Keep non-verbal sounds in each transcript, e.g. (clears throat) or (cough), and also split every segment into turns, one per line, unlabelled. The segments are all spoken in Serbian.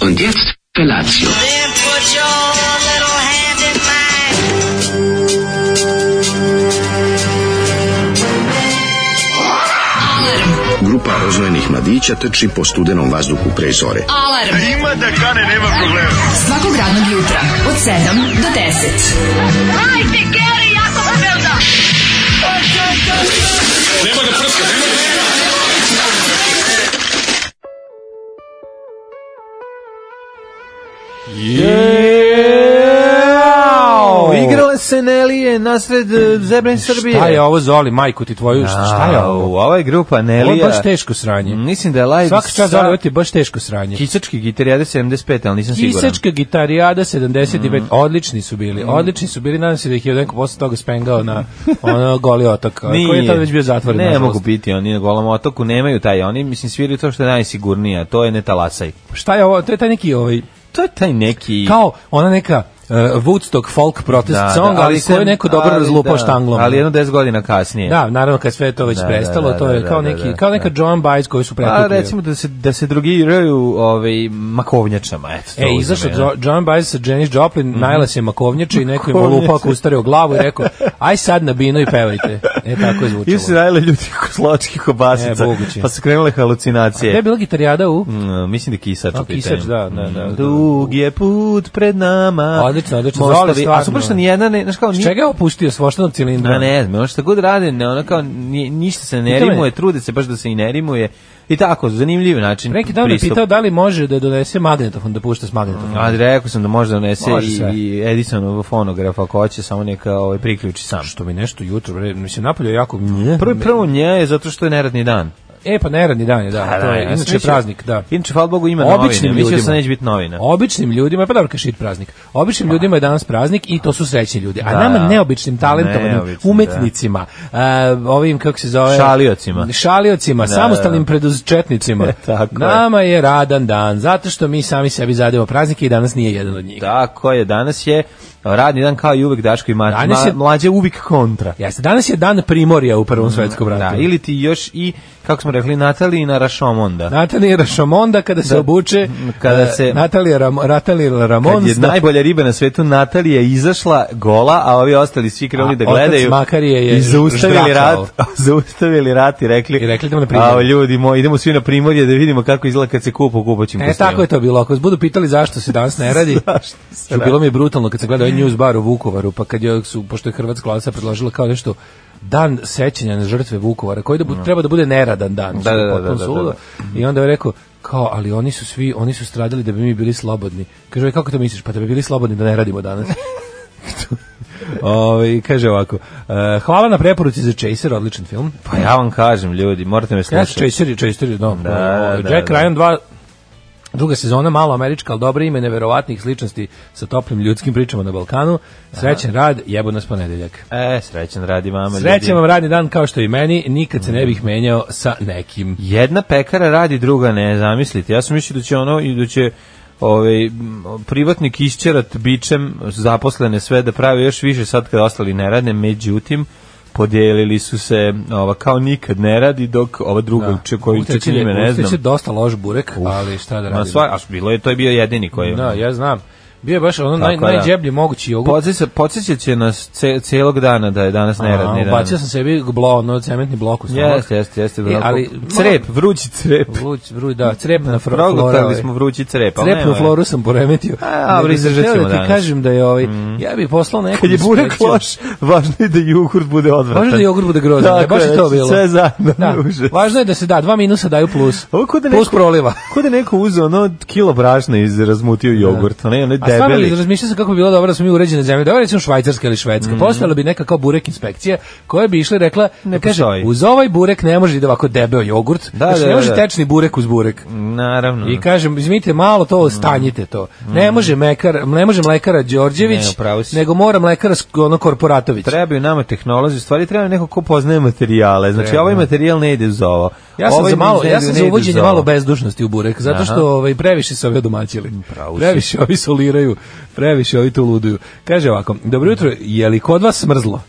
Und jetzt Felatio.
Then put your little hand in mine.
Grupa rozvojenih mladića trči po studenom vazduhu pre zore.
Alarm. A ima da kane, nema problema. Svakog radnog jutra, od 7 do 10.
Jao!
Igrale se Nelije nasred e, zebren Srbije.
Šta je ovo, Zoli, majku ti tvoju, šta, šta je
Au,
ovo?
Ovo je grupa
Ovo je
Nelija.
baš teško sranje.
Mislim da je live
Svaka čast, Zoli, ovo
Mm, sa
ti je baš teško sranje.
Kisački gitarijade 75, ali nisam siguran. Mm.
Kisačka gitarijada 79, odlični su bili, odlični su bili, nadam se da ih je neko posle toga spengao na ono goli otok, a koji je tad već bio zatvoren.
Ne
nažalost.
mogu biti, oni na golom otoku nemaju taj, oni mislim sviraju to što je najsigurnije, a to je ne talasaj.
Šta je ovo, to je taj neki ovaj,
To je taj neki...
kao ona neka uh, Woodstock folk protest song, ali, koju
sam-
je neko dobro
ali
razlupao
da,
štanglom.
Ali jedno 10 godina kasnije.
Da, naravno kad sve je to već
Da,
prestalo,
da, da,
to je
da,
kao
da,
neki
da,
kao neka Joan Baez koju su
A
pretukli.
Pa recimo da se da se drugiraju ovaj makovnjačama, eto. to
E,
uzmem,
izašao
ja. Mhm.
Jo- John Baez sa Janis Joplin, mm -hmm. najla se
(laughs)
makovnjače i neko im lupao kustario glavu i rekao, aj sad na bino i pevajte. E, tako
(laughs)
je
I su
zvučalo.
radile ljudi ko slovačkih kobasica,
E, moguće.
pa su krenule halucinacije.
Gde je bila gitarijada u?
Mm, mislim da je kisač
A,
u pitanju.
kisač, da, da, da.
Mm, Dug je put pred nama.
Odlično, odlično,
Mostovi-
Zoli,
a
stvarno.
super što nijedna, ne, znaš kao,
S
ni,
čega je opustio svoštanog cilindra?
A ne znam, ono što god rade, ne, ono kao, ni, ništa se ne
Pitao me-
rimuje, trude se baš da se i ne rimuje. I tako, zanimljiv način
Neki dan me
pristupa.
pitao da li može da donese magnetofon, da pušta s magnetofonom.
A rekao sam da možda donese
Može
i,
sve.
i Edisonovog fonografa, ako hoće, samo neka ovaj, priključi sam.
Što mi nešto jutro, bre, mi se napolje jako... Nje.
Prvo, prvo nje je zato što je neradni dan.
E, pa neradni dan je, da.
A,
to
da,
je,
ja sam
inače je
mislio-
praznik, da.
Inače, hvala Bogu, ima
Običnim
novine. Mislio
ljudima.
sam da neće biti novina.
Običnim ljudima, pa dobro, kašit praznik. Običnim ljudima je danas praznik i to su srećni ljudi. A
Da,
nama
da.
neobičnim talentovanim
Neobičnim,
umetnicima, a, ovim kako se zove
Šaliocima.
šaliocima,
Da,
samostalnim
da. (laughs) E,
preduzetnicima.
Tako je.
nama je radan dan zato što mi sami sebi zademo praznike i danas nije jedan od njih.
Tako je, danas je radni dan kao i uvek Daško i Martin.
Danas je-
Ma- Mlađe je uvek kontra.
Jeste, danas je dan primorja u Prvom svetskom
Da,
ratu.
ili ti još i, kako smo rekli, Natalina Rašomonda.
Natalija Rašomonda kada se
Da.
obuče,
Kada
e,
se-
Natalija Ram, Natalija
Kad je
Ramonda,
najbolja riba na svetu, Natalija izašla gola, a ovi ostali svi krenuli
A
da
otac
gledaju.
Makarije je
I zaustavili
ždrakao.
rat, (laughs) zaustavili rat i rekli,
I rekli idemo na primorje.
"Ao, ljudi moji, idemo svi na primorje da vidimo kako izgleda kad se kupo kupaćim
E, tako je to bilo. Ako vas budu pitali zašto se danas
(laughs)
ne radi, što bilo mi je brutalno kad sam gledao ovaj news bar u Vukovaru, pa kad je, su, pošto je Hrvatska vlada sad predložila kao nešto dan sećanja na žrtve Vukovara, koji da bu, treba da bude neradan dan. što je
da, da,
potpuno
da, da,
suludo. I onda je rekao, kao, ali oni su svi, oni su stradali da bi mi bili slobodni. Kaže, "Oj, kako to misliš? Pa da bi bili slobodni da ne radimo
(laughs)
danas. (laughs) Ove, kaže ovako, e, hvala na preporuci za Chaser, odličan film.
Pa ja vam kažem, ljudi, morate me
Ja,
slušati.
Chaser je Chaser, je, da,
Da,
da,
da,
ovaj, Jack
da.
Ryan 2, druga sezona, malo američka, ali dobro ime neverovatnih sličnosti sa toplim ljudskim pričama na Balkanu. Srećen rad, jebo nas ponedeljak.
E, srećan radi vama, ljudi. Mm.
Srećen vam radni dan kao što i meni, nikad se ne bih menjao sa nekim.
Jedna pekara radi, druga ne, zamislite. Ja sam mislio da će ono i da će ovaj m, privatnik isćerat bičem zaposlene sve da pravi još više sad kad ostali ne rade, međutim podijelili su se ova kao nikad ne radi dok ova druga uče koju
Usteći
uče
je-
ime ne
usteći je
znam.
dosta loš burek, ali šta da
Ma
radim.
sva, a bilo je to je bio jedini koji.
Da, ja znam. Bio je baš ono naj,
Tako je, da.
najđeblji mogući jogurt.
Podsjeća, podsjećaće nas ce, celog dana da je danas neradni
A,
dan.
Ubacio sam sebi blo, ono, cementni blok u stomak.
Jeste, jeste, jeste.
E, ali-
ali, crep, vrući crep.
Vruć, vruć, da, crepna fro- flora.
Progutali
je.
smo vrući crep. ali
Crepnu
Pa nema.
floru sam poremetio.
A,
Nego
dobro,
sam
izdržat
hteo da
ćemo
ti
danas. Mm.
kažem da je ovaj, ja bih poslao neku
Kad je burek
inspekciju.
loš, važno je da jogurt bude odvratan.
Važno je da jogurt bude grozan, da,
Tako
baš je to
znači,
bilo.
Sve zajedno,
(laughs) Da,
užas.
važno je da se da, dva minusa daju
(laughs)
plus.
Ovo kod da
plus
neko-
proliva.
Ko da je neko uzeo ono kilo brašna iz razmutio jogurt, ne, ono je
(laughs) A stvarno
debeli.
li razmišljao sam kako bi bilo dobro da smo mi uređene zemlje, dobro recimo Švajcarska ili
Mm.
Švedska, postojala bi neka kao burek inspekcija koja bi išla i rekla, ne kaže,
postoji.
uz ovaj burek ne može da ide ovako debeo jogurt,
Da,
znači
da,
ne
da,
može
da. Mm.
tečni burek uz burek.
Naravno. ono.
I kažem, izvinite, malo to,
Mm.
stanjite to. Ne može mekar, ne može mlekara Đorđević,
Ne, u pravu si.
nego mora mlekara Sk- ono Korporatović.
Trebaju nama tehnolozi, u stvari treba neko ko poznaje materijale. Znači,
Treba.
ovaj materijal ne ide uz ovo.
Ja sam
Ovaj
za malo, ja
materijal
sam
ne
za
ide
uvođenje
uz ovo.
malo bezdušnosti u burek, zato što
Aha. Mm,
ovaj previše se ovi odomaćili.
Pravo si.
Previše ovi soliraju, previše ovi tu luduju. Kaže ovako, dobro jutro, je li kod vas smrzlo?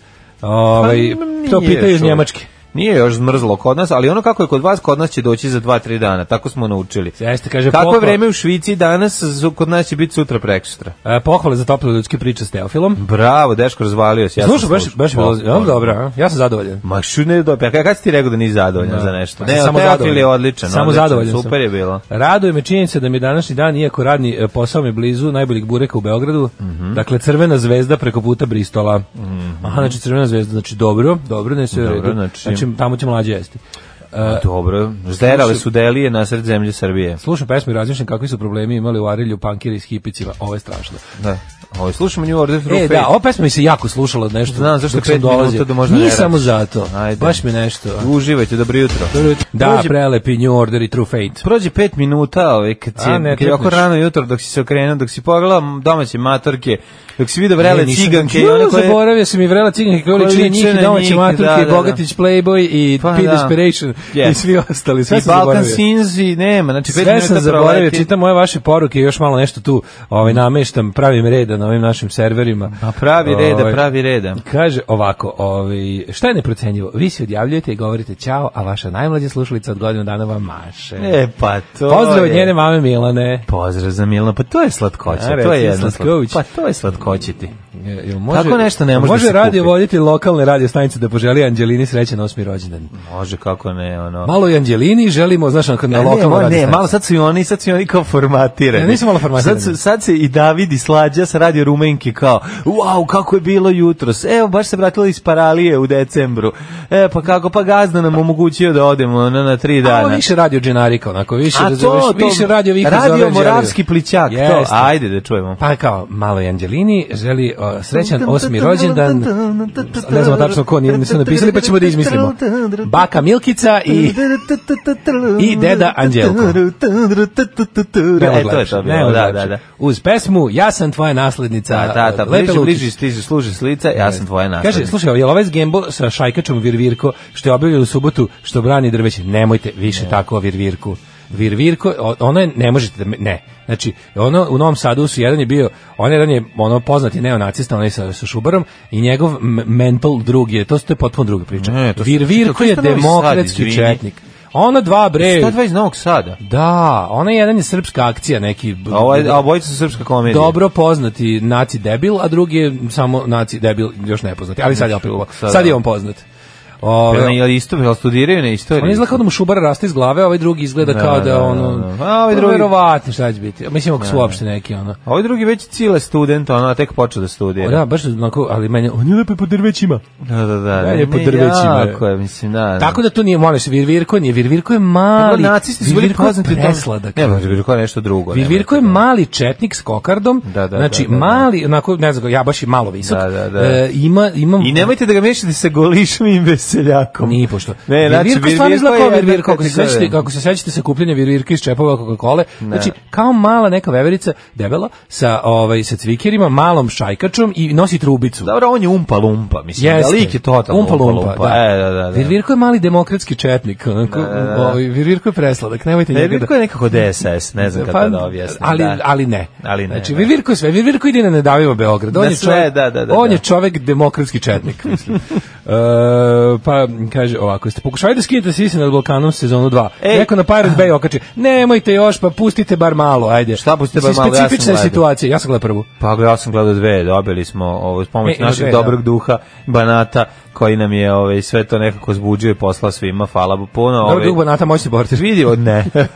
Ovaj
Pa,
to
nije
pitaju iz
još uvek.
Njemačke.
Nije još zmrzlo kod nas, ali ono kako je kod vas, kod nas će doći za 2-3 dana, tako smo naučili.
Jeste, kaže,
Kako
pohva-
je vreme u Švici danas, zu- kod nas će biti sutra preksutra.
E, pohvale za tople ljudske priče s Teofilom.
Bravo, deško, razvalio si. Ja sam
Slušao, baš,
slušao.
baš je bilo,
Pohvalno.
ja, dobro, a? ja sam zadovoljan.
Ma što ne dobro, ja kad si ti rekao da nisi zadovoljan za
Pa
nešto? Ne,
sam
samo
zadovoljan.
zadovoljan. je odličan,
Samo
odličan,
zadovoljan sam.
super je bilo.
Raduje me činjenica da mi je današnji dan, iako radni e, posao mi je blizu najboljih bureka u Beogradu,
Mhm.
dakle crvena zvezda preko puta Bristola. Aha, znači crvena zvezda, znači dobro, dobro, ne sve u
Dobro,
redu.
znači-
Znači, tamo će mlađe jesti. E,
Pa Dobro, zderale su delije nasred zemlje Srbije.
Slušam pesmu i razmišljam kakvi su problemi imali u Arilju pankiri s hipicima. Ovo je strašno.
Da. Ovo, Ovaj, slušamo New Order from
E,
Fate.
da, ova pesma mi se jako slušala nešto.
Znam, zašto
dok sam
pet
dolazio.
minuta da možda
Nije
ne
samo
radiš.
zato.
Ajde.
Baš mi nešto.
Uživajte, dobro jutro.
Da,
Prođe-
prelepi New Order i True Fate.
Prođe pet minuta, ovaj, kad, si,
A, ne,
kad je oko
trepneš.
rano jutro, dok si se okrenuo, dok si pogledao domaće matorke, dok si vidio vrele
E, nisam-
ciganke i
Ju,
one koje...
Zaboravio sam i vrela ciganke koje
Koje
liče na
liče
njih i
na
domaće
njih,
maturke,
da, da,
i
da.
Bogatić, Playboy i
Pa,
P
da.
Desperation
Yes.
i svi ostali. Sve
I
sam
Balkan
zaboravio.
Sins i nema, znači pet
Sve
minuta
sam zaboravio,
proleti.
čitam moje vaše poruke i još malo nešto tu ovaj, nameštam, pravim reda na ovim našim serverima.
A pravi reda,
Ovaj,
pravi reda.
Kaže ovako, ovaj, šta je neprocenjivo? Vi se odjavljujete i govorite čao, a vaša najmlađa slušalica od godinu dana vam maše.
E, pa to
Pozdrav od
je.
njene mame Milane.
Pozdrav za Milana, pa to je slatkoća,
A,
to je
reci,
jedna
Slatković.
slatkoća. Pa to je slatkoće ti.
Je- jel može-
Tako nešto ne može da
Može
se
radio
kupi.
voditi lokalne radio stanice da poželi Anđelini srećan osmi rođendan.
Može, kako ne, ono...
Pa.
E,
Malo i Anđelini želimo, znaš, onako na lokalno
ne,
radio
ne,
stanici.
malo sad su i oni, sad su i oni kao formatirani.
Ja nisam malo formatirani.
Sad, su- sad se i David i Slađa sa radio Rumenke kao, wow, kako je bilo jutros. Evo, baš se vratila iz Paralije u decembru. E, pa kako, pa gazda nam omogućio da odemo ono, na, na tri
Malo
dana.
više radio dženarika, onako, više, razumeš, više radio vika za
radio
Anđeliju.
Moravski plićak, to,
Jeste.
ajde da čujemo.
Pa kao, malo i Anđelini želi o, srećan osmi rođendan, ne znamo tačno ko, nije, nisu napisali, pa ćemo da izmislimo. Baka Milkica i i deda Anđelko.
E, to je to bilo, da, da, da.
Uz pesmu Ja sam tvoja naslednica.
Da, da, da,
Lepe
bliži,
Lukić.
bliži, stiži, služi s lica, ja sam tvoja naslednica.
E. Kaže, slušaj, jel ovaj Gembo sa šajkačom Virvirko, što je objavio u subotu, što brani drveće, nemojte više tako o Virvirku. Virvirko, o- ono je, ne možete da, me- ne. Znači, ono, u Novom Sadu su, jedan je bio, on jedan je, ono, poznati neonacista, onaj sa, sa Šubarom, i njegov m- mental drug je, to, su- to je potpuno druga priča.
Ne, to su-
Virvirko
to je
je
Novi Sad,
demokratski
izvini.
četnik. Ono dva, bre,
Šta dva iz Novog Sada?
da, onaj jedan je srpska akcija, neki...
A ovaj, a obojica su srpska komedija.
dobro poznati naci debil, a drugi je samo naci debil još nepoznati. Ali sad
Znači,
je opet sad je on poznat.
Jel
Ove,
ne- Jel isto, jel studiraju na istoriji?
on izgleda kao da mu šubar raste iz glave, a ovaj drugi izgleda kao
da, da,
da ono...
da. A ovaj
pa
drugi-
Verovatno šta će biti. Mislim ako su uopšte neki ono...
A ovaj drugi već cile student, ona tek počeo da
O,
studira.
Da, baš onako, ali meni on je lepo po drvećima.
da, da, da.
Meni je po
Ne,
drvećima.
Jako je, mislim, da. da.
Tako da to nije, moraš, Virvirko nije, Virvirko je mali.
Dobro, nacisti su bili
Virvirko je
poznati u tom-
presladak.
Ne, može Virvirko je nešto drugo. ne,
Virvirko je mali četnik s kokardom,
Da, da,
znači
da, da, da.
mali, onako, ne znam, ja baš i malo visok,
Da, da, da.
E, ima, imam...
I nemojte da ga mešate sa golišom i veseljakom.
Nije pošto.
Ne, znači,
Virvirko stvarno izgleda kao
je jedna
Virvirko, ako se
kategorija.
sećate, ako se sećate sa kupljenja Virvirka iz čepova Coca-Cole, znači kao mala neka veverica debela sa ovaj sa cvikerima, malom šajkačom i nosi trubicu.
Dobro, on je umpa lumpa, mislim. Da, lik je totalno
umpa lumpa, da.
E, da, da, da.
Virvirko je mali demokratski četnik, onako, ovaj, Virvirko je presladak, nemojte njega da... Pa,
Virvirko E, je nekako DSS, ne znam kako da objasnim.
ali,
da.
ali ne.
Ali ne,
Znači,
da.
Virvirko je sve. Virvirko ide na nedavimo Beograd. On
Na
je
sve,
čovjek,
da, da, da,
on
da.
je čovjek demokratski četnik.
(laughs)
mislim. E, pa, kaže ovako, jeste pokušavali da skinete sise nad Balkanom sezonu 2.
Ej.
Neko na Pirate Bay okači, nemojte još, pa pustite bar malo, ajde.
Šta pustite bar
Mislim,
malo, ja sam
Specifična je
gledao.
situacija, ja sam gledao prvu.
Pa ja sam gledao dve, dobili smo ovo, s
E,
pomoć
ima
našeg
dve,
dobrog
da.
duha, banata, koji nam je ovaj, sve to nekako zbuđio i poslao svima, hvala mu puno.
Dobro,
Ovaj,
dug banata, moćni portir.
Vidi od
(laughs)
ne. Ne.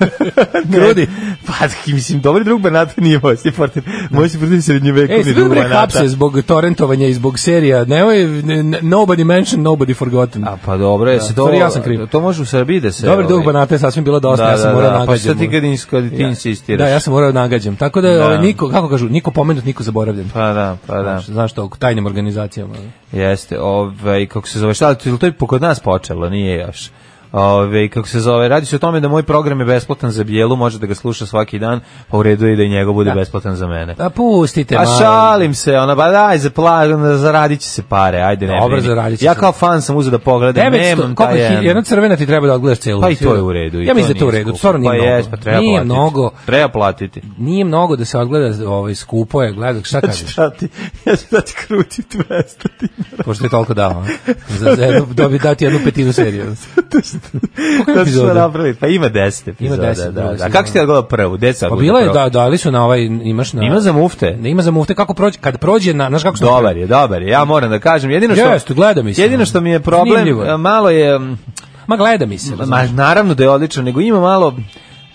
Grudi.
Pa, mislim, dobri drug banata nije moćni portir. Moćni portir je srednjevekovni
Ej, ste bili
drug
bre
banata.
hapse zbog torrentovanja i zbog serija. Nemoj, ne- ne- nobody mentioned, nobody forgotten.
A pa dobro, je se to,
stvari ja sam kriv.
to može u Srbiji da se...
Dobri dug
ovaj,
banata je sasvim bilo dosta,
Da,
ja sam
da,
morao
da,
nagađam.
pa šta ti
ono.
kad ins- kad ti insistiraš?
Da, ja sam morao da nagađam. Tako da,
Da.
ovaj, niko, kako kažu, niko pomenut, niko zaboravljen.
Pa da, pa da.
Znaš, znaš to, u tajnim organizacijama.
Jeste, ovaj, kako se zove, šta, to je to je po kod nas počelo, nije još. Ove, kako se zove, radi se o tome da moj program je besplatan za bijelu, može da ga sluša svaki dan, pa u redu je i da i njegov bude besplatan za mene.
A pustite
A
malo.
šalim se, ona ba daj za pla, onda zaradit će se pare, ajde ne.
Dobro,
brini.
zaradit će
Ja
se.
kao fan sam uzeo da pogledam,
900,
nemam
koliko
taj
je,
jedan.
hi- jedna crvena ti treba da odgledaš celu.
Pa i to je u redu. i
Ja mislim da je to u
nije
redu,
skupo.
stvarno nije
pa
mnogo.
jes, pa treba
nije
platiti.
mnogo,
Treba platiti.
nije mnogo da se odgleda ovaj, skupo je, gledaj,
(laughs)
šta kažeš?
Šta ti, ja ću da ti kruti 200 dinara.
Pošto je toliko dao, a? za, za jednu, dobi dati jednu petinu seriju. Koliko je
Zato što
epizoda?
napravili, pa ima 10 epizoda.
Ima 10,
da,
druga
da. A
sezona.
kako si ti odgledao prvu? Deca
Pa bila je, da, da, ali su na ovaj, imaš na...
Ima za mufte.
Ne ima za mufte, kako prođe, kad prođe, na, znaš kako se...
Dobar je, dobar je. Ja moram da kažem, jedino što
Jeste, gleda mi se.
Jedino što mi je problem,
Zanimljivo je.
malo je mm,
Ma gleda mi se.
Ma,
razumeš?
naravno da je odličan, nego ima malo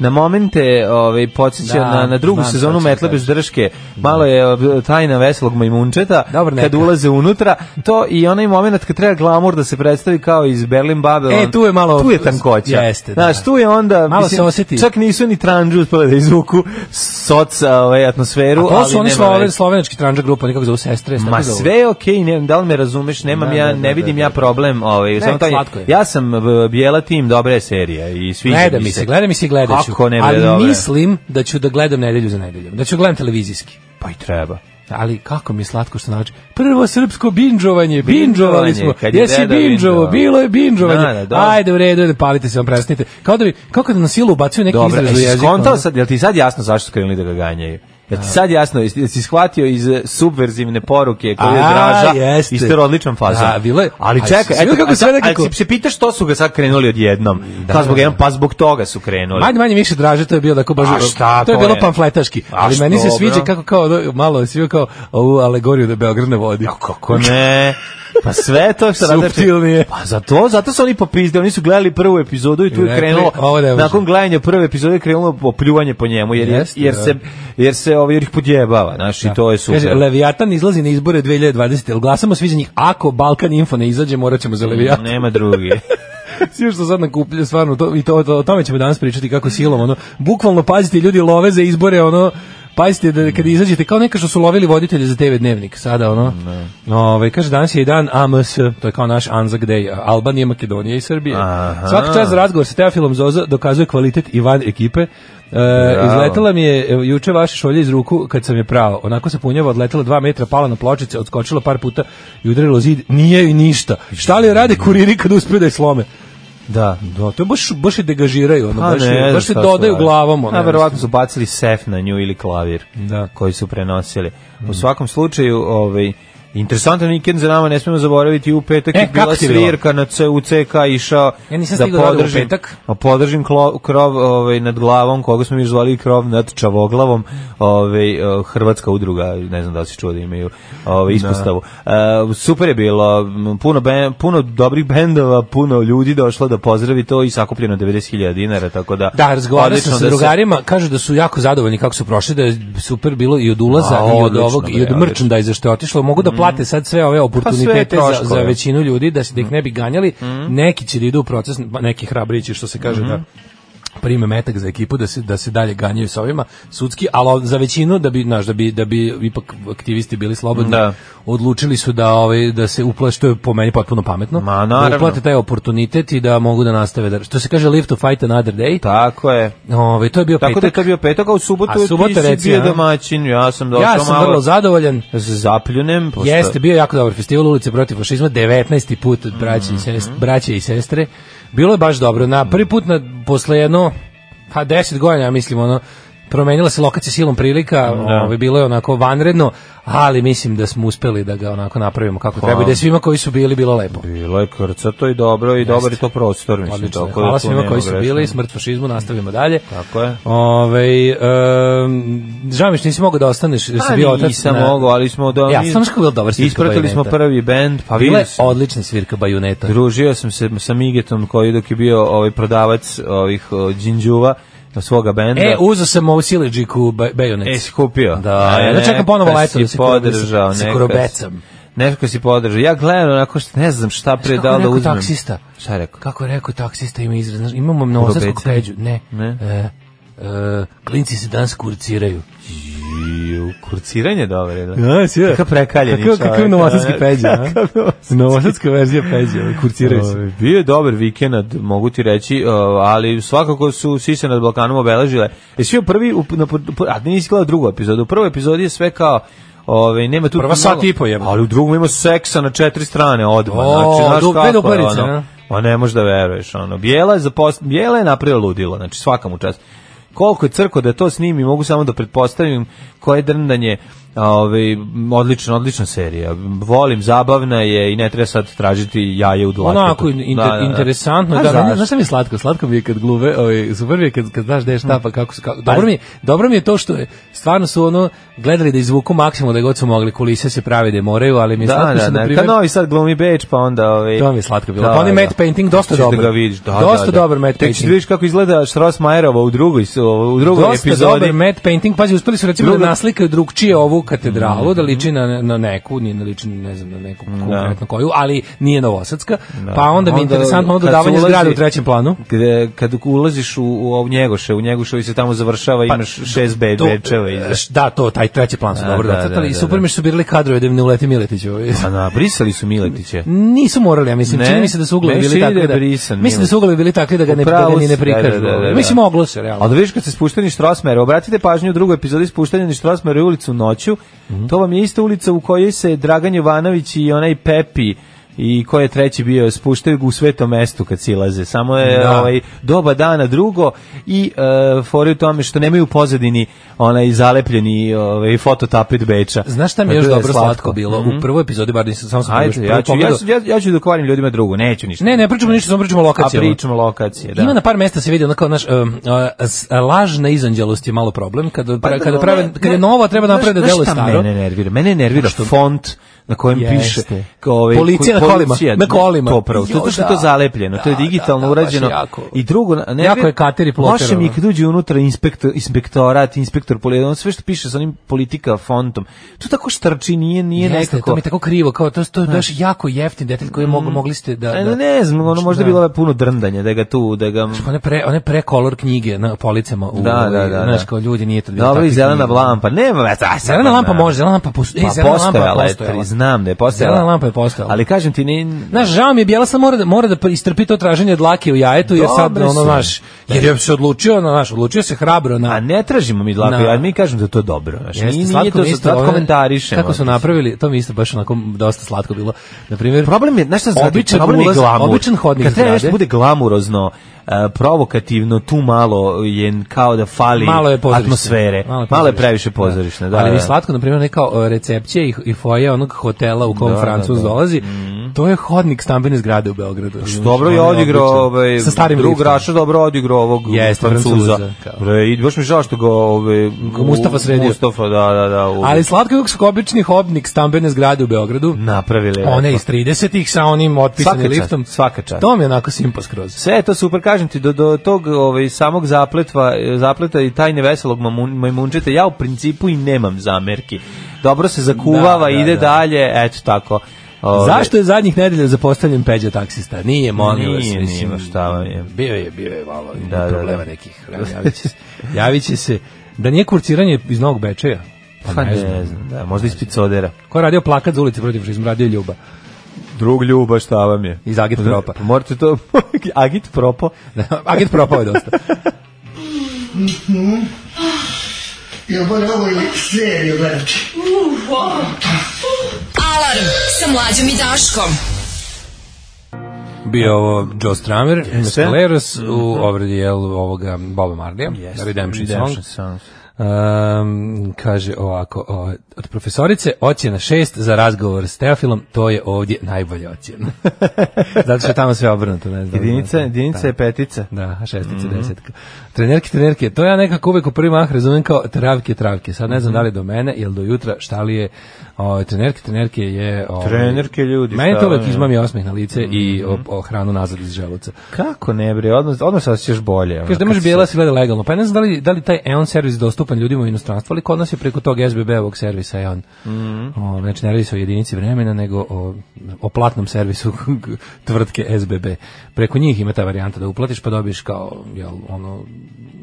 na momente ovaj podsjeća
Da,
na, na drugu
znam šta
sezonu
ćeš
Metle bez
reći.
drške. Malo je ob- tajna veselog majmunčeta
Dobar
kad
neka.
ulaze unutra, to i onaj momenat kad treba glamur da se predstavi kao iz Berlin Babylon.
E, tu je malo-
tu je tankoća.
Jeste, da.
Znaš, tu je onda
Malo se osjeti.
Čak nisu ni tranđu uspeli da izvuku soc ovaj atmosferu,
A to
ali
su oni
nema
sloven,
veze.
slovenački tranđa grupa, nekako zovu sestre. jesi
Ma
tako zovu?
sve je okej, ne, da li me razumeš, nemam
Da,
ja,
da,
ne
da, da,
vidim
da.
ja problem, ovaj, samo taj,
slatko je.
ja sam v- bijela tim, dobra je serija i sviđa
Gleda mi se, gleda mi se i gledat ću.
Kako ne bude
ali
dobra?
mislim da ću da gledam nedelju za nedeljom. Da ću gledam televizijski.
Pa i treba.
Ali kako mi je slatko što znači. Prvo srpsko binđovanje, binđovali smo.
kad je
Jesi
deda
binđovo,
binđovao.
bilo je
Da, da,
binđovanje.
dobro.
Ajde u redu, ne palite se, vam presnite. Kao da bi, kako da na silu ubacuju neki
Dobro,
izraz u
jesi
jezik.
skontao
ono?
sad, jel ti sad jasno zašto su krenuli da ga ganjaju? Jel ti sad jasno, jesi, jesi shvatio iz eh, subverzivne poruke koje je
A,
draža,
jeste.
isto je odličan fazon.
Da, bilo je-
Ali
ali
čekaj,
si vidio
eto,
kako
a
sve
sad-
nekako-
ali se pitaš što su ga sad krenuli odjednom? Da, zbog jednom, pa zbog toga su krenuli.
Manje manje više draže, to je bilo tako baš.
A šta
to je
to
bilo
je?
pamfletaški.
A
ali
što,
meni se
bro?
sviđa kako kao ono, malo svi kao ovu alegoriju da Beograd ne vodi.
Kako
(laughs)
ne? Pa sve to što rade...
Suptilnije.
Pa zato, zato su oni popizdili, oni su gledali prvu epizodu i tu
I
je
rekli,
krenulo,
ovo ne može.
nakon gledanja prve epizode je krenulo popljuvanje po njemu, jer,
Jeste,
jer,
da.
se, jer se ovaj, jer ih podjebava, znaš, i Znači, to je super.
Kaže, Leviatan izlazi na izbore 2020. Jel glasamo svi za njih? Ako Balkan Info ne izađe, morat ćemo za Leviatan.
Nema
(laughs)
druge.
Svi što sad nakupljaju, stvarno, to, i to, to, o tome ćemo danas pričati kako silom, ono, bukvalno pazite, ljudi love za izbore, ono, pazite da kada izađete, kao neka što su lovili voditelje za TV Dnevnik, sada, ono, ovaj, kaže, danas je i dan AMS, to je kao naš Anzac Day, Albanije, Makedonije i Srbije.
Aha.
Svaka čast za razgovor sa Teofilom Zoza dokazuje kvalitet i van ekipe. E, izletela mi je e, juče vaša šolja iz ruku kad sam je prao. Onako se punjava, odletela dva metra, pala na pločice, odskočila par puta i udarila o zid. Nije i ništa. Šta li rade kuriri kad uspe da je slome?
Da.
Da, to je baš, baš je degažiraju, ono,
Pa
baš,
ne
je,
znam
baš se
šta
dodaju
su radili.
glavom. Ono,
A verovatno su bacili sef na nju ili klavir
Da. Mm.
koji su prenosili. U svakom slučaju, ovaj, Interesantan vikend za nama, ne smemo zaboraviti u petak
E,
je bila
kako ti je bilo?
svirka na C, u CK išao
Ja nisam
da
stigao da odem u
podržim,
petak.
a podržim klo- krov ovaj, nad glavom, koga smo mi zvali krov nad čavoglavom, ovaj, eh, hrvatska udruga, ne znam da li si čuo da imaju ovaj, ispostavu. Eh, super je bilo, m, puno, ben- puno dobrih (laughs) bendova, puno ljudi došlo da pozdravi to i sakupljeno 90.000 dinara, tako da
Da, razgovarao
Odlično
sam sa
da se-
drugarima, kažu da su jako zadovoljni kako su prošli, da je super bilo i od ulaza
A,
i od
odlično,
ovog i od
bre, odlično. Mhm. Pa
merchandise što je otišlo, mogu da plate sad sve ove oportunitete za, za
troškove.
većinu ljudi da se da ih ne bi ganjali.
Mhm.
Neki će da idu u proces, pa neki hrabriji će što se kaže da prime metak za ekipu da se da se dalje ganjaju sa ovima sudski, ali za većinu da bi znaš, da bi da bi ipak aktivisti bili slobodni.
Da.
Odlučili su da ovaj da se uplaše što je po meni potpuno pametno.
Ma,
da
naravno.
uplate taj oportunitet i da mogu da nastave da što se kaže live to fight another day.
Tako je.
Ove, Ovaj, to je bio
Tako da je
petak.
to bio petak, a u subotu
A
ti
subota,
si
reci,
bio
a?
domaćin, ja sam došao
ja sam
malo
vrlo zadovoljan.
da se zapljunem. Pošto...
Jeste, bio je jako dobar festival ulice protiv fašizma, 19. put od braće, i
Mhm.
sest, braće i sestre. Bilo je baš dobro. Na prvi put na, posle jedno, pa 10 godina, ja mislim, ono, promenila se lokacija silom prilika, ovaj, bilo je onako vanredno, ali mislim da smo uspeli da ga onako napravimo kako treba i da je svima koji su bili bilo lepo.
Bilo je krcato i dobro, i dobar je to prostor, mislim.
Odlično.
tako da
Hvala
tu
svima
nema
koji su
greške.
bili, smrt fašizmu, nastavimo dalje.
Tako je.
Ove, um, žao mi što nisi mogao da ostaneš, jer si
Pa
bio otac.
nisam
na-
mogao, ali smo... Do...
Ja, sam znaš kako je bilo dobar svirka
Ispratili smo
Bajuneta.
prvi bend, pa
Bila
vidio
je
sam.
odlična svirka bajuneta.
Družio sam se sa Migetom koji dok je bio ovaj prodavac ovih o, džinđuva svoga benda.
E, uzeo sam ovu sileđiku bajonet.
E, si kupio?
Da,
E,
ja da čekam ponovo
neka
leto da
si
se
podržao,
kurobecam. Se
neka
kurobecam.
si- Neka si podržao. Ja gledam onako što ne znam šta pre
Kako
da
je
li da
rekao
uzmem.
taksista?
Šta je rekao?
Kako je rekao taksista ima izraz? Znaš, imamo novosadskog
Kurobecam?
peđu. Ne.
Ne.
E, e, klinci se danas kurciraju.
Ju, kurciranje dobar je, da.
Ja, si ja.
Kakav prekaljeni
E, Kakav,
čovjek,
kakav novosadski
da,
peđa. a? (laughs)
kakav novosadski.
Novosadska verzija peđa, ovaj, kurciraju se.
Ovaj, Bio je dobar vikend, mogu ti reći, o, ali svakako su Sise nad Balkanom obeležile. E svi u prvi, u, na, pr- a nisi gledao drugu epizodu, u prvoj epizodi je sve kao Ove, nema tu
Prva
malo-
sat i po jebote.
Ali u drugom ima seksa na četiri strane odmah.
O,
Znači, znaš
do-
kako
sve do
je,
uperice,
ono,
a?
Ma ne možeš da veruješ, ono. Bijela je, zapos... Bijela je napravila ludilo, znači svaka mu čast. Koliko je crko da to snimi, mogu samo da pretpostavim koje drndanje, ovaj, odlična, odlična serija. Volim, zabavna je i ne treba sad tražiti jaje u dlatu.
Onako inter, da, interesantno, da,
A
da,
zašto?
da, znaš šta mi je slatko? Slatko mi je kad gluve, ovaj, super mi je kad, kad znaš gde je šta,
Mm.
pa kako su, kako, dobro, mi, je- dobro mi je to što je, stvarno su ono, gledali da izvuku maksimum da god su mogli, kulise se pravi da moraju, ali mi je
Da,
slatko
da,
što, na
da,
primjer,
kad novi sad glumi Beč, pa onda... Ovaj,
To mi je slatko bilo. Pa onaj matte painting dosta
Ćeš
dobar.
Da ga vidiš, da,
Dosta
da, da.
dobar matte
Tek ćeš da
painting.
vidiš kako izgleda Schrossmajerova u drugoj, s- u drugoj
Dosta
epizodi.
dobar matte painting, pazi, uspeli su recimo
Druga- Mhm.
da naslikaju drugčije ovu katedralu, da liči na, na neku, nije na liči, ne znam, na neku konkretno koju, ali nije novosadska, pa onda mi je
Onda
interesantno ono
kad se
dodavanje
ulazi-
zgrade u trećem planu.
Gde, kad ulaziš u, u, u Njegoše, u Njegoševi se tamo završava, imaš šest be,
Pa, To-
bečeva. i-
š- Da, to, taj treći plan su
A,
dobro
da,
nacrtali
da,
i
da,
super
da.
mi je što su birali kadrove da im ne uleti Miletić. ovaj.
Pa na, brisali su Miletiće.
Nisu morali, ja mislim,
Ne,
čini mi se da su uglovi
meni se
bili
vidi
takvi
da je
da,
brisan
mislim da
Miletić.
su uglovi bili takvi da ga ne, da
Upravo
ga ni ne
si, da, da,
prikažu.
da, da, da.
Mislim, moglo se, realno.
Ali da vidiš kad se spušteni Štrosmer, obratite pažnju u drugoj epizodi spuštanja na Štrosmer u ulicu noću,
Mhm.
to vam je ista ulica u kojoj se Dragan Jovanović i onaj Pepi i ko je treći bio spuštaju u svetom mestu kad silaze. Samo je
Da.
ovaj, doba dana drugo i e, fore u tome što nemaju u pozadini onaj zalepljeni ovaj, fototapet Beča.
Znaš šta mi je
Pa
još
to je Mhm.
dobro slatko bilo? U prvoj epizodi, bar nisam, samo sam
Ajde, ja ću, ja, ću- ja, ja ću da kvarim ljudima drugu, neću ništa.
Ne, ne pričamo ništa, samo pričamo o
A
lokacijama.
pričamo lokacije, da.
Ima na par mesta se vidi onako naš um, uh, s- lažna izanđelost je malo problem kada pra, kada prave
Pa ne,
kada je
ne,
novo treba
znaš-
napraviti da
znaš
deluje
šta
staro.
Mene nervira, mene nervira što font na kojem
Jeste.
piše kao ovaj
Policija na
ko-
kolima,
policija,
na kolima.
To pravo, to
Jo,
zato što je to
da.
zalepljeno, to je
Da,
digitalno
da, da, baš je
urađeno.
jako.
I drugo, nervira,
Jako je kater i ploter,
Loše mi je
ono.
kad uđe unutra inspektor, inspektorat, inspektor policije, on sve što piše sa onim politika fontom. To tako štrči, nije nije
Jeste,
nekako.
to mi je tako krivo, kao to to je baš jako jeftin detalj koji mogu mogli ste da,
E,
da Znači,
ne, ne znam, ono možda
Da.
bilo je puno drndanja da ga tu, da ga
one pre one pre kolor knjige na policama u
Da, da, da,
znaš
da.
kao ljudi nije to bilo
Dobro, i
takvih
zelena
knjiga.
lampa. e, Nema, a, a,
Zelena lampa može, zelena lampa postoji, E,
Pa
zelena lampa je
postojala je,
postojala.
priznam da je postojala.
Zelena lampa je postojala.
Ali kažem ti, ne,
Znaš, žao mi je Bjelasa mora da, mora da istrpi to traženje dlake u jajetu, jer sad,
Dobre
ono,
su.
znaš, jer je se odlučio, na, znaš, odlučio se hrabro na...
A ne tražimo mi dlaku,
Na.
ja mi kažem da je to dobro. Znaš,
Jeste,
nije, nije
slatko
to
mi je
sad
ono-
komentarišemo.
Kako su napravili, to mi je isto baš onako dosta slatko bilo. Na primjer,
Problem je, znaš šta znači,
Običan
problem je
ulaz-
glamur.
običan hodnik
Kad treba
zgrade.
nešto da bude glamurozno, e, provokativno, tu malo je kao da fali
malo je pozorište.
atmosfere. Malo je,
pozorište.
previše pozorišne. Da,
Ali mi
da.
je slatko, na primjer, neka o, recepcija i, i foje onog hotela u kom
Da,
Francuz
da, da.
dolazi, to je hodnik stambene zgrade u Beogradu. Znaš,
Dobro je
ono
odigrao
odlično.
ovaj
Sa starim
drug
liftom.
Raša dobro odigrao ovog
Jeste,
Francuza.
Francuza, kao.
Bre, i baš mi žao što ga ovaj
Mustafa sredio.
Mustafa, da, da, da. u-
Ali slatko je kako su kao obični hodnik stambene zgrade u Beogradu.
napravili.
One
lepo.
iz 30-ih sa onim otpisanim
Svaka čast,
liftom.
svaka čast.
To mi je onako simpa skroz.
Sve je to super, kažem ti, do, do tog ovaj, samog zapletva, zapleta i tajne veselog mamun- majmunčeta, ja u principu i nemam zamerki. Dobro se zakuvava,
Da, da,
ide
da.
dalje, eto tako. Ove,
Zašto je zadnjih nedelja zapostavljen Peđa taksista? Nije, molim vas.
Nije,
mislim,
nije, šta vam je.
Bio je, bio je malo
Da, da, da.
problema nekih. Javit će se. (laughs) Javit će se. Da nije kurciranje iz Novog Bečeja?
Pa ne znam, da, možda iz picodera.
Ko je radio plakat za ulici protiv fašizma? Radio je Ljuba.
Drug ljuba, šta vam je? Pa
Iz Agit Propa. (laughs)
Morate to, (laughs) agit propo.
Agit propao je dosta.
Ja moram ovo i seriju gledati.
Alarm sa mlađom i Daškom.
Bio je ovo Joe Stramer, Mescaleros, u obradi jel ovoga Boba Marlija, yes. Redemption Song. Um, kaže ovako, o, od profesorice ocjena 6 za razgovor s Teofilom, to je ovdje najbolja
(laughs)
ocjena. Zato što je tamo sve obrnuto. Ne znam,
Jedinica, jedinica je petica.
Da, a šestica,
Mhm.
desetka. Trenerke, trenerke, to ja nekako uvek u prvi mah razumem kao travke, travke. Sad
Mhm.
ne znam da li do mene ili do jutra, šta li je. O, trenerke, trenerke je... O,
Trenerke, ljudi,
Meni
šta Mhm.
to uvek
vam je?
izmami osmeh na lice i o, o hranu nazad iz želuca.
Kako ne, bre, odnos, odnos osjećaš bolje. ono,
Kaže da
kad
može
se-
bijela se gleda legalno. Pa ja ne znam da li, da li taj Eon servis dostupan dostupan ljudima u inostranstvu, ali kod nas je preko tog SBB-ovog servisa je on.
Mhm.
O, znači, ne radi se o jedinici vremena, nego o, o platnom servisu (laughs) tvrtke SBB. Preko njih ima ta varijanta da uplatiš, pa dobiješ kao, jel, ono,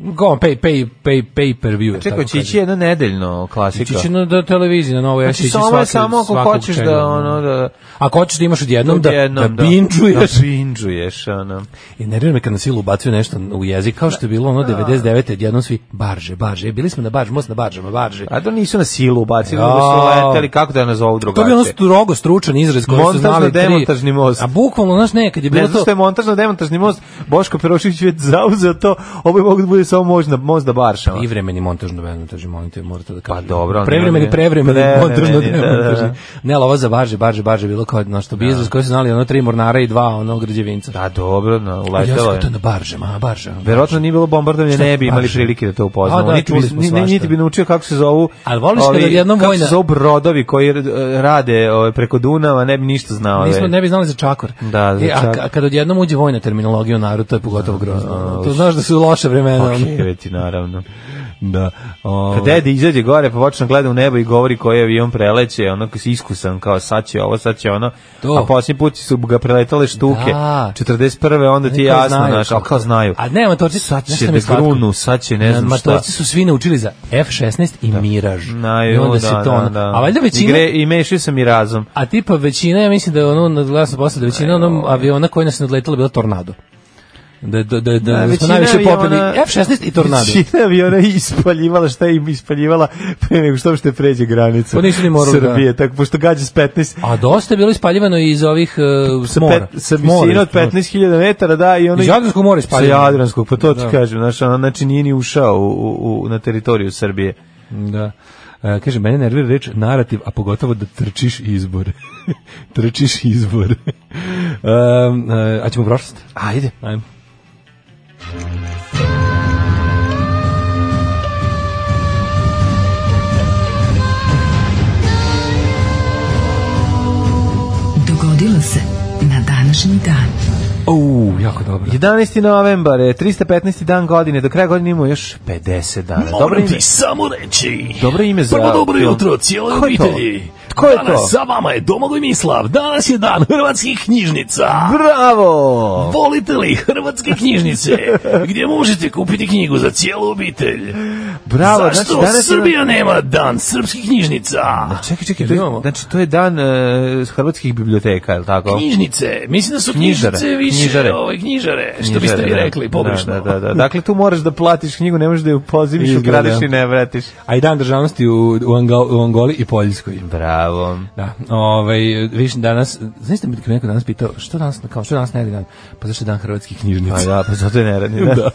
go on, pay, pay, pay, pay per view. jel
Čekaj,
tako
će
kaže.
ići jedno nedeljno klasika.
Ići će na da, televiziji, na novoj
Znači,
ja ću ići
samo je
svaki-
samo ako
svakog
hoćeš
čega,
da, ono, da...
Ako hoćeš da imaš odjednom, da, da,
odjednom,
da binđuješ.
Da binđuješ, ono.
I nervira me kad na silu ubacuju nešto u jezik, kao što je bilo ono 99. jednom svi barže, barže. E, Bili smo na barže, most na baržama, barže.
A da nisu na silu ubacili,
Ja.
nego su leteli, kako da nas zovu
To je
drugačije.
bilo strogo stručan izraz koji su
Montažno
znali tri.
demontažni most.
A bukvalno, znaš, ne, kad je bilo
Ne znam
to...
što je montažno demontažni most, Boško Perošić već zauzeo to, ovo je mogu da bude samo možda, možda ono. baršama.
Pa Privremeni montažno demontažni, molite, morate da kažete.
Pa dobro, ali
Prevremeni,
nije-
prevremeni
Prevremeni,
montažno
da, da, da.
demontažni. Ne, ali ovo za barže, barže, barže, bilo kao na što bi izraz koji su znali, ono tri mornara i dva, ono, građevinca. Pa
Da, dobro, no,
ja
uletelo
sam
je.
to na baržama, a baržama.
Verovatno nije bilo bombardovanje,
Šta
ne bi imali
baš?
prilike da to upoznamo.
A da,
niti,
čuli smo
ni- ni-
svašta.
niti bi naučio kako se zovu.
Ali voliš kada
ovi-
jednom
kako
vojna-
se zovu brodovi koji eh, rade ovaj, preko Dunava, ne bi ništa znao.
Nismo
ove.
ne bi znali za čakor.
Da, za
E, a,
čakor.
ka- kad odjednom uđe vojna terminologija u narod, to je pogotovo grozno. to znaš da su loše vremena.
Pa
ono.
kreveti, naravno.
Da. ovaj. O,
Kad dede izađe gore, pa počne gleda u nebo i govori koji avion preleće, ono se iskusan, kao sad će ovo, sad će ono.
To.
A posljednji put su ga preletale štuke.
Da.
41. onda ti je
Kao
jasno,
znaju
znaš,
kako.
ali kao znaju.
A ne, matorci
sad
znaš šta
će
mi
da
je slatko? E,
grunu, sad će ne znam šta.
Matorci su svi naučili za F-16 i Mirage.
Na,
I onda
da,
se to ono-
da, da.
A valjda većina...
I, gre, i mešaju sam i razum.
A tipa većina, ja mislim da je ono, nadgledao sam posle, da većina onom
ovaj.
aviona koji nas je nadletala bila tornado. Da, da, da, da, da smo
većina
najviše
aviona-
popili F-16 i tornado.
Većina aviona je ispaljivala šta je im ispaljivala pre nego što uopšte pređe granicu.
Pa nisu ni morali, da.
Srbije, tako pošto gađa s 15
A dosta je bilo ispaljivano iz ovih uh,
sa,
mora.
pet, sa
S mora,
visine od
iz mora.
15.000 metara, da, i ono...
Iz Jadranskog mora
Sa
ispaljivano.
Jadranskog, pa to ti
Da.
kažem, znaš, ono, znači nije ni ušao u, u, u, na teritoriju Srbije.
Da. E, kaže, mene nervira reč narativ, a pogotovo da trčiš izbore. (laughs) trčiš izbore. um, e, a ćemo u prošlost?
Ajde.
Ajmo.
Dogodilo se na današnji dan.
O, jako dobro.
11. novembar, je 315. dan godine, do kraja godine imamo još 50 dana. Dobro ime,
samo reći.
dobro ime za...
Prvo dobro
film.
jutro cijeloj
Ko je to?
obitelji.
Ko je to?
Danas sa vama je Domagoj Mislav. Danas je dan hrvatskih knjižnica.
Bravo!
Volite li
(laughs)
hrvatske knjižnice gdje možete kupiti knjigu za cijelu obitelj?
Bravo,
Zašto
znači danas je-
Srbija nema dan srpskih knjižnica?
Čekaj, čekaj,
Jel
to je,
imamo?
znači to je dan e, hrvatskih biblioteka, je li tako?
Knjižnice, mislim da su
Knjižare,
knjižnice više,
knjižare.
ovaj, knjižare, što biste vi
Knjižare, da.
rekli pogrešno.
Da, da, da. Dakle, tu moraš da platiš knjigu, ne možeš da ju pozimiš,
Izgleda.
ukradiš i ne vratiš.
A i dan državnosti u, u, Ango- u Angoli i Poljskoj.
Bravo.
Da, ovaj, viš danas, znaš da mi kad me neko danas pitao, što danas, kao što danas ne dan? Pa zašto je dan hrvatskih knjižnica?
Pa da, pa zato je neradni. (laughs) Da.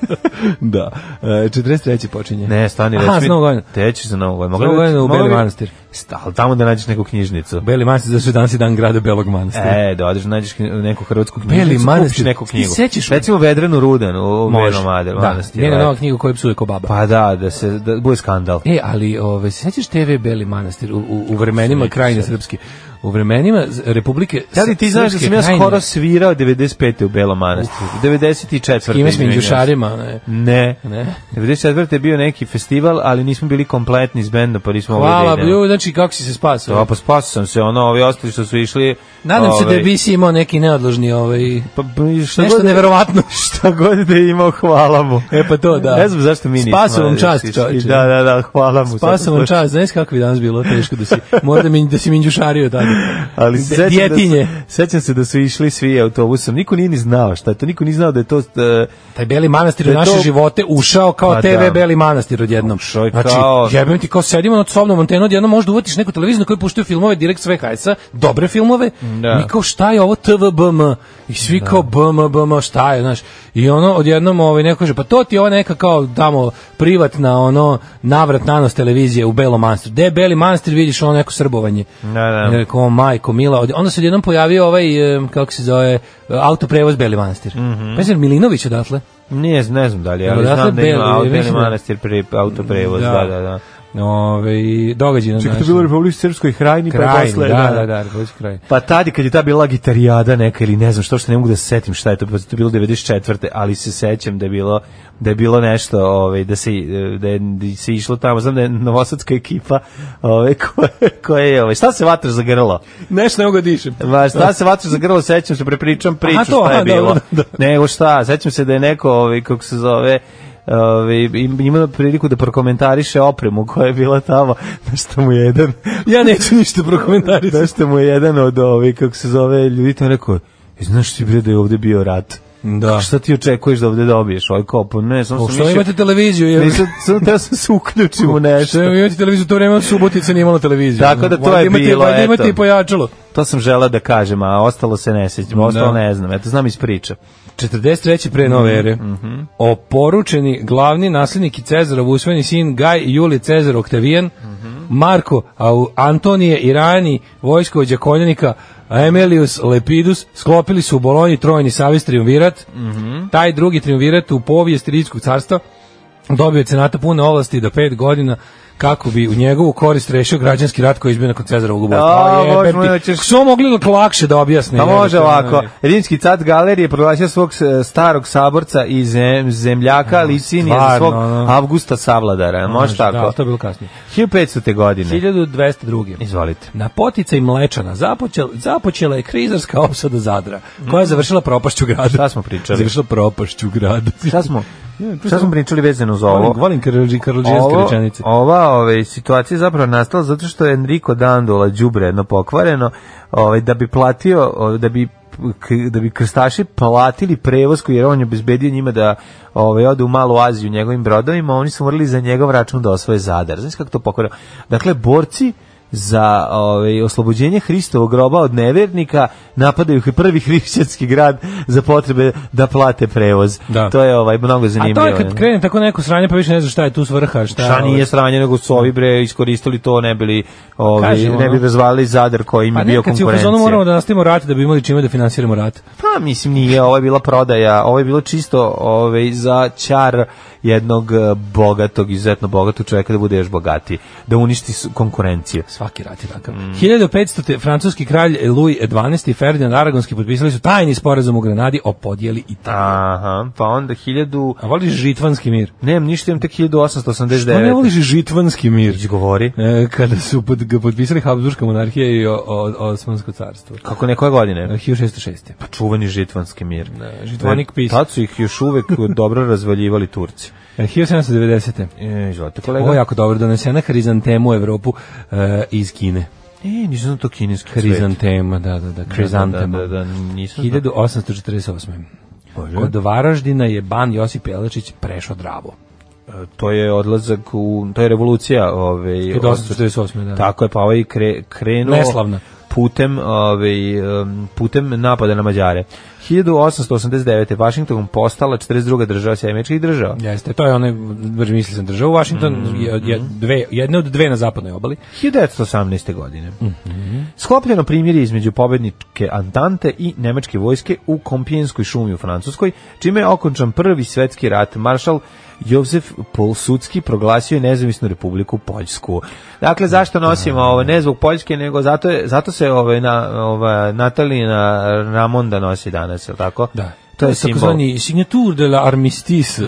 da, da. E, 43. počinje.
Ne, stani,
Aha,
reći
za Novu godinu.
Teći za novu godinu.
Za Novu
Mogli bi-
godinu u
mogli
Beli
bi-
Manastir.
Sta- ali tamo da nađeš neku knjižnicu.
Beli manastir, zašto je danas i dan grada Belog manastira.
E, da odeš nađeš kn- neku hrvatsku
Beli
knjižnicu, kupiš
Manastir.
neku knjigu.
Ti sećaš?
Recimo Vedranu Rudan u Belom Made-
da,
Manastiru.
njena
eto.
nova knjiga koju psuje ko baba.
ovaj. Pa da, da se da bude skandal.
E, ali ove, se sećaš TV Beli Manastir u, u, u vremenima krajine Srpske? U vremenima z- Republike
Da li ti znaš da
Srpske
sam ja
krajine
skoro svirao 95. u Belom manastiru? 94.
s kime s
izvinjavam se.
minđušarima? ne?
Ne.
Ne.
94. je bio neki festival, ali nismo bili kompletni s bendom, pa nismo mogli
Hvala,
da idemo.
blju, znači kako si se
To,
spasao?
pa spasao sam se, ono, ovi ostali što su išli...
Nadam se da
ovaj,
je Bisi imao neki neodložni ovaj...
Pa, pa, šta
Nešto
god,
neverovatno.
(laughs) Šta god da je imao, hvala mu.
E pa to, da.
Ne znam zašto mi nismo.
Spasao vam
ali,
čast,
išli.
čoveče.
Da, da, da, hvala mu.
Spasao vam čast, znaš kako bi danas bilo teško da si, (laughs) možda mi, da si minđušario tada.
Ali se
D-
sećam da,
Djetinje.
su, sećam se da su išli svi autobusom. Niko nije ni znao šta je to, niko nije znao da je to... e,
Taj Beli Manastir u
Da je
naše
to-
živote ušao kao
Pa
TV
da.
Beli Manastir odjednom.
Ušao je
znači,
kao-
jebem ti kao sedimo nad sobnom antenom, odjednom možda uvatiš neku televiziju na kojoj puštaju filmove direkt s VHS-a, dobre filmove,
Da.
i kao šta je ovo TVBM, i svi kao BM, BM, šta je, znaš, i ono odjednom ovaj, neko kaže, pa to ti je ova neka kao tamo privatna, ono, navrat nanos televizije u Belom Manastiru. Gde je Beli Manastir, vidiš ono neko srbovanje.
Da, da.
I Rekao, o, majko, mila. Od- Onda se odjednom pojavio ovaj, e, kako se zove, e, autoprevoz Beli Manastir.
Mhm.
Pa je zar Milinović odatle?
Ne, ne znam da li, ali
Odatle
znam da ima
Beli,
auto,
mislim da-
manastir pri autoprevoz, da, Znači- da, da.
Ove, događaj na
Čekaj, to je
našem-
bilo Republike Srpskoj krajini, pa je
krajini,
posle...
da, da, da, Republički kraj.
Pa tadi kad je ta bila gitarijada neka ili ne znam što što ne mogu da se setim šta je to, pa to je bilo 94. ali se sećam da je bilo da je bilo nešto, ovaj da se da je, da se išlo tamo, znam da je novosadska ekipa, ovaj (laughs) koja koja je, ovaj šta se vatra za grlo?
Nešto ne mogu da dišem.
Ma šta se vatra za grlo, sećam se prepričam priču
Aha, to,
šta je
aha,
bilo.
dobro, da.
Nego šta, sećam se da je neko, ovaj kako se zove, Ove, imao priliku da prokomentariše opremu koja je bila tamo, (laughs) na što mu je jedan
Ja neću ništa prokomentarisati.
Znaš što mu je jedan od ovi, kako se zove, ljudi to rekao, "E, znaš ti bre da je ovde bio rat?
Da.
Šta ti očekuješ da ovde dobiješ? Ovo kao, pa ne, samo
O,
sam
što
mišljio...
imate televiziju? Je?
Nisam, sam teo sam se uključim u nešto.
Što imate televiziju? To vreme od Subotica nije imalo televiziju.
Tako da to je
imate,
bilo,
Valjda imate
eto.
i pojačalo.
To sam žela da kažem, a ostalo se ne sjećam,
Da.
ostalo ne znam, eto, znam iz priča.
43. pre nove ere.
Mhm,
Oporučeni glavni nasljednik i Cezarov usvojeni sin Gaj Juli Cezar Oktavijan,
Mhm.
Marko Au- Antonije Irani, vojskovođa konjanika Emilius Lepidus sklopili su u Bolonji trojni savez triumvirat.
Mhm.
Taj drugi triumvirat u povijest Rimskog carstva dobio je cenata pune ovlasti do pet godina kako bi u njegovu korist rešio građanski rat koji je izbio nakon Cezarovog
A,
ubostva.
Bože
jebem
moj,
ti.
hoćeš-
Kako su ovo mogli lakše da objasne?
Pa
jebote,
može ovako,
ono,
Rimski cat galerije proglasio svog e, starog saborca i zem, zemljaka Licinija za
stvarno,
svog
ono.
Avgusta Savladara, može
Da,
tako?
to je bilo kasnije.
1500. godine.
1202.
Izvolite.
Na poticaj Mlečana započel, započela je krizarska opsada Zadra, koja je završila propašću grada.
Mm. Šta smo pričali?
Završila propašću grada.
Šta smo, šta smo pričali vezano za ovo?
(laughs) Volim, volim karolđi- karolđijanske rečenice.
Ova ove, situacija je zapravo nastala zato što je Enrico Dandola đubre jedno pokvareno, ovaj da bi platio, ovaj, da bi k- da bi krstaši platili prevoz koji je on je obezbedio njima da ovaj odu u Malu Aziju njegovim brodovima, oni su morali za njegov račun da osvoje Zadar. Znaš kako to pokvareno? Dakle borci za ovaj, oslobođenje Hristovog groba od nevernika napadaju h- prvi (laughs) hrišćanski grad za potrebe da plate prevoz.
Da.
To je ovaj mnogo
A
zanimljivo.
to je kad
ne?
krene tako neko sranje, pa više ne znaš šta je tu svrha, šta,
Šta
ovaj,
nije sranje, nego su ovi bre iskoristili to, ne bili, ovi,
Kažem,
ne bi
ono.
razvalili zadar koji im
Pa
je
ne,
bio
kad si u fazonu
konkurencija.
moramo da nastavimo rat da bi imali čime da finansiramo rat.
Pa mislim nije, ovo je bila prodaja, ovo je bilo čisto ovaj, za čar jednog eh, bogatog, izuzetno bogatog čovjeka da bude još bogatiji, da uništi s- konkurenciju.
Svaki rat je takav.
Mm.
1500. te francuski kralj Louis XII i Ferdinand Aragonski potpisali su tajni sporazum u Granadi o podjeli Italije.
Aha, pa onda 1000...
A voliš žitvanski mir?
Nemam ništa, imam tek 1889.
Što ne voliš žitvanski mir?
Izgovori.
E, kada su pod, ga potpisali Habsburgska monarhija i o, o, Osmansko carstvo.
Kako ne, koje godine?
E, 1606.
Pa čuveni žitvanski mir. E,
Da, žitvanik pis.
Tad su ih još uvek dobro razvaljivali Turci.
E, 1790.
E, izvolite kolega.
Ovo je jako dobro, donesena hrizantema u Evropu e, iz Kine.
E, nisam znao to kineski cvet.
Hrizantema, da, da, da, hrizantema.
Da, da, da, nisam znao.
1848. Kod Varaždina je ban Josip Jelačić prešao dravu.
E, To je odlazak u, to je revolucija. Ove,
1848. Da.
Tako je, pa ovaj kre, krenuo...
Neslavna.
putem, ovaj, em, putem napada na Mađare. 1889. Washington postala 42. država Sjemečkih država.
Jeste, to je onaj, baš mislio sam država. Washington je, je dve, jedna od dve na zapadnoj obali.
1918. godine. Sklopljeno primjerje između pobedničke Antante i nemačke vojske u Kompijenskoj šumi u Francuskoj, čime je okončan prvi svetski rat. Maršal Jozef Polsudski proglasio je nezavisnu republiku Poljsku. Dakle, zašto nosimo ovo? Ne zbog Poljske, nego zato, je, zato se ovaj, na, ova Natalina Ramonda nosi danas, je li tako?
Da.
To je simbol. Mhm.
takozvani signature de la armistice.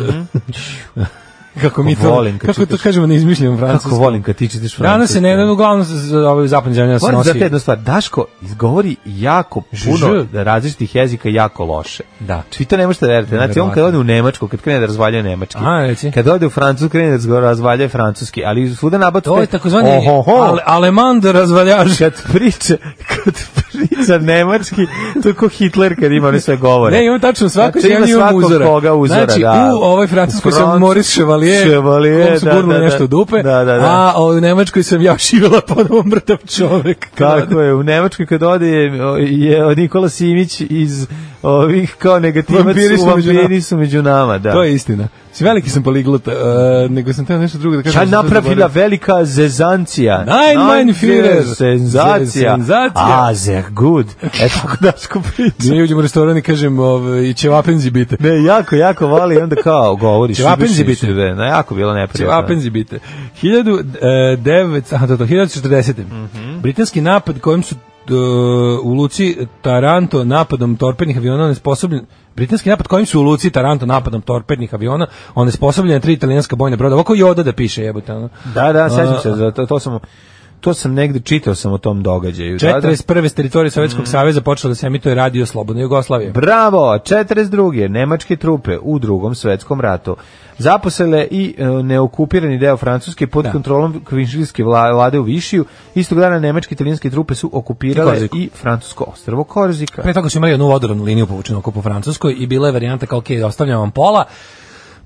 (laughs) kako mi to,
volim kad
kako to
čitaš.
kažemo, ne izmišljam francusku.
Kako volim kad ti čitaš Francusku.
Danas se ne, ne, uglavnom z- z- ovaj zapadni zemlja se
Moram
nosi.
da jednu stvar, Daško izgovori jako puno različitih jezika jako loše.
Da.
Znači, Vi to ne možete da verujete. Znači, on kad ode u Nemačku, kad krene da razvalja nemački.
Aha, reci.
Kad ode u Francusku, krene da razvalja francuski. Ali svuda nabacite...
To je takozvani
Ohoho.
ale, aleman de razvaljaž.
Kad priča, kad priča nemački, to je ko Hitler kad ima one sve govore.
Ne, imam tačno u svakoj
Znači, ima
zemlji imam
svakog
uzora.
koga uzora,
znači,
da.
u ovoj francuskoj
U
sam
Francu-
Moris Chevalier,
Chevalier,
kom su
da,
gurnuli
da, da.
nešto u dupe,
Da, da, da.
a u nemačkoj sam ja (laughs) šivala ponovo mrtav čovek.
Tako je, u Nemačkoj kad ode je, o, je Nikola Simić iz ovih kao negativac
Vampiri
vampiri
su
su,
među nama.
vampiri su među nama. Da.
To je istina. Si veliki sam poliglot, uh, nego sam teo nešto drugo da kažem.
Šta je
sam to
napravila
zaboravio.
velika zezancija?
Nein, mein Führer.
Senzacija.
Senzacija.
A, sehr gut. E (laughs) tako da skupiću.
Ja uđem u restoran i kažem, ovaj, ćevapenzi bite.
Ne, jako, jako voli, onda kao govoriš.
Ćevapenzi
ubiši
biti.
se, be, Ne, jako bilo neprijatno.
Ćevapenzi bite. 1900, aha, to, je to, 1940.
Mhm.
Britanski napad kojem su e, u Luci Taranto napadom torpednih aviona nesposobljen Britanski napad kojim su u Luci Taranto napadom torpednih aviona onesposobljena tri italijanska bojna broda. Ovako Joda da piše jebote. Ono.
Da, da, sećam se, za to, to sam to sam negde čitao sam o tom događaju. Da, Mhm. da.
41. s teritorije Sovjetskog saveza počelo da se emituje radio Slobodna Jugoslavija.
Bravo, 42. nemačke trupe u drugom svetskom ratu zaposele i e, neokupirani deo Francuske pod kontrolom kvinšilske vla- vlade u Višiju. Istog dana nemačke i italijanske trupe su okupirale
I Korziku.
i francusko ostrvo Korzika.
Pre toga su imali jednu vodoravnu liniju povučenu oko po Francuskoj i bila je varijanta kao, ok, ostavljam vam pola,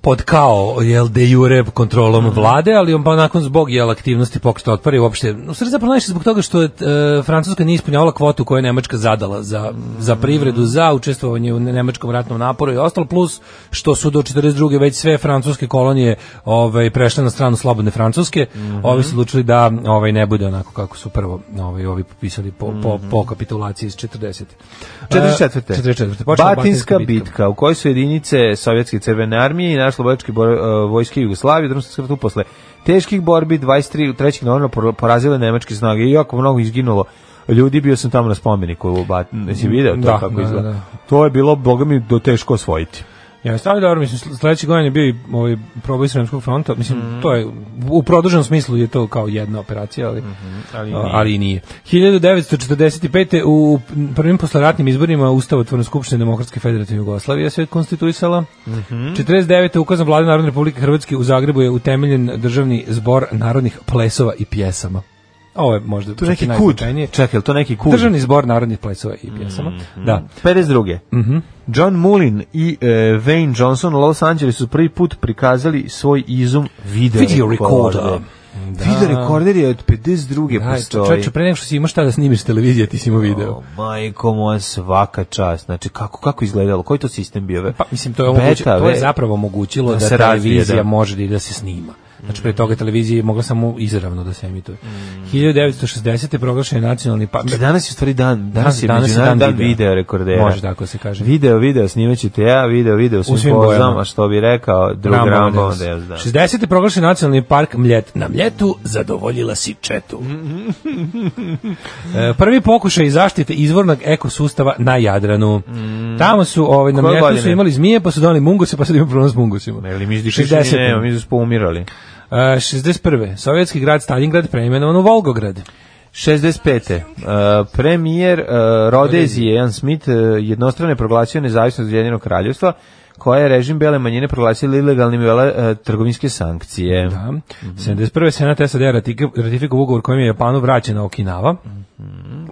pod kao, jel, de jure kontrolom
Mhm.
vlade, ali on pa nakon zbog, jel, aktivnosti pokušta otpora i uopšte, u stvari zapravo najviše zbog toga što je e, Francuska nije ispunjavala kvotu koju je Nemačka zadala za, za
Mhm.
privredu, za učestvovanje u nemačkom ratnom naporu i ostalo, plus što su do 42. već sve francuske kolonije ovaj, prešle na stranu slobodne Francuske,
Mhm.
ovi su odlučili da ovaj, ne bude onako kako su prvo ovaj, ovi popisali po, po, po
Mhm.
kapitulaciji iz 40.
44.
44. Počela
Batinska, bitka. u kojoj su jedinice Sovjetske crvene armije i našlobodačke bor, uh, vojske Jugoslavije u drugom svjetskom ratu posle teških borbi 23. 3. novembra por- porazile nemačke snage i jako mnogo izginulo ljudi, bio sam tamo na spomeniku u Batinu, si video to
Mm, Da,
kako
da,
izgleda.
da.
To je bilo, boga mi, do teško osvojiti.
Ja, stavio dobro, mislim, sl- sledeći godin je bio i ovaj, proboj Sremskog fronta, mislim,
Mhm.
to je, u produženom smislu je to kao jedna operacija, ali,
Mhm,
ali,
ali i
nije. ali i nije. 1945. u prvim posleratnim izborima Ustavotvorna skupština Demokratske federativne Jugoslavije se konstituisala.
Mhm.
49. ukazom vlade Narodne republike Hrvatske u Zagrebu je utemeljen državni zbor narodnih plesova i pjesama. Ovo je možda
To je
čak i
neki kud.
najznačajnije.
Čekaj, je li to neki kud?
Državni zbor narodnih plesova i pjesama.
Mhm.
Da.
52. John Mullin i e, Wayne Johnson u Los Angelesu prvi put prikazali svoj izum video,
Video recorder.
recorder. Video recorder je od 52.
Aj,
postoji.
čoveče, pre nego što si imaš šta da snimiš s televizije, ti si imao video.
O, majko moja, svaka čast. Znači, kako, kako izgledalo? Koji to sistem bio?
Pa mislim to je omogući,
Beta,
to je
ve-
zapravo omogućilo
Da
da,
se razvije,
televizija
da. Mm.
može da, i da se snima. Znači pre toga televizija je mogla samo izravno da se emituje. 1960. je proglašen je nacionalni pa
Znači, danas je u stvari dan, danas,
Danas-
je
danas je
međunarodni
dan
dan
videa.
video rekordera.
Može tako se kaže.
Video, video, snimaćete ja, video, video u svim,
svim
pozama,
bojama.
što bi rekao drug
Rambo
Rambo
Amadeus.
Amadeus, da.
60. je proglašen nacionalni park Mljet. Na Mljetu
Zadovoljila si četu.
Mhm.
e, prvi pokušaj zaštite izvornog ekosustava na Jadranu. Tamo su ovaj na
Mm. Koje
Mljetu su
godine?
imali zmije, pa su doneli munguse, pa sad imamo problem s mungusima.
Ili mi izdišiš ili
60-te.
nema, mi smo poumirali.
E, 61. Sovjetski grad Stalingrad preimenovan u Volgograd.
65. Uh, premijer uh, Rodezije, Jan Smith, uh, jednostrano je proglasio nezavisnost Ujedinjenog kraljevstva, koja je režim bele manjine proglasila ilegalnim vele uh, trgovinske sankcije.
Da. 71. Senat SAD ratika- ratifikovao ugovor kojim je Japanu vraćena Okinawa.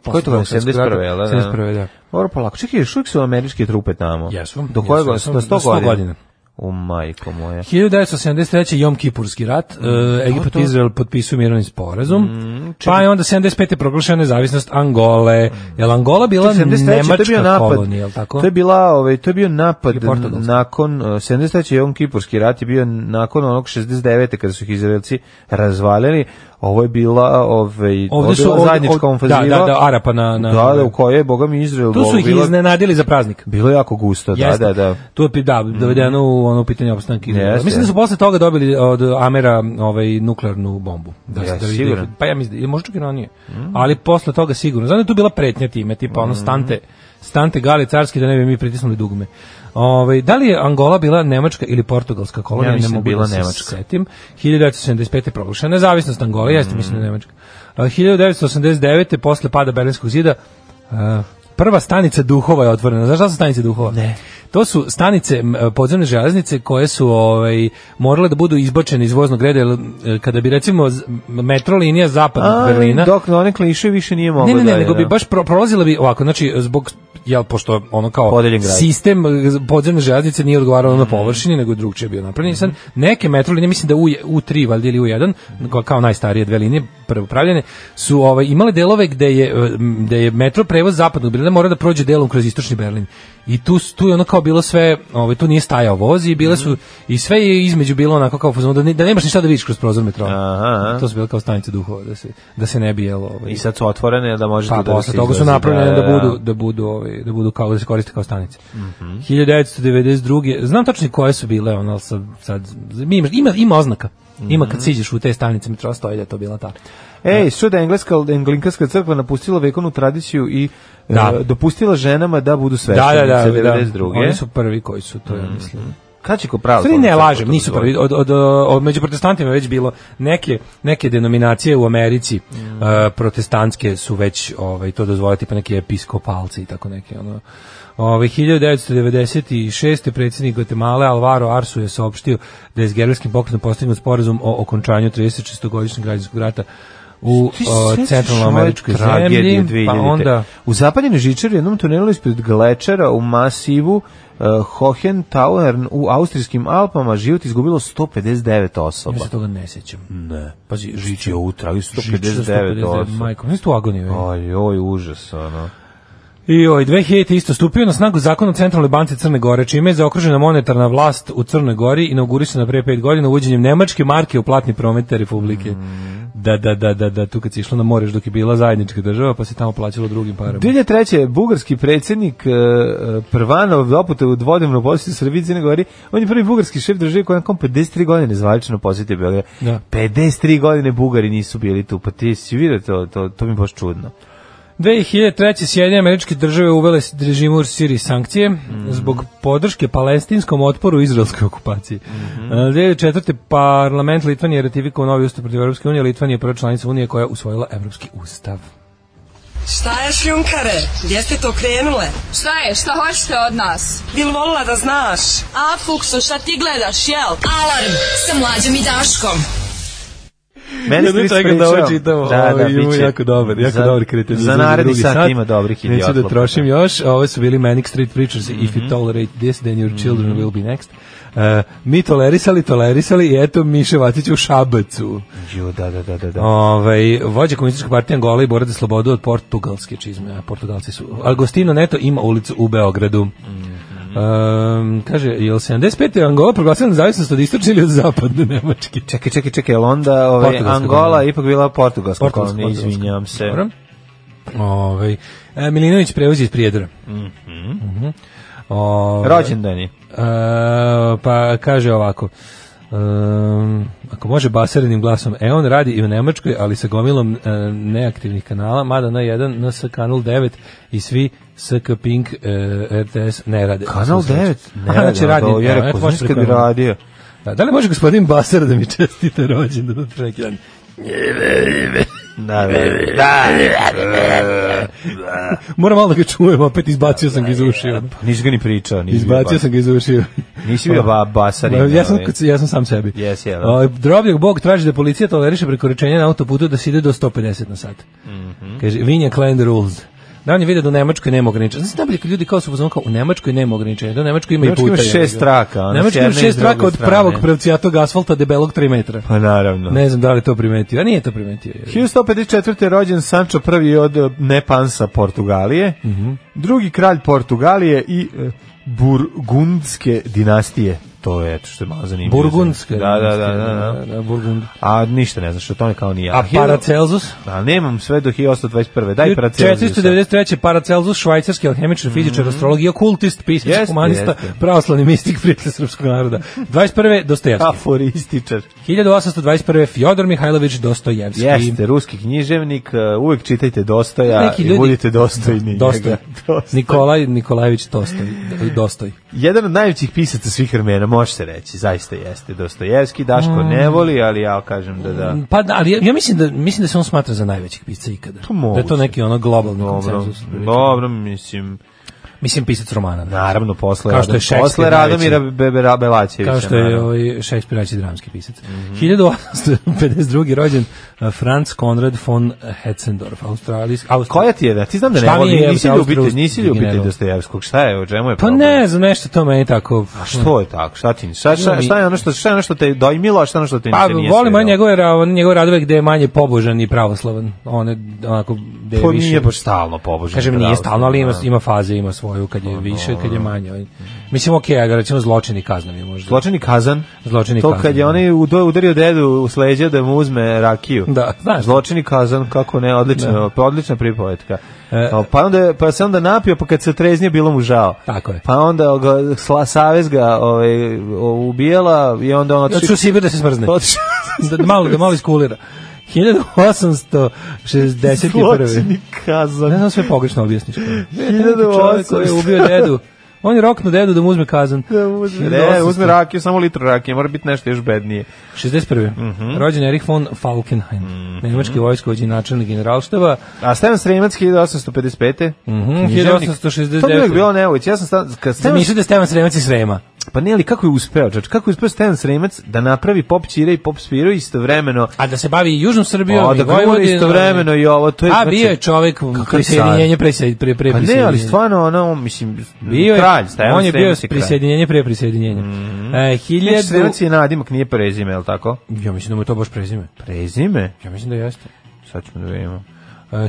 Ko je to
Posle Drugog
71.,
svjetskog rata.
jel da?
71., da.
Dobro, polako. Čekaj, još uvijek su američke trupe tamo.
Jesu.
Do koje
Jesu,
godine?
jesu.
Do
Do
100,
100
godina.
godina.
U majko moje.
1973. Jom Kipurski rat,
Mhm.
e, Egipat i Izrael potpisuju mirovni sporazum, pa je onda 75. proglašena nezavisnost Angole.
Mhm.
Jel Angola bila
73. to je bio
nemačka
napad.
kolonija, jel tako?
To je bila, ovaj, to je bio napad
Ili portugalska.
nakon eh, 73. je on Kipurski rat je bio nakon onog 69. kada su ih Izraelci razvaljali. Ovo je bila, ovaj, ovo je
Ovde su-
bila
ovde-
zajednička
ovde-
ofenziva.
da, da, da, Arapa na- na-
Da, da, u kojoj je Boga mi Izrael
tu su ih
bilo,
iznenadili za praznik.
bilo jako gusto, da,
Jeste.
da, da.
Tu je pi- da, dovedeno u ono pitanje opstanka Izraela.
Jeste.
Mislim da su posle toga dobili od Amera ovaj nuklearnu bombu. Da,
Ja,
da,
siguran.
pa ja mislim, da- možda čak i ranije. Ali posle toga sigurno. Znam da je tu bila pretnja time, tipa ono stante, stante gali carski da ne bi mi pritisnuli dugme. Ovaj da li je Angola bila nemačka ili portugalska kolonija?
Ja mislim
ne mogu
bila
da se
nemačka.
setim. 1975. je proglašena nezavisnost Angole, jeste mislim da je nemačka. A, 1989. posle pada Berlinskog zida a, prva stanica duhova je otvorena. Znaš šta su stanice duhova? Ne. To su stanice m, podzemne železnice koje su ovaj morale da budu izbačene iz voznog reda jer, e, kada bi recimo z- metro linija zapadnog
A,
Berlina
dok na one kliše više nije moglo
ne, ne, ne,
dalje,
nego bi
da.
baš pro, prolazila bi ovako, znači zbog jel, pošto ono kao
Podeljen grad. Mhm.
sistem eh, podzemne željeznice nije odgovarao na površini, nego je drugčije bio napravljen. I Sad, neke metro linije, mislim da U, U3 valjda ili U1, kao- kao najstarije dve linije pravopravljene, su ovaj, imale delove gde je, eh, m, gde je metro prevoz zapadnog Berlina mora da prođe delom kroz istočni Berlin. I tu, s- tu je ono kao bilo sve, ovaj, tu nije stajao voz i bile
Mhm.
su, i sve je između bilo onako kao, u fazonu da, ne- da nemaš ništa da vidiš kroz prozor metroa.
Aha, aha.
To su bile kao stanice duhova, da se, da se ne bi jelo. Ovaj,
I sad su otvorene da možete
pa
da
posle
se
toga su
izlazi,
napravljene da, budu da budu ovaj da budu kao da se koriste kao stanice. 1992. Znam tačno i koje su bile, ono ali sad, sad ima ima ima oznaka. Ima kad siđeš u te stanice metroa stoji da je to bila ta.
Ej, što da je engleska englinkarska crkva napustila vekovnu tradiciju i e,
Da.
dopustila ženama da budu
Da, da,
sveštenice
da, da,
92.
Oni su prvi koji su to, ja mislim.
Kad će ko pravo?
Stvari ne lažem, nisu prvi. Od, od, od, među protestantima je već bilo neke, neke denominacije u Americi e, protestantske su već ovaj, to dozvolili, tipa neki episkopalci i tako neke. Ono. Ovaj, 1996. predsjednik Guatemala Alvaro Arsu je saopštio da je s gerilskim pokretom postignut sporazum o okončanju 36-godišnjeg građanskog rata u o, centralnoameričkoj zemlji, pa onda...
U zapadnjenoj žičari u jednom tunelu ispred Glečera u masivu e, Hohentauern u austrijskim Alpama život izgubilo 159 osoba.
Ja se toga ne sjećam.
Ne. Pazi, žič je u tragu 159
159,
osoba.
majko, nisi tu agoniju. ej.
Ajoj, užas, ono.
I oj, 2000 isto stupio na snagu zakon o centralnoj banci Crne Gore, čime je zaokružena monetarna vlast u Crnoj Gori inaugurisana pre 5 godina uvođenjem nemačke marke u platni promet te republike. Da, da, da, da, da, tu kad si išla na moreš dok je bila zajednička država, pa se tamo plaćalo drugim parama.
2003. bugarski predsjednik e, e, Prvanov doputa u dvodnevnu posjetu Srbiji i Crnoj Gori. On je prvi bugarski šef države koji je nakon 53 godine zvalično posjetio Beograd.
Da.
53 godine Bugari nisu bili tu. Pa ti si vidio to, to, to mi je baš čudno.
2003. Sjedinje američke države uvele s- režimu u Siriji sankcije zbog podrške palestinskom otporu izraelskoj okupaciji. E, 2004. parlament Litvanije ratifikao novi ustav protiv Europske unije, Litvanija je prva članica unije koja je usvojila Evropski ustav.
Šta je šljunkare? Gdje ste to krenule?
Šta je, šta hoćete od nas?
Bil volila da znaš?
A, Fuksu, šta ti gledaš, jel? Alarm sa mlađom i Daškom.
Meni
Ja
ste
ne
vi
čekam da ovo
sprečavam.
čitam,
Da, da,
ima
biće.
jako dobar, jako
Za-
dobar kreten.
Za naredni sat ima dobrih idiotlopa.
Neću da trošim još, ove su bili Manic Street Preachers, If
Mhm.
you tolerate this, then your children will be next. E, mi tolerisali, tolerisali i eto Miše Vatić u Šabacu.
Jo, da, da, da, da. da.
Ovaj vođa komunističke partije Angola i bore za slobodu od portugalske čizme, a Portugalci su. Agostino Neto ima ulicu u Beogradu.
Mhm.
Ehm, kaže, jel 75. je Angola proglasila nezavisnost od istočne ili od zapadne Nemačke?
Čekaj, čekaj, čekaj, jel onda ovaj,
Portugalska
Angola
kolonija.
ipak bila portugalska,
Portugalska,
kolonija,
portugalska.
izvinjam se.
Dobro. Ovaj e, Milinović prevozi iz Prijedora. Mhm. Ovaj,
Rođendani.
e, pa kaže ovako. Um, ako može baserenim glasom E on radi i u Nemačkoj, ali sa gomilom e, neaktivnih kanala, mada na 1 NS kanal 9 i svi SK Pink e, RTS ne rade
Kanal
Slušaj,
9, ne
Aha, znači radi,
ja
evo,
rekao,
može
znaš kad bi
preko-
radio.
Da, da li može gospodin Baser da mi čestite rođendan od pre neki dan?
Da, da, da.
Moram malo da ga čujem, opet izbacio sam ga iz ušiju.
Nisi ga ni pa- pričao, nisi
Izbacio sam ga iz ušiju.
Nisi bio ba, basarin.
Ma, Ja sam,
ovaj.
kad se- ja sam sam sebi.
Jesi, jel?
O, Drobljak Bog traži da policija toleriše prekoračenje na autoputu da se ide do 150 na sat.
Mhm.
Kaže, Vinja Klein rules. Da oni vide da u Nemačkoj nema ograničenja. Znači najbolje kad ljudi kao su pozvali kao u Nemačkoj nema ograničenja, da u Nemačkoj ima
Nemačkoj
i
ima
puta.
šest
jebi ga.
traka, ono, s
Nemačkoj ima
jedne i s
šest
druge
trake od
strane.
pravog pravcijatog asfalta debelog 3 metra.
Pa naravno.
Ne znam da li je to primetio, a nije to primetio. jebi ga.
1154. je rođen Sancho I od eh, Nepansa Portugalije,
Mhm.
drugi kralj Portugalije i eh, Burgundske dinastije. To je, eto što je malo zanimljivo.
Burgundske.
Da, da, da, da, da.
Burgund.
A ništa ne znaš, o tome kao nije.
A Paracelsus?
A nemam sve do 1821. Daj Paracelsusa.
493. Paracelsus, švajcarski alhemičar, fizičar, astrolog i okultist, pisac,
Mhm. Jeste,
humanista,
jeste.
pravoslavni mistik, prijatelj srpskog naroda. 21.
Pa.
Dostojevski.
Aforističar.
1821. Fjodor Mihajlović Dostojevski.
Jeste, ruski književnik, eh, uvek čitajte Dostoja
Neki
i
ljudi-
budite dostojni.
Dostoj.
njega. (laughs) Dostoj.
Nikolaj Nikolajević Dostoj. Dostoj.
Jedan od najvećih pisaca svih vremena, može se reći, zaista jeste Dostojevski, Daško ne voli, ali ja kažem da da.
Pa da, ali ja, ja mislim da mislim da se on smatra za najvećih pisca ikada.
moguće.
da je to neki ono globalni
Dobro,
konsenzus.
dobro, mislim.
Mislim, pisac romana. brate.
Naravno, posle,
Kao što je
Radom- posle
Shakespeare
Radomira
najveći.
Bebera Belačevića.
Kao što je
naravno.
ovaj Shakespeare najveći dramski pisac. 1852. rođen eh, Franz Konrad von Hetzendorf, australijski. Austri-
Koja ti je da? Ti znam da ne
Šta mi
volim,
je,
nisi
jebote,
ljubitelj,
Austro-
nisi ljubitelj
general?
Dostojevskog. Šta je, o čemu je
Pa
problem?
ne, znam nešto to meni tako...
A što je tako? Šta ti šta, šta, šta je ono što šta je ono što te dojmilo, a šta je ono što te
Pa
pa, nije
volim
svidjelo?
on njegove, ra- on njegove radove gde je manje pobožan i pravoslavan. On je onako gde je
Pa
više...
nije baš stalno pobožan.
Kažem, nije
pravo.
stalno, ali ima,
Da. Pa
ima faze, ima svoju, kad je više, kad je manje. ovaj. Mislim, okej, okay, recimo zločini kaznovi možda.
Zločini Kazan.
Zločini
to
Kazan,
kad je
da.
onaj udo- udario dedu u sleđe da mu uzme rakiju.
Da, znaš.
Zločini Kazan, kako ne, odlično, pa odlična pripovetka.
E,
O, pa, onda, pa se onda napio, pa kad se treznije, bilo mu žao.
Tako je.
Pa onda ga, sla, savez ga ovaj, o- ubijala i onda on
Ja ću u
otišao...
Sibir Znači, da se smrzne.
Znači, otišao-
da, da malo, da malo iskulira. 1861.
Zločini Kazan.
Ne znam sve pogrešno objasniš. Čovjek koji je
1800.
ubio dedu. On je roknu dedu da mu uzme kazan.
Da uzme, ne, uzme E, rakiju, samo litru rakije, mora biti nešto još bednije.
61.
Mhm.
Rođen Erich von Falkenhayn. Nemački vojskovođi i načelnik generalštava.
A Stevan Sremac 1855.
Mhm,
Književnik.
1869.
To bi uvijek bilo nevojić. Ja sam stan, kad
Da
Stevan,
misli da je Stevan Sremac iz Srema.
pa ne, ali kako je uspeo, čač, kako je uspeo Stevan Sremac da napravi pop čire i pop spiro istovremeno,
A da se bavi i Južnom Srbijom
a
i
da govori
Vojvodinom.
istovremeno i ovo, to je
A
znači-
bio je čovek
Kakav je
prisjedinjenje pre, pre, pre, pre
Pa ne,
prisjedinjenja.
ali stvarno, ono, mislim,
Bio je,
kralj, Stevan
on je bio
Sremac je kralj.
prisjedinjenje pre prisjedinjenja. E,
Znači,
hiljadu...
Sremac je nadimak, nije prezime, je li tako?
Ja mislim da mu je to baš prezime.
Prezime?
Ja mislim da jeste.
Sad ćemo da vidimo.
E,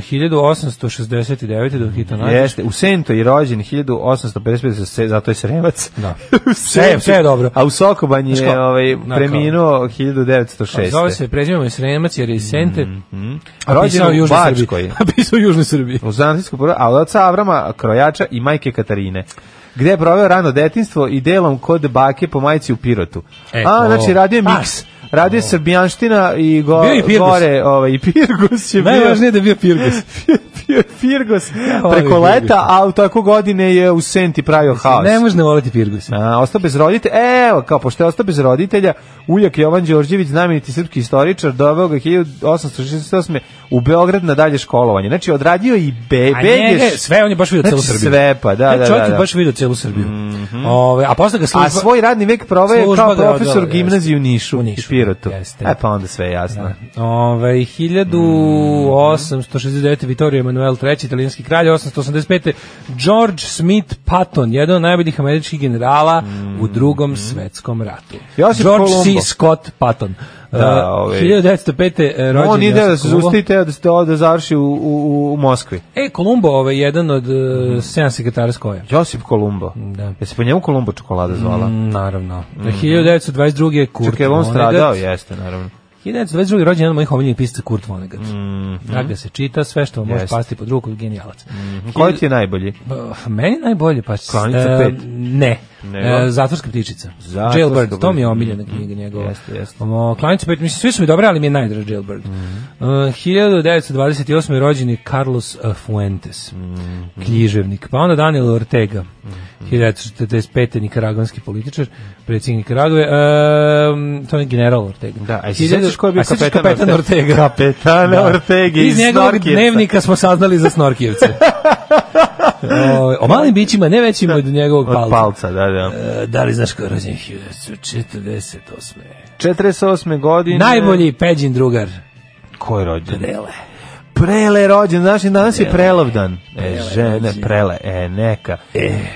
1869. do Hita Nadić.
Jeste, u Sento je rođen 1855, se- zato je Sremac.
Da.
(laughs) U Sentu.
sve je dobro.
A u Sokobanji
Znaš
je
kao,
ovaj,
znaš kao.
preminuo
Zove
1906.
se prezime mu je Sremac jer je iz Sente. A
Mhm. Rođen
pisao
u
u Južnoj
Bačkoj.
Srbiji. (laughs) A pisao u Južnoj Srbiji.
U Zanatijsku poru, a od oca Avrama Krojača i majke Katarine gde je proveo rano detinstvo i delom kod bake po majici u Pirotu.
E,
a,
to.
znači, radio je
Pa.
miks. Radio je srbijanština i, go,
Bio je i Pirgus.
gore, ovaj, i Pirgus je bio. (laughs)
Najvažnije je da je bio Pirgus.
bio je Pirgus
volim
preko leta,
Pirgusa.
a u tako godine je u Senti pravio haos.
Ne može ne voliti Pirgus.
A, ostao bez roditelja, evo, kao pošto je ostao bez roditelja, uljak Jovan Đorđević, znameniti srpski istoričar, doveo ga 1868. u Beograd na dalje školovanje. Znači, odradio je i be,
A njega, je-
Begeš,
sve on je baš video celu
Znači,
Srbiju.
sve, pa, da,
Ne,
da,
Čovjek
da,
je
da.
baš video celu Srbiju. Ove, a posle ga služba...
a svoj radni vek proveo
Služba
kao
ga je
profesor
odvela,
gimnazije u
jeste.
Nišu,
U
i
Nišu,
Pirotu.
jeste.
E, pa onda sve je jasno.
Ove, 1869. Vittorio Emanuel III, italijanski kralj, 885. George Smith Patton, jedan od najboljih američkih generala u drugom svetskom ratu.
Josip
George
Kolumbo.
C. Scott Patton.
Da,
Uh,
ovaj.
1905. eh, rođen
On ide
Josip
da se
Kolumbo.
zusti i teo da se da završi u, u, u Moskvi.
E, Kolumbo, ovaj, jedan od uh, sedam sekretara Skoja.
Josip Kolumbo.
Da.
Je se po njemu Kolumbo čokolada zvala?
Mm, Naravno. 1922. je Kurt
Čekaj, je li on
Vonnegut.
stradao? Jeste, naravno.
1922. rođen je jedan od mojih omiljenih pisaca Kurt Vonnegut. Drag da se čita, sve što vam može
Mm-hmm. Jeste. Mm-hmm.
pasti pod ruku, genijalac.
Koji ti je najbolji?
Uh, Meni najbolje pa
Klanica
e,
pet.
Ne.
Nego?
E, zatvorska ptičica.
Zatvorska
Jailbird, to mi je
ptičica.
omiljena knjiga njegova.
Jeste, jeste.
O, Klanica 5, mislim, svi su mi dobre, ali mi je najdraž Jailbird. E,
Mhm.
1928. je rođen je Carlos e, Fuentes,
Mhm.
književnik. Pa onda Daniel Ortega, 1945. nikaragonski političar, predsjednik Nikaragove. E, to je general Ortega.
Da, a jesi
Hiljadu-
sećaš ko je bio
a sećaš
kapetan Ortega?
Ortega?
(laughs) Kapetan Ortega iz
Iz njegovog
Snorkijevca.
dnevnika smo saznali za Snorkijevce. o, o malim bićima, ne većim od njegovog
Od
palca.
palca, da, da.
E, da li znaš ko je rođen 1948.
48. godine.
Najbolji peđin drugar.
E, Ko je rođen?
Prele.
Prele je rođen, znaš, i danas je prelov dan. E, žene, prele, e, neka.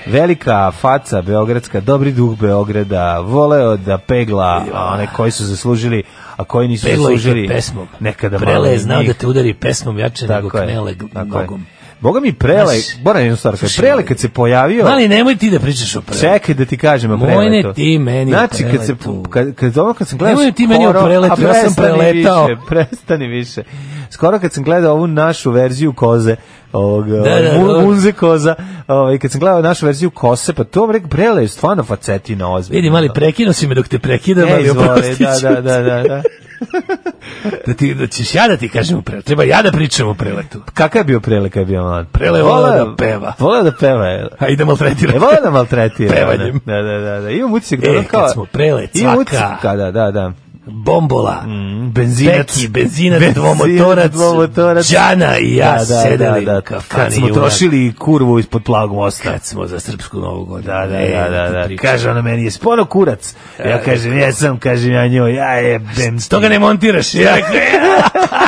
Velika faca beogradska, dobri duh Beograda, voleo da pegla a one koji su zaslužili, a koji nisu
Peglo ih
zaslužili.
je pesmom.
Nekada malo
Prele je
i
znao
njih.
da te udari pesmom jače nego
Tako je,
knele
tako je.
nogom.
Boga mi prele,
Znaš,
moram jednu stvar, kažem,
slušaj,
prele kad se pojavio,
Ali nemoj ti da pričaš o prele.
Čekaj da ti kažem, a preleto.
Mojne ti meni o
Znači, kad, se,
preletu.
kad, kad, ono kad sam gledao...
Nemoj ti meni o
skoro-
preletu,
a
ja sam
prestani
preletao.
Više, prestani više. Skoro kad sam gledao ovu našu verziju koze, ovog, da,
da, da.
munze koza, ovaj, kad sam gledao našu verziju kose, pa to vrek brele je stvarno facetina ozbiljna.
Vidi, mali, prekinu si me dok te prekidam,
E,
ali
izvoli,
oprostit ću
da, da, da, da, da.
te. Da, ti, da ćeš ja da ti kažem o prele. Treba ja da pričam o preletu.
Kakav je bio prele kad je bio mlad?
Prele je voleo da peva.
Voleo da peva, je.
Ajde da maltretiraš.
E, voleo da
(laughs)
maltretira.
Pevanjem.
ono. Da, da, da, da. Imam utisak da
E,
ono kao...
kad smo prele,
Imam
cvaka.
utisak, da, da, da.
bombola,
Mm. Benzinac.
peki, benzinac,
Benzinac,
dvomotorac,
dvomotorac.
Đana i ja
Da, da,
sedeli
da, da.
u kafani.
Kad smo
junak.
trošili kurvu ispod plavog mosta.
Kad smo za srpsku novu godinu.
Da, da,
E,
da, da, da.
priča. E,
Kaže ona meni, je sporo kurac. Ja kažem, jesam, kažem ja njoj, ja jebem ti.
Toga ne montiraš. Ja, rekao, (laughs)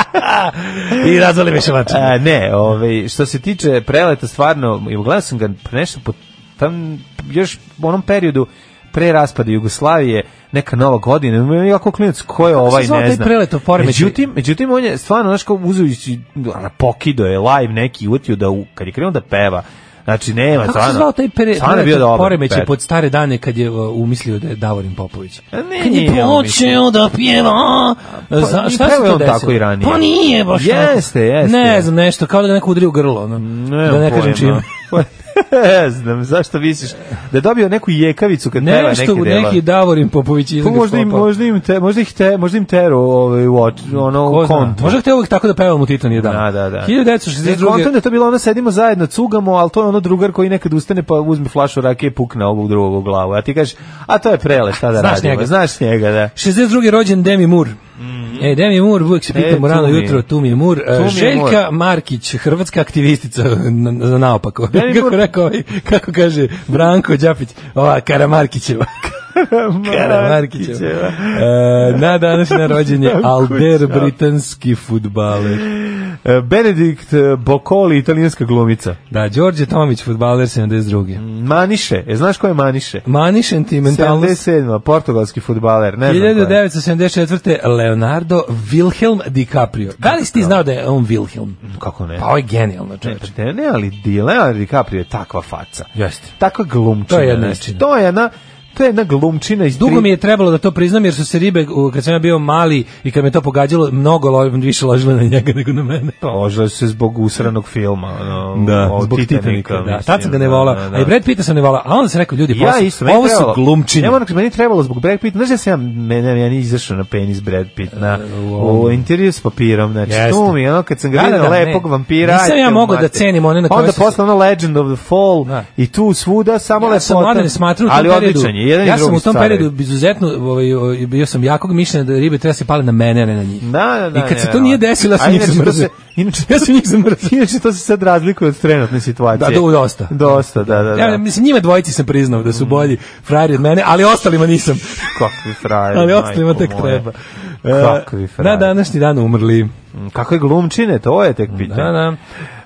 I razvali me šamačima.
A, ne, ovaj, što se tiče preleta, stvarno, i gledao sam ga pre nešto po, tam, još u onom periodu pre raspada Jugoslavije, neka nova godina, ima jako klinac ko je ovaj,
se zvao
ne
taj
znam.
prelet u poremećaju?
Međutim, međutim, on je stvarno, znaš, kao uzujući, na pokido je live neki utio da, u, kad je krenuo da peva, Znači, nema,
Kako
stvarno.
se zvao taj pere,
stvarno je bio dobar
poremeće
pet.
pod stare dane kad je uh, umislio da je Davorin Popović?
A ne,
kad je
E, nije on
počeo da pjeva, pa,
i
za, šta se
pevao je
to
on
desilo?
tako i ranije.
Pa nije baš tako.
Jeste, jeste.
Ne znam, nešto, kao da ga neko udrio grlo, ono, da ne kažem čime.
(laughs) ne znam, zašto misliš? Da je dobio neku jekavicu kad peva neke
Nešto u
dela.
neki Davorin Popović
Pa
izgleda
možda im, možda im te, možda ih te, možda im teru ovaj u oč, ono
Ko
u
zna,
kontu.
možda htio uvijek tako da pevam u Titan jedan.
Da, da, da.
1962.
Kontam da je to bilo ono sedimo zajedno, cugamo, ali to je ono drugar koji nekad ustane pa uzme flašu rakije i pukne ovog drugog u glavu. A ti kažeš, a to je prele, šta da
Znaš
radimo?
njega.
Znaš njega, da.
62. rođen Demi Moore. E, Demi Moore, uvijek se
Mhm. E, tu
pitamo rano
mi je.
jutro, tu mi je Moore. E,
Tu mi je
Željka
Moore.
Markić, hrvatska aktivistica, na, na naopako.
Demi
kako
Moore-
rekao, ovaj, kako kaže Branko Đapić, ova Karamarkićeva. Karamarkićeva. E, na današnje rođenje Alder,
Đapić.
britanski futbaler.
E, Benedikt e, Bokoli, italijanska glumica.
Da, Đorđe Tomić, futbaler 72.
Maniše, e, znaš ko je Maniše?
Maniš sentimentalnost.
77. portugalski futbaler, ne znam ko je.
1974. Leonardo Wilhelm DiCaprio. Da li si ti znao da je on Wilhelm?
Kako ne?
Pa ovo je genijalno,
Ne,
čovječe.
pa ne, ne, ali Di Leonardo DiCaprio je takva faca.
Jeste.
Takva glumčina.
To je jedna
znači,
istina.
To je jedna, to je jedna glumčina iz
Dugo
tri-
mi je trebalo da to priznam jer su se ribe, u- kad sam ja bio mali i kad me to pogađalo, mnogo lo, više ložile na njega nego na mene.
Ložila su se zbog usranog filma. ono, o
zbog
Titanika,
Titanika. Da,
mislim,
tad sam ga ne
da,
volao.
da, da.
A i Brad Pitta sam ne volao. A onda sam rekao, ljudi,
Ja
posle,
isto, meni
ovo su
trebalo.
glumčine.
Ja moram kažem, meni je trebalo zbog Brad Pitt. Znaš da sam ja, mene, ja nije izašao na penis Brad Pitt na, u intervju s papirom. Znači,
E, Jeste.
tu mi, je, ono, kad sam ga
Da,
vidio
da, ne.
lepog vampira.
Nisam ja
ajte,
mogao
mate.
da cenim one na koje
Onda
su se-
posle ono Legend of the Fall
Da.
i tu svuda samo
Ja sam
lepota.
mladen smatrao u tom
Ali
periodu.
odličan je, jedan i
ja sam
drugi
u tom
su carevi.
periodu izuzetno ovaj, ovaj, bio sam jakog mišljenja da ribe treba se pale na mene, a ne na njih.
Da, da, da.
I kad
ne,
se to
ne,
nije
ne.
desilo, ja sam
A
njih
inače to
zamrzio.
se- Inače,
Ja sam njih zamrzio.
Inače to se sad razlikuje od trenutne situacije.
Da, do- dosta.
Dosta, da, da, Mm. da.
Ja, mislim, njima dvojici sam priznao da su bolji frajeri od mene, ali ostalima
(laughs)
nisam.
Kakvi frajer.
ali ostalima tek
majko moja.
treba.
Kakvi
E,
frajer.
Na današnji dan umrli.
Mm, Kakve glumčine, to je tek pitanje.
Da, da.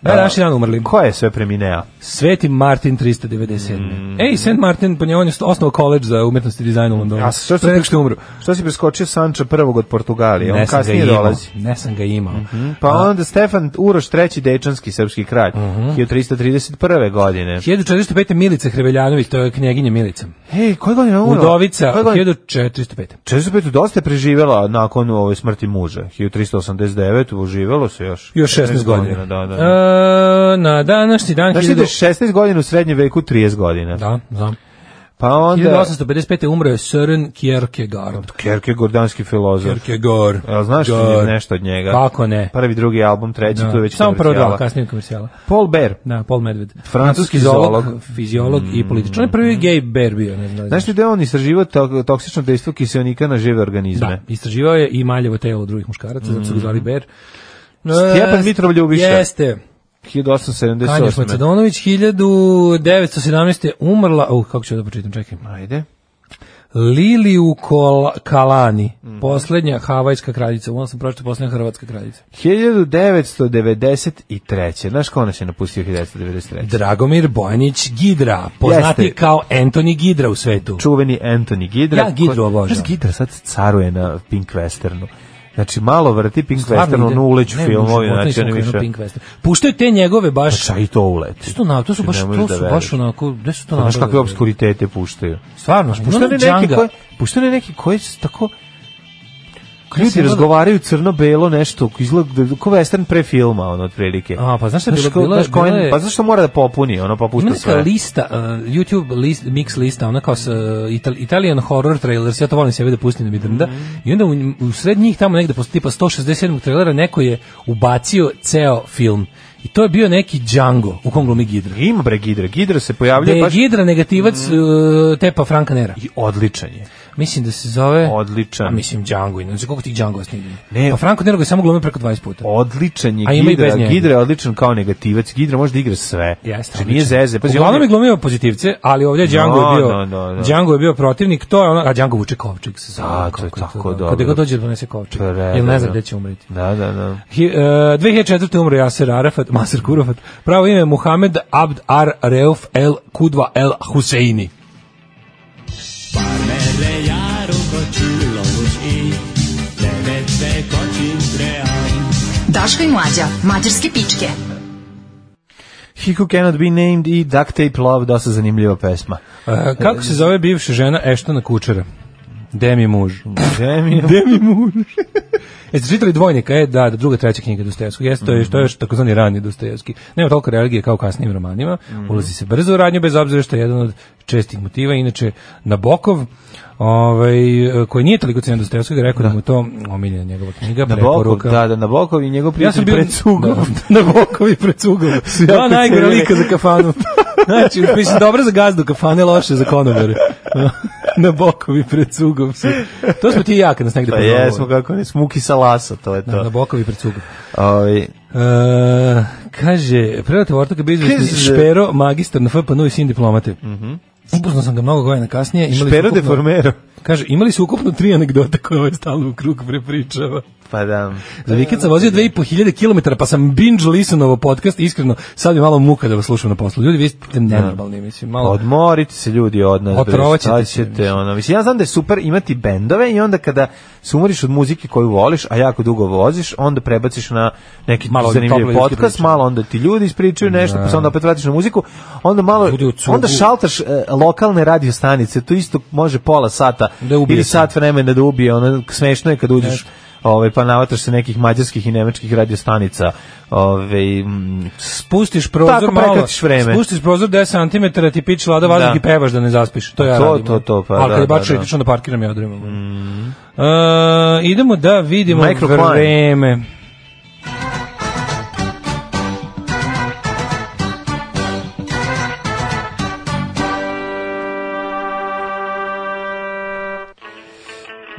Na današnji dan umrli.
Ko je sve premineo?
Sveti Martin 397.
Mm.
Ej, St. Martin, po njemu on je osnovao koleđ za umetnost i dizajn u Londonu.
A što si-
Pre nego što je umro.
Što si preskočio Sanča prvog od Portugalije? On
Ne sam ga
kasnije
imao.
dolazi.
Ne sam ga imao.
Pa onda Stefan Uroš III. Dečanski srpski kralj.
Mhm.
1331. godine.
1405. Milica Hreveljanović, to je knjeginja Milica.
Hej, koje godine je umro?
Udovica,
Koje godine?
1405.
405 dosta je preživela nakon ove smrti muža. 1389 uživelo se još.
Još 16 godina.
Da, da. da.
E, na današnji dan...
Znaš ti da je 16 godina u srednjem veku 30 godina.
Da, znam.
Pa onda
1855. umro je Søren Kierkegaard.
Kierkegaard, danski filozof.
Kierkegaard.
Jel znaš
Gaard.
nešto od njega?
Kako ne?
Prvi, drugi album, treći,
Da.
tu je već
Samo prvo dva,
komercijala.
kasnije komercijala.
Paul Bear.
Da, Paul Medved.
Francuski zoolog. Mm.
fiziolog i političar. On je prvi gay bear bio, ne znam.
Znaš li da je on istraživao to- toksično dejstvo kiselnika na žive organizme?
Da, istraživao je i maljevo telo drugih muškaraca, zato su ga zvali bear.
Mm. Stjepan
E,
Mitrov Ljubiša.
Jeste.
1878.
Tanja Macedonović, 1917. umrla, uh, kako ću da počitam, čekaj.
Ajde.
Liliu Kol Kalani,
Mhm.
poslednja havajska kraljica, ono sam pročito poslednja hrvatska kraljica.
1993. Znaš ko nas je napustio 1993?
Dragomir Bojanić Gidra, poznati
Jeste.
kao Anthony Gidra u svetu.
čuveni Anthony Gidra.
Ja Gidru
ko-
obožavam.
Znaš, Gidra sad caruje na Pink Westernu. Znači, malo vrti Pink
Stvarno
Westernu,
ide-
ono uleću
Ne,
filmovi,
možda,
znači,
nisam
ne
krenuo
više.
Pink Western. Puštaju te njegove baš...
Ča i to uleti.
To, na, to su
Ne
baš,
možeš
to
da
su
veruješ. Pa
baš onako, gde su to
Znaš
napravili?
kakve obskuritete puštaju.
Stvarno,
Puštene
puštaju
neki
Džanga.
koji, puštene neki koji su tako... Ljudi
sam gledao-
razgovaraju crno-belo nešto, izgleda da- ko western pre filma, ono, otprilike.
A, pa znaš šta je bilo?
ko-
Bilo je-
znaš ko je-
bilo je-
Pa znaš što mora da popuni, ono,
Ima
popušta
neka
sve.
lista, uh, YouTube list, mix lista, ona kao s, uh, Ital- Italian horror trailers, ja to volim sebe da pustim da mi drnda,
Mhm.
i onda u, u sred njih tamo negde posle tipa 167. trailera neko je ubacio ceo film I to je bio neki Django u kom glumi Gidra.
Ima bre Gidra. Gidra se
Da
pojavljuje
je
baš Mm.
Gidra negativac e, Tepa Franka Nera.
i odličan je.
Mislim da se zove...
Odličan.
A mislim Django. Znači, koliko tih Django snimljeno?
Ne.
Pa Franko Nero ga je samo glumio preko 20 puta.
Odličan je
A ima i bez
Gidra.
njega.
Gidra je odličan kao negativac. Gidra može da igra sve.
Jeste,
Znači, nije zeze. Pazi, on
Uglavnom
je-
je glumio pozitivce, ali ovdje Django
Da,
je bio,
da, da, da.
Django je bio protivnik, to je ono, a Django vuče kovčeg se zove.
A, to
kako
je tako dobro.
Kada ga dođe da donese kovčeg,
Predobro.
jer ne zna gde će umreti.
Da, da, da.
Hi, e, 2004. umro Jaser Arafat, Masar Kurofat, pravo ime je Muhammed Abd Ar Reuf El Kudva El Huseini.
Daško i mlađa, mađarske pičke.
He Who Cannot Be Named i Duct Tape Love, dosta zanimljiva pesma.
E, kako se zove bivša žena Eštona Kučera? Demi muž.
Demi,
Demi muž. Jeste čitali dvojnika, e, da, da, druga, treća knjiga Dostojevskog, jeste, to je, to je još takozvani rani Dostojevski. Nema toliko religije kao u kasnim romanima, ulazi se brzo u radnju, bez obzira što je jedan od čestih motiva, inače Nabokov, ovaj, koji nije toliko cenjen Dostojevskog, rekao da. mu je to omiljena njegova knjiga,
na Bokov,
preporuka.
da, da, na Bokov i njegov
Ja sam
prijatelj
bio
pred Ja, sugom.
Da, na bokovi pred sugom. Dva
jako
najgore
cenjeni.
lika za kafanu. Znači, mislim, dobro za gazdu kafane, loše za
(laughs)
konobare. na bokovi pred sugom. su. To smo ti i ja kad nas negde
Pa
pozovu.
jesmo kako ne, smuki sa lasa, to Ovaj, je
Da, na
to.
bokovi pred sugom.
Ovi,
E, kaže, prelate ortaka bio izvesni
Kaže- Mhm.
špero, magistar na FPN i sin diplomate. Upoznao sam ga mnogo godina kasnije. Imali su
Špero de
ukupno-
Formero.
Kaže, imali su ukupno tri anegdote koje ovaj stalno u krug prepričava.
Pa da.
Za vikend
E,
sam vozio 2500 km, pa sam binge listenovao podcast, iskreno, sad mi malo muka da vas slušam na poslu. Ljudi, vi ste nenormalni, mislim, malo...
Odmorite se ljudi od nas. bre,
Otrovat ćete
šta
se, mislim.
ono. Mislim, ja znam da je super imati bendove i onda kada se umoriš od muzike koju voliš, a jako dugo voziš, onda prebaciš na neki
Malo
zanimljiv
tople ljudske
podcast,
priče.
malo onda ti ljudi ispričaju nešto, pa se onda opet vratiš na muziku, onda malo,
Ljudi u cugu.
onda šaltaš e, lokalne radio stanice, to isto može pola sata
Da ubije
ili
se.
sat vremena da ubije, ono, smešno je kad uđeš Ovaj pa navataš se nekih mađarskih i nemačkih radiostanica. Ovaj mm,
Spustiš prozor
Tako
malo,
prekratiš vreme.
spustiš prozor 10 cm, ti piči lada vazduh
Da.
i pevaš da ne zaspiš. To ja
To,
radim. ono.
to, to, pa
Ali
da,
kad je
da, Mm-hmm.
baš
da.
da. onda parkiram i odremam. E, idemo da vidimo
Microclimate.
vreme.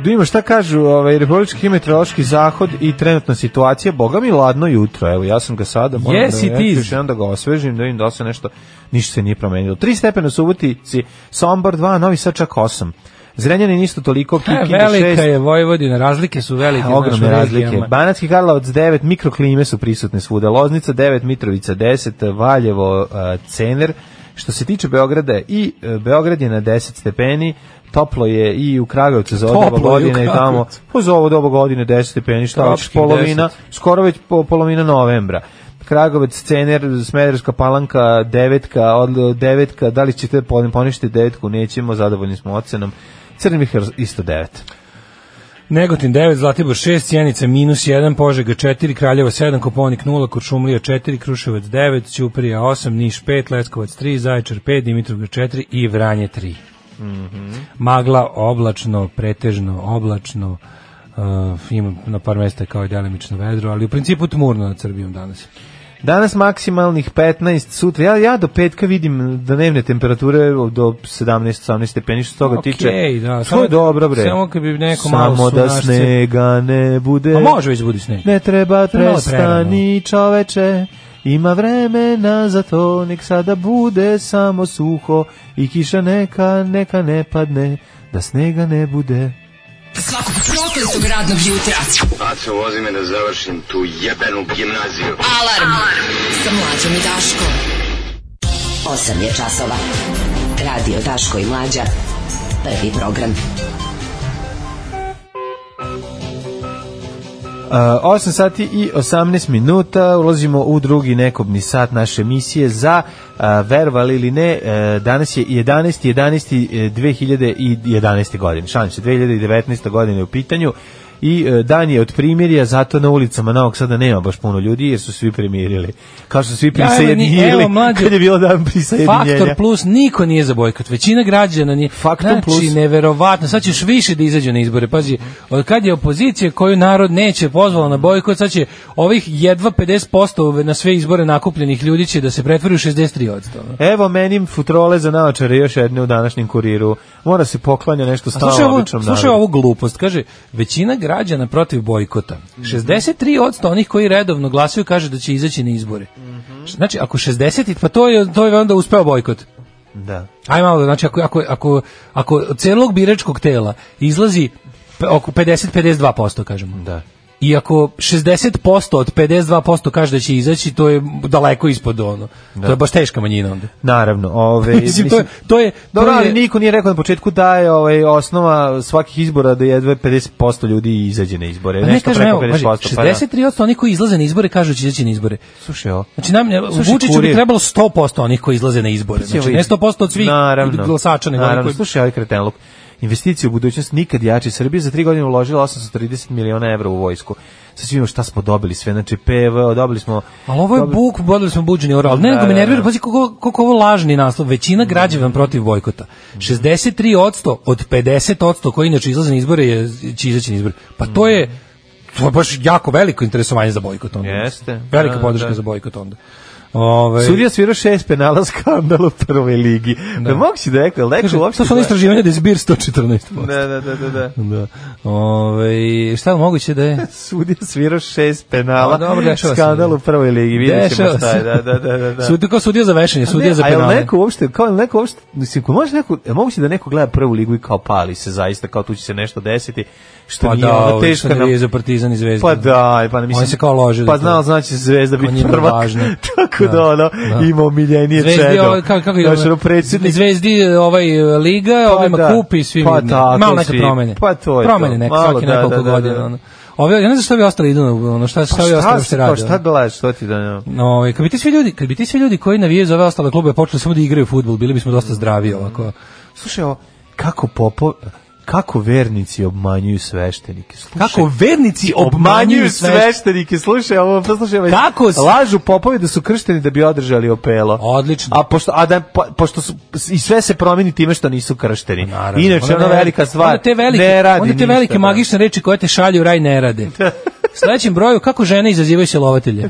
Da ima šta kažu ovaj, Republički meteorološki zahod i trenutna situacija, boga mi ladno jutro, evo ja sam ga sada, moram
Yes,
da,
it
ja ću
is.
još jedan da ga osvežim, da vidim da li se nešto, ništa se nije promenilo. 3 stepena u Subotici, Sombor 2, Novi Sad čak 8. Zrenjanin isto toliko,
E,
Kikinda 6,
(laughs) velika je Vojvodina, razlike su velike. znaš,
ogromne
u
razlike.
regijama.
Banatski Karlovac 9, mikroklime su prisutne svuda. Loznica 9, Mitrovica 10, Valjevo, eh, Cener. Što se tiče Beograda i eh, Beograd je na 10 stepeni, toplo je i u Kragujevcu za ovo
Toplo
doba
je u
godine i tamo.
Kragujevcu.
Pa za ovo doba godine 10 stepeni, šta hoćeš,
Tropskih
polovina, skoro već po, polovina novembra. Kragovac, Cener, Smederska palanka, devetka, od devetka, da li ćete pon- poništiti devetku, nećemo, zadovoljni smo ocenom. Crnvihar isto devet.
Negotin 9, Zlatibor 6, Sjenica minus 1, Požega 4, Kraljevo 7, Koponik 0, Kuršumlija 4, Kruševac 9, Ćuprija 8, Niš 5, Leskovac 3, Zaječar 5, Dimitrovgrad 4 i Vranje 3. Magla, oblačno, pretežno, oblačno, uh, ima na par mesta kao i delimično vedro, ali u principu tmurno nad Srbijom danas.
Danas maksimalnih 15, sutra ja ja do petka vidim dnevne temperature do 17-18 stepeni što se toga
Okej,
tiče.
da,
to
samo-
je dobro bre.
samo kad bi neko
Samo
malo
da
sunašce-
snega ne bude.
A Pa može već budi sneg.
Ne treba
To je malo
prestani čoveče. Ima vremena za to, nek sada bude samo suho i kiša neka, neka ne padne, da snega ne bude.
Svakog prokletog radnog jutra.
Aco, vozi me da završim tu jebenu gimnaziju.
Alarm, sa mlađom i Daškom.
8 je časova. Radio Daško i Mlađa. Prvi program.
Uh, 8 sati i 18 minuta ulazimo u drugi nekobni sat naše emisije za uh, verovali ili ne uh, danas je e, 11. 11. 2011. godine šalim se 2019. godine u pitanju i e, dan je od primirja, zato na ulicama Novog Sada nema baš puno ljudi jer su svi primirili. Kao što su svi
Ja, evo, ni-
prisajedinjili
evo, mlađe,
kad je bilo dan prisajedinjenja.
Faktor plus niko nije za bojkot. Većina građana nije.
Faktor
znači,
plus.
neverovatno. Sad ćeš više da izađu na izbore. Pazi, od kad je opozicija koju narod neće pozvala na bojkot, sad će ovih jedva 50% na sve izbore nakupljenih ljudi će da se pretvori u 63 odstavno.
Evo meni futrole za naočare još jedne u današnjem kuriru. Mora se poklanja nešto
A Slušaj
stalno
ovu,
običnom
slušaj
narodu.
ovu glupost, kaže, većina građana protiv bojkota.
Mhm.
63% onih koji redovno glasaju kaže da će izaći na izbore.
Mhm.
Znači, ako 60, pa to je, to je onda uspeo bojkot.
Da.
Aj malo, znači ako, ako, ako, ako od celog biračkog tela izlazi pe- oko 50-52%, kažemo.
Da.
I ako 60% od 52% kaže da će izaći, to je daleko ispod ono. To je baš teška manjina onda.
Naravno,
(laughs)
ove,
Mislim, to je... To je
Dobro,
to je-
ali niko nije rekao na početku da je ovaj, osnova svakih izbora da jedva 50% ljudi izađe na izbore.
Pa ne
Nešto
kažem,
preko
evo, paži,
50%. Pa da.
63% onih koji izlaze na izbore kažu da će izaći na izbore.
Slušaj, ovo.
Znači, nam,
Slušaj,
Vučiću bi
kurir. Pa
trebalo 100% onih koji izlaze na izbore. Znači, ne 100% od svih
Naravno.
glasača, nego onih
Naravno,
koji...
slušaj, ovaj kretenluk. Investicije u budućnost nikad jači. Srbija za tri godine uložila 830 miliona evra u vojsku. Sad svi vidimo šta smo dobili sve. Znači, PV, dobili smo...
Ali ovo je
dobili-
buk, bodili smo buđeni oral. Ne,
Da,
nego me
da,
nervira,
da.
pazi koliko, koliko ovo lažni naslov. Većina građana protiv bojkota. 63% od 50% koji inače izlaze na izbore je, će izaći na izbore. Pa to je, to je baš jako veliko interesovanje za bojkot onda.
Jeste.
Velika
Da,
podrška
da.
za bojkot onda. Ovaj, Ove,
Sudija svirao šest penala skandal u prvoj ligi. Da, da mogući da je rekao, ali
kaže,
rekao uopšte...
to su ono istraživanje da je zbir 114%.
Da, da, da, da, da.
Da. Ove, šta je moguće da je?
Sudija svirao šest
A,
penala
dobro, dešava se.
skandal u prvoj ligi. Vidjet ćemo
Dešava
šta je.
se.
Da, da, da, da. da.
Sudija kao sudija za vešanje, sudija za
A jel
penale.
neko uopšte, kao jel neko uopšte, mislim, ko može neko, jel moguće da neko gleda prvu ligu i kao pali se zaista, kao tu će se nešto desiti, što
Pa
nije
da,
ono
ovo
teško
što
nam...
nije za partizan i zvezdu.
Pa da, pa ne mislim.
Oni se kao lože
Pa
za to.
znao, znači zvezda
Kao
biti
njima je
prvak.
važno.
(laughs) Tako da,
Da,
ono,
da.
ima omiljenije čedo.
Zvezdi, ovaj, kako, kako je
Znaš,
ono?
ono, predsjednik
Zvezdi ovaj, liga,
Pa
ovima
da.
kupi i svi
Pa
vidne.
tako,
malo neke
svi.
promene.
Pa to je to.
promene neke,
Malo,
svaki
da,
nekoliko
da, da,
godina.
da. Pa
ono. Ove, ja ne znam šta bi ostali idu, na- ono, šta, šta, bi ostali uopšte
Šta,
radili.
šta gledaš, što ti da ne...
Ovaj, kad bi ti svi ljudi, kad bi ti svi ljudi koji navijaju za ove ostale klube počeli samo da igraju fudbal, bili bismo dosta zdravi ovako.
Slušaj, ovo, kako popo... Kako vernici obmanjuju sveštenike? Slušaj,
Kako vernici
obmanjuju
sve
sveštenike. Slušaj, ovo pa slušaj, ovaj,
Kako s-
lažu popovi da su kršteni da bi održali opelo.
Odlično.
A pošto a da po- pošto su i sve se promeni time što nisu kršteni.
Pa Naravno.
Inače
Onda
ona
ne-
velika stvar.
Onda te velike,
ne radi
onda te
ništa,
velike
da.
magične reči koje te šalju u raj ne
(laughs)
rade. Sledećem broju kako žene izazivaju silovatelje.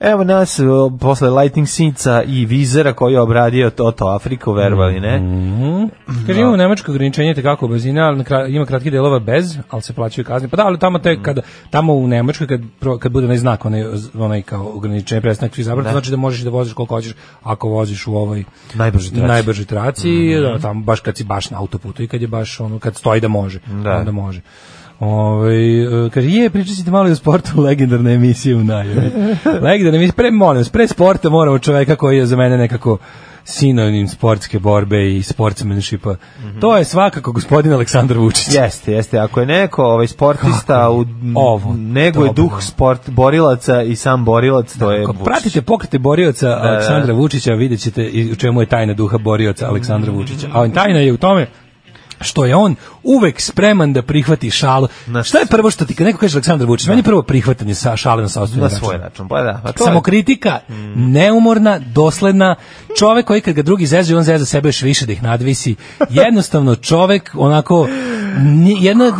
Evo nas o, posle Lightning Sinca i Vizera koji je obradio Toto Afriku, verovali ne?
Mhm. Kaže, imamo nemačko ograničenje tekako brzine, ali na kraju- ima kratki delova bez, ali se plaćaju kazne. Pa da, ali tamo, te, kada, tamo u Nemačkoj, kad, pro- kad bude onaj znak, onaj, onaj kao ograničenje prestanak svih zabrana, to znači da možeš da voziš koliko hoćeš ako voziš u ovaj ovoj
Najbrži traci.
najbrži traci, da, tamo, baš kad si baš na autoputu i kad je baš ono, kad stoji da može,
Da.
onda može. Ove, kaže, je, pričat ćete malo i o sportu, (laughs) legendarna emisija u najavi. legendarna emisija, pre, molim vas, pre sporta moramo čoveka koji je za mene nekako sinonim sportske borbe i sportsmenshipa. To je svakako gospodin Aleksandar Vučić.
Jeste, jeste. Ako je neko ovaj sportista u
Ovo,
nego je
dobro.
duh sport borilaca i sam borilac, to je
Ako
Vučić.
pratite pokrete borioca Aleksandra Vučića, vidjet ćete i u čemu je tajna duha borioca Aleksandra Vučića. A tajna je u tome što je on uvek spreman da prihvati šalu. Šta je prvo što ti, kad neko kaže Aleksandar Vučić, meni je prvo prihvatanje sa šale na sopstveni
na
račun.
svoj račun. Pa da, pa to je- Mm.
Samokritika, neumorna, dosledna, čovek koji kad ga drugi zezaju, on zeza sebe još više da ih nadvisi. Jednostavno čovek onako ni- jedna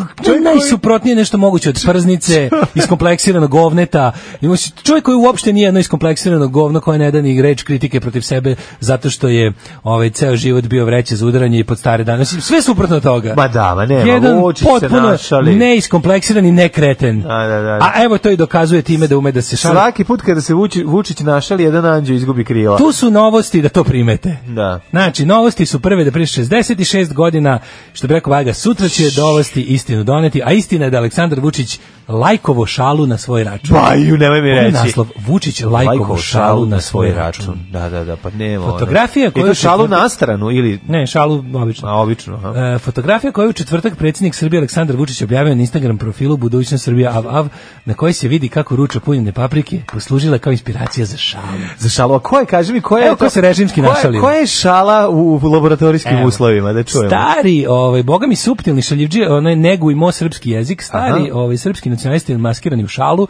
najsuprotnije nešto moguće od
(laughs)
prznice, iskompleksiranog govneta. Ima si- Čovjek koji uopšte nije jedno iskompleksirano govno koje ne da ni reč kritike protiv sebe zato što je ovaj ceo život bio vreće za udaranje i pod stare dane. Mislim, Sve suprotno od toga.
(laughs) Ma da, ma nema,
Jedan
Vučić se
potpuno
našali.
neiskompleksiran i nekreten.
Da, da, da.
A evo to i dokazuje time da ume da se šali.
Svaki put kada se Vuči, Vučić našali, jedan anđeo izgubi
(laughs)
krila.
Tu su novosti da to primete.
Da.
Znači, novosti su prve da prije 66 godina, što bi rekao Vaga, sutra će će dovesti istinu doneti, a istina je da Aleksandar Vučić lajkovo šalu na svoj račun.
Pa ju nemoj mi
Ovo je
reći.
naslov, Vučić lajkovo, šalu na svoj račun.
Da, da, da, pa nema. ono.
Fotografija koju
I to
se-
šalu na stranu ili
Ne, šalu obično.
a, obično, aha.
E, fotografija koju je u četvrtak predsjednik Srbije Aleksandar Vučić objavio na Instagram profilu Budućnost Srbija av av, na kojoj se vidi kako ruča punjene paprike poslužila kao inspiracija za šalu.
Za šalu, a ko je, kaži mi, ko je
Evo, ko
to-
se režimski
ko je-
našalio.
Ko je šala u, u laboratorijskim
Evo.
uslovima, da čujemo.
Stari, ovaj boga mi suptilni šaljivdži, onaj negujmo srpski jezik, stari,
Aha. Mhm.
ovaj srpski nacionalisti maskirani u šalu,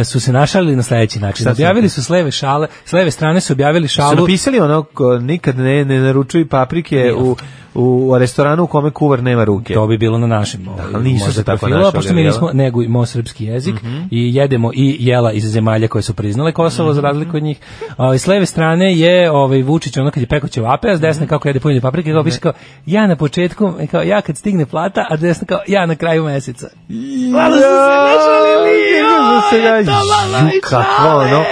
e, su se našalili na sledeći način.
Šta su
objavili su s leve šale, s leve strane su objavili
Su
šalu.
napisali ono, ko- nikad ne, ne naručuju paprike u, u restoranu u kome kuvar nema ruke.
To bi bilo na našem. ovaj, Da,
ali nisu se tako našali,
Pošto mi
jel? Mhm.
nismo negujmo srpski jezik i jedemo i jela iz zemalja koje su priznale Kosovo
Mhm.
za razliku od njih. Ovaj s leve strane je ovaj Vučić ono kad je peko ćevape, a s
Mhm.
desne kako jede punjene paprike, kao piše kao ja na početku, kao ja kad stigne plata, a desna kao ja na kraju meseca. Malo su se našalili,
Kako se
joj,
ja-
to malo i
Ju, kakva
šale.
ono,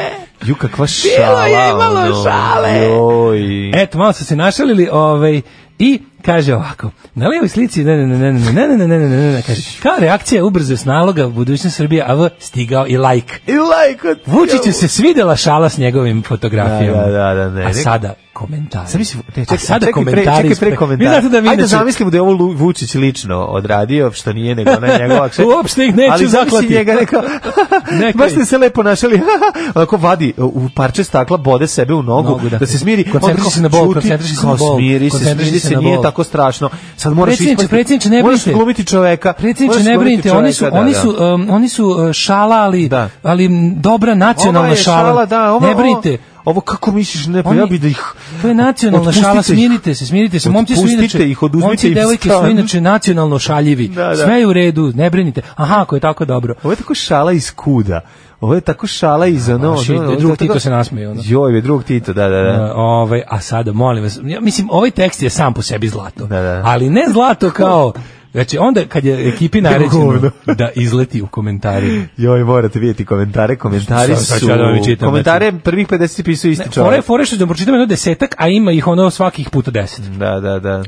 ju, kakva šala.
Bilo je i malo
ono,
šale.
Joj.
Eto, malo su se našalili, ovaj, i kaže ovako, na levoj slici, ne, ne, ne, ne, ne, ne, ne, ne, ne, ne, ne, ne, kaže, kao reakcija ubrzo s naloga budućnost Srbije, a v stigao i like.
I lajko.
Vučiću se svidela šala s njegovim fotografijama.
Da, da, da, ne,
A
ne.
sada komentari.
Sad mislim, ne,
a
čekaj,
sada
čekaj,
komentari.
pre, čekaj pre
ispred-
komentara.
Vi znate da vi
Ajde
inače-
zamislimo da je ovo Lu- Vučić lično odradio, što nije nego ona njegova kćer.
(laughs) Uopšte ih neću
Ali zamisli
zaklati.
njega neka,
(laughs) Ne,
(laughs) baš
krij.
ste se lepo našali, (laughs) onako vadi u parče stakla, bode sebe u nogu,
Nogu, da.
da. se smiri.
Koncentriši
onda kao
se na bol,
ćuti,
koncentriši se
kao
na bol,
Smiri se,
koncentriši
smiri
se
se,
na
nije
bol.
tako strašno. Sad moraš
Predsjedniče,
ispasti-
predsjedniče, ne
moraš
brinite.
glumiti čoveka.
Predsjedniče,
moraš
ne
glumiti
brinite, oni su,
čoveka, da,
oni
da.
su, um, oni su uh, šala, ali,
Da.
ali m, dobra nacionalna
Ova je šala, da, ova,
ne
ovo-
brinite.
Ovo kako misliš, ne, pa
Oni-
ja bi da ih...
To je nacionalna
Otpustite
šala,
ih.
smirite se, smirite se. Momci su
Otpustite
inače,
ih, oduzmite
momci i
im
devojke su
stan.
inače nacionalno šaljivi.
Da, da.
Sve je u redu, ne brinite. Aha, ako je tako dobro.
Ovo je tako šala iz kuda. Ovo je tako šala iz ono...
baš i
ono, ovo je
drug
tako-
Tito se nasmeje, ono.
Joj, drug Tito, da, da, da.
E, ovaj, a sada, molim vas, ja, mislim, ovaj tekst je sam po sebi zlato.
Da, da.
Ali ne zlato kao... Znači, onda kad je ekipi naređeno
govno.
da izleti u komentari.
Joj, morate vidjeti komentare, komentari
Sad- sad
su...
ću ja da vam čitam,
komentare prvih 50 pisao
Ne,
isti
Fore,
(laughs) čovjek.
fore što da pročitam jedno desetak, a ima ih ono svakih puta deset.
Da, da, da.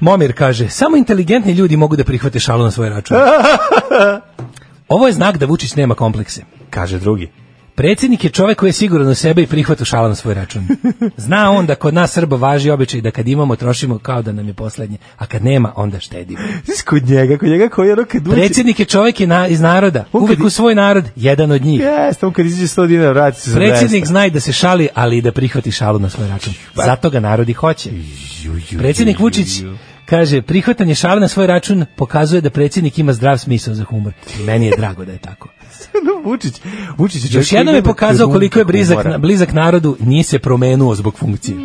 Momir kaže, samo inteligentni ljudi mogu da prihvate šalu na svoj
(laughs)
račun. Ovo je znak da Vučić nema komplekse.
Kaže drugi.
Predsjednik je čovjek koji je siguran u sebe i prihvata šala na svoj račun. Zna on da kod nas Srba važi običaj da kad imamo trošimo kao da nam je poslednje, a kad nema onda štedimo.
Znaš, kod njega, kod njega koji je ono kad uđe...
Predsjednik je čovjek je na- iz naroda,
On
uvijek
kad-
u svoj narod, jedan od njih.
Jeste, on kad izađe 100 dinara, vrati se za 200.
Predsjednik zna i da se šali, ali i da prihvati šalu na svoj račun. Zato ga narodi hoće. Predsjednik Vučić kaže, prihvatanje šale na svoj račun pokazuje da predsjednik ima zdrav smisao za humor. Meni je drago da je tako.
(laughs) No, Vučić, Vučić je čovjek
Još
koji
jednom je
nema
pokazao
trunke
koliko je blizak,
humora.
blizak narodu, nije se promenuo zbog
(laughs)
funkcije.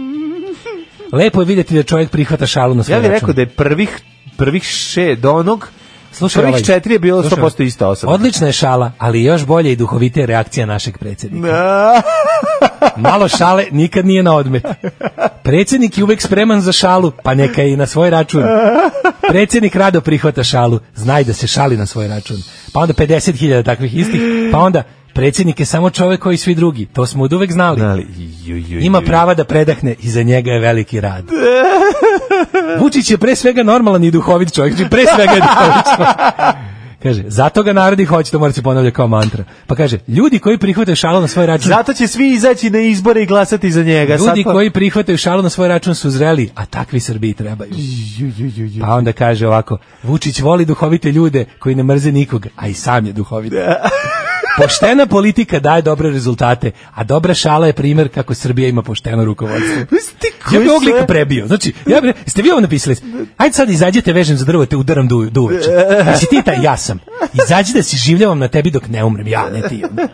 Lepo je vidjeti da čovjek prihvata šalu na svoj
Ja bih
račun.
rekao da je prvih, prvih še do onog...
Slušaj,
prvih
ovaj,
četiri je bilo
slušaj,
100% ista osoba.
Odlična je šala, ali još bolje i duhovite reakcija našeg
(laughs)
predsjednika.
A,
Malo šale nikad nije na odmet. Predsjednik je uvek spreman za šalu, pa neka je i na svoj račun. Predsjednik rado prihvata šalu, znaj da se šali na svoj račun. Pa onda 50.000 takvih istih, pa onda predsjednik je samo čovek koji svi drugi, to smo od uvek znali.
ali, ju, ju, ju,
Ima prava da predahne i za njega je veliki rad. Vučić je pre svega normalan i duhovit čovjek, znači pre svega je duhovit čovjek. Kaže, zato ga narodi hoće, to mora se ponavlja kao mantra. Pa kaže, ljudi koji prihvataju šalu na svoj račun,
Zato će svi izaći na izbore i glasati za njega.
Ljudi
Sad pa-
koji prihvataju šalu na svoj račun su zreli, a takvi Srbiji trebaju. Pa onda kaže ovako, Vučić voli duhovite ljude koji ne mrze nikog, a i sam je duhovit. (laughs) Poštena politika daje dobre rezultate, a dobra šala je primjer kako Srbija ima pošteno rukovodstvo.
Mislim, ti
Ja
koji
bi ovog
sve-
lika prebio. Znači, ja bi, ste vi ovo napisali? Ajde sad izađete, vežem za drvo, te udaram du, duveče.
(laughs)
Znači ti taj, ja sam. Izađi da si življavam na tebi dok ne umrem, ja, ne ti. ono.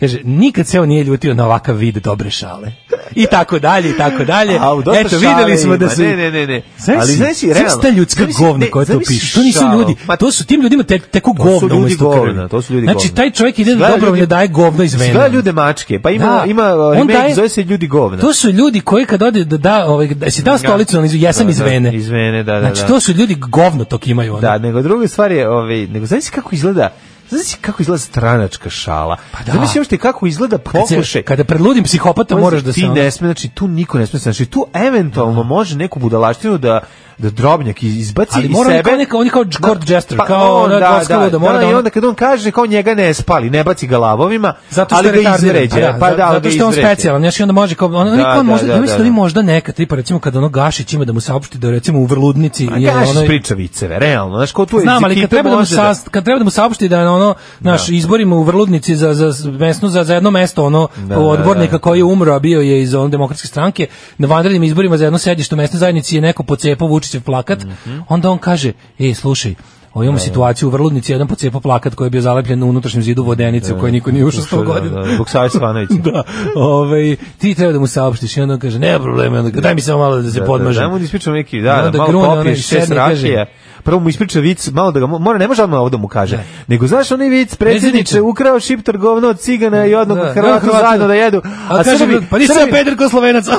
Kaže, nikad se on nije ljutio na ovakav vid dobre šale. I tako dalje, i tako dalje.
A, u dosta
Eto,
šale
videli smo da
ima.
su...
Ne, ne, ne, ne.
Znaš,
Ali,
znaš,
znači, realno,
ta ljudska
zamisli-
govna
ne,
koja to
zamisli
pišu? To nisu
šalu.
ljudi.
Ma-
to su tim ljudima te, teku
To su
govno
ljudi
umesto krvi.
govna, to su ljudi
znači,
govna.
taj čovjek ide
Izgleda
dobro,
ljudi-
daje govno iz vena.
Gleda ljude mačke, pa ima,
Da.
ima
On
remake,
daje-
zove se Ljudi govna.
To su ljudi koji kad ode da da ovaj da si dao stolicu analizu, ja sam
Da,
iz
da,
Vene.
iz Vene, da, da,
Znači
da.
to su ljudi govno tok imaju ono.
Da, nego druga stvar je, ovaj, nego znaš kako izgleda Znaš kako izgleda stranačka šala? Pa
da. Pa
Znaš još ti kako izgleda
Kad se-
pokušaj.
kada pred ludim psihopata
Pazi,
moraš da se
ti
ono-
ne sme znači tu niko ne sme znači tu eventualno može neku budalaštinu da da drobnjak iz- izbaci
Ali
iz
mora on
sebe. pa
kao neka- on je kao court jester, kao
on,
ona dvorska luda, mora da
i
ono-
onda kad on kaže kao njega ne spali, ne baci ga lavovima,
Zato što
ali
je
ga
retardiran.
izvređa.
Da,
pa
za-
da, ali
zato
ga
što je on
izvređa.
specijalan. Znači onda može kao on, on,
Da,
on
da,
možda,
da,
ja mislim da
da.
oni možda nekad, tipa recimo kad ono Gašić ima da mu saopšti da je, recimo u Vrludnici
A
je
kažeš
ono
priča viceve, realno. Znaš, kao tu je
Znam, ali
ekipa
kad treba da mu
može da-
sa, kad treba da mu saopšti da je ono naš izborima u Vrludnici za za mesno za, za jedno mesto ono
da,
odbornika
da.
koji je umro a bio je iz ono demokratske stranke na vanrednim izborima za jedno sedište u mesnoj zajednici je neko pocepao Vučićev plakat
Mhm.
onda on kaže ej slušaj Ovo imamo situaciju u Vrludnici, jedan pocepao plakat koji je bio zalepljen na unutrašnjem zidu vodenice u kojoj niko nije ušao 100 godina.
Da, da, Zbog Save Svanovića.
(laughs) da, ovaj, ti treba da mu saopštiš i onda on kaže, nema problema, onda, daj mi samo malo da se podmažem.
Da, da mu ispričam neki,
I
da,
onda
da malo
grune, onaj,
popije šest
sedne i kaže-
rakija. Prvo mu ispriča vic, malo da ga mo- mora, ne može odmah ovo da mu kaže. Nego znaš onaj vic, predsjedniče,
Predsjedniče.
ukrao šiptar govno od cigana i odnog
Da,
Hrvata
Hrvata.
zajedno da jedu.
A, kaže,
Srbi-
pa nisi
Srbi-
ja peder ko slovenac.
Da,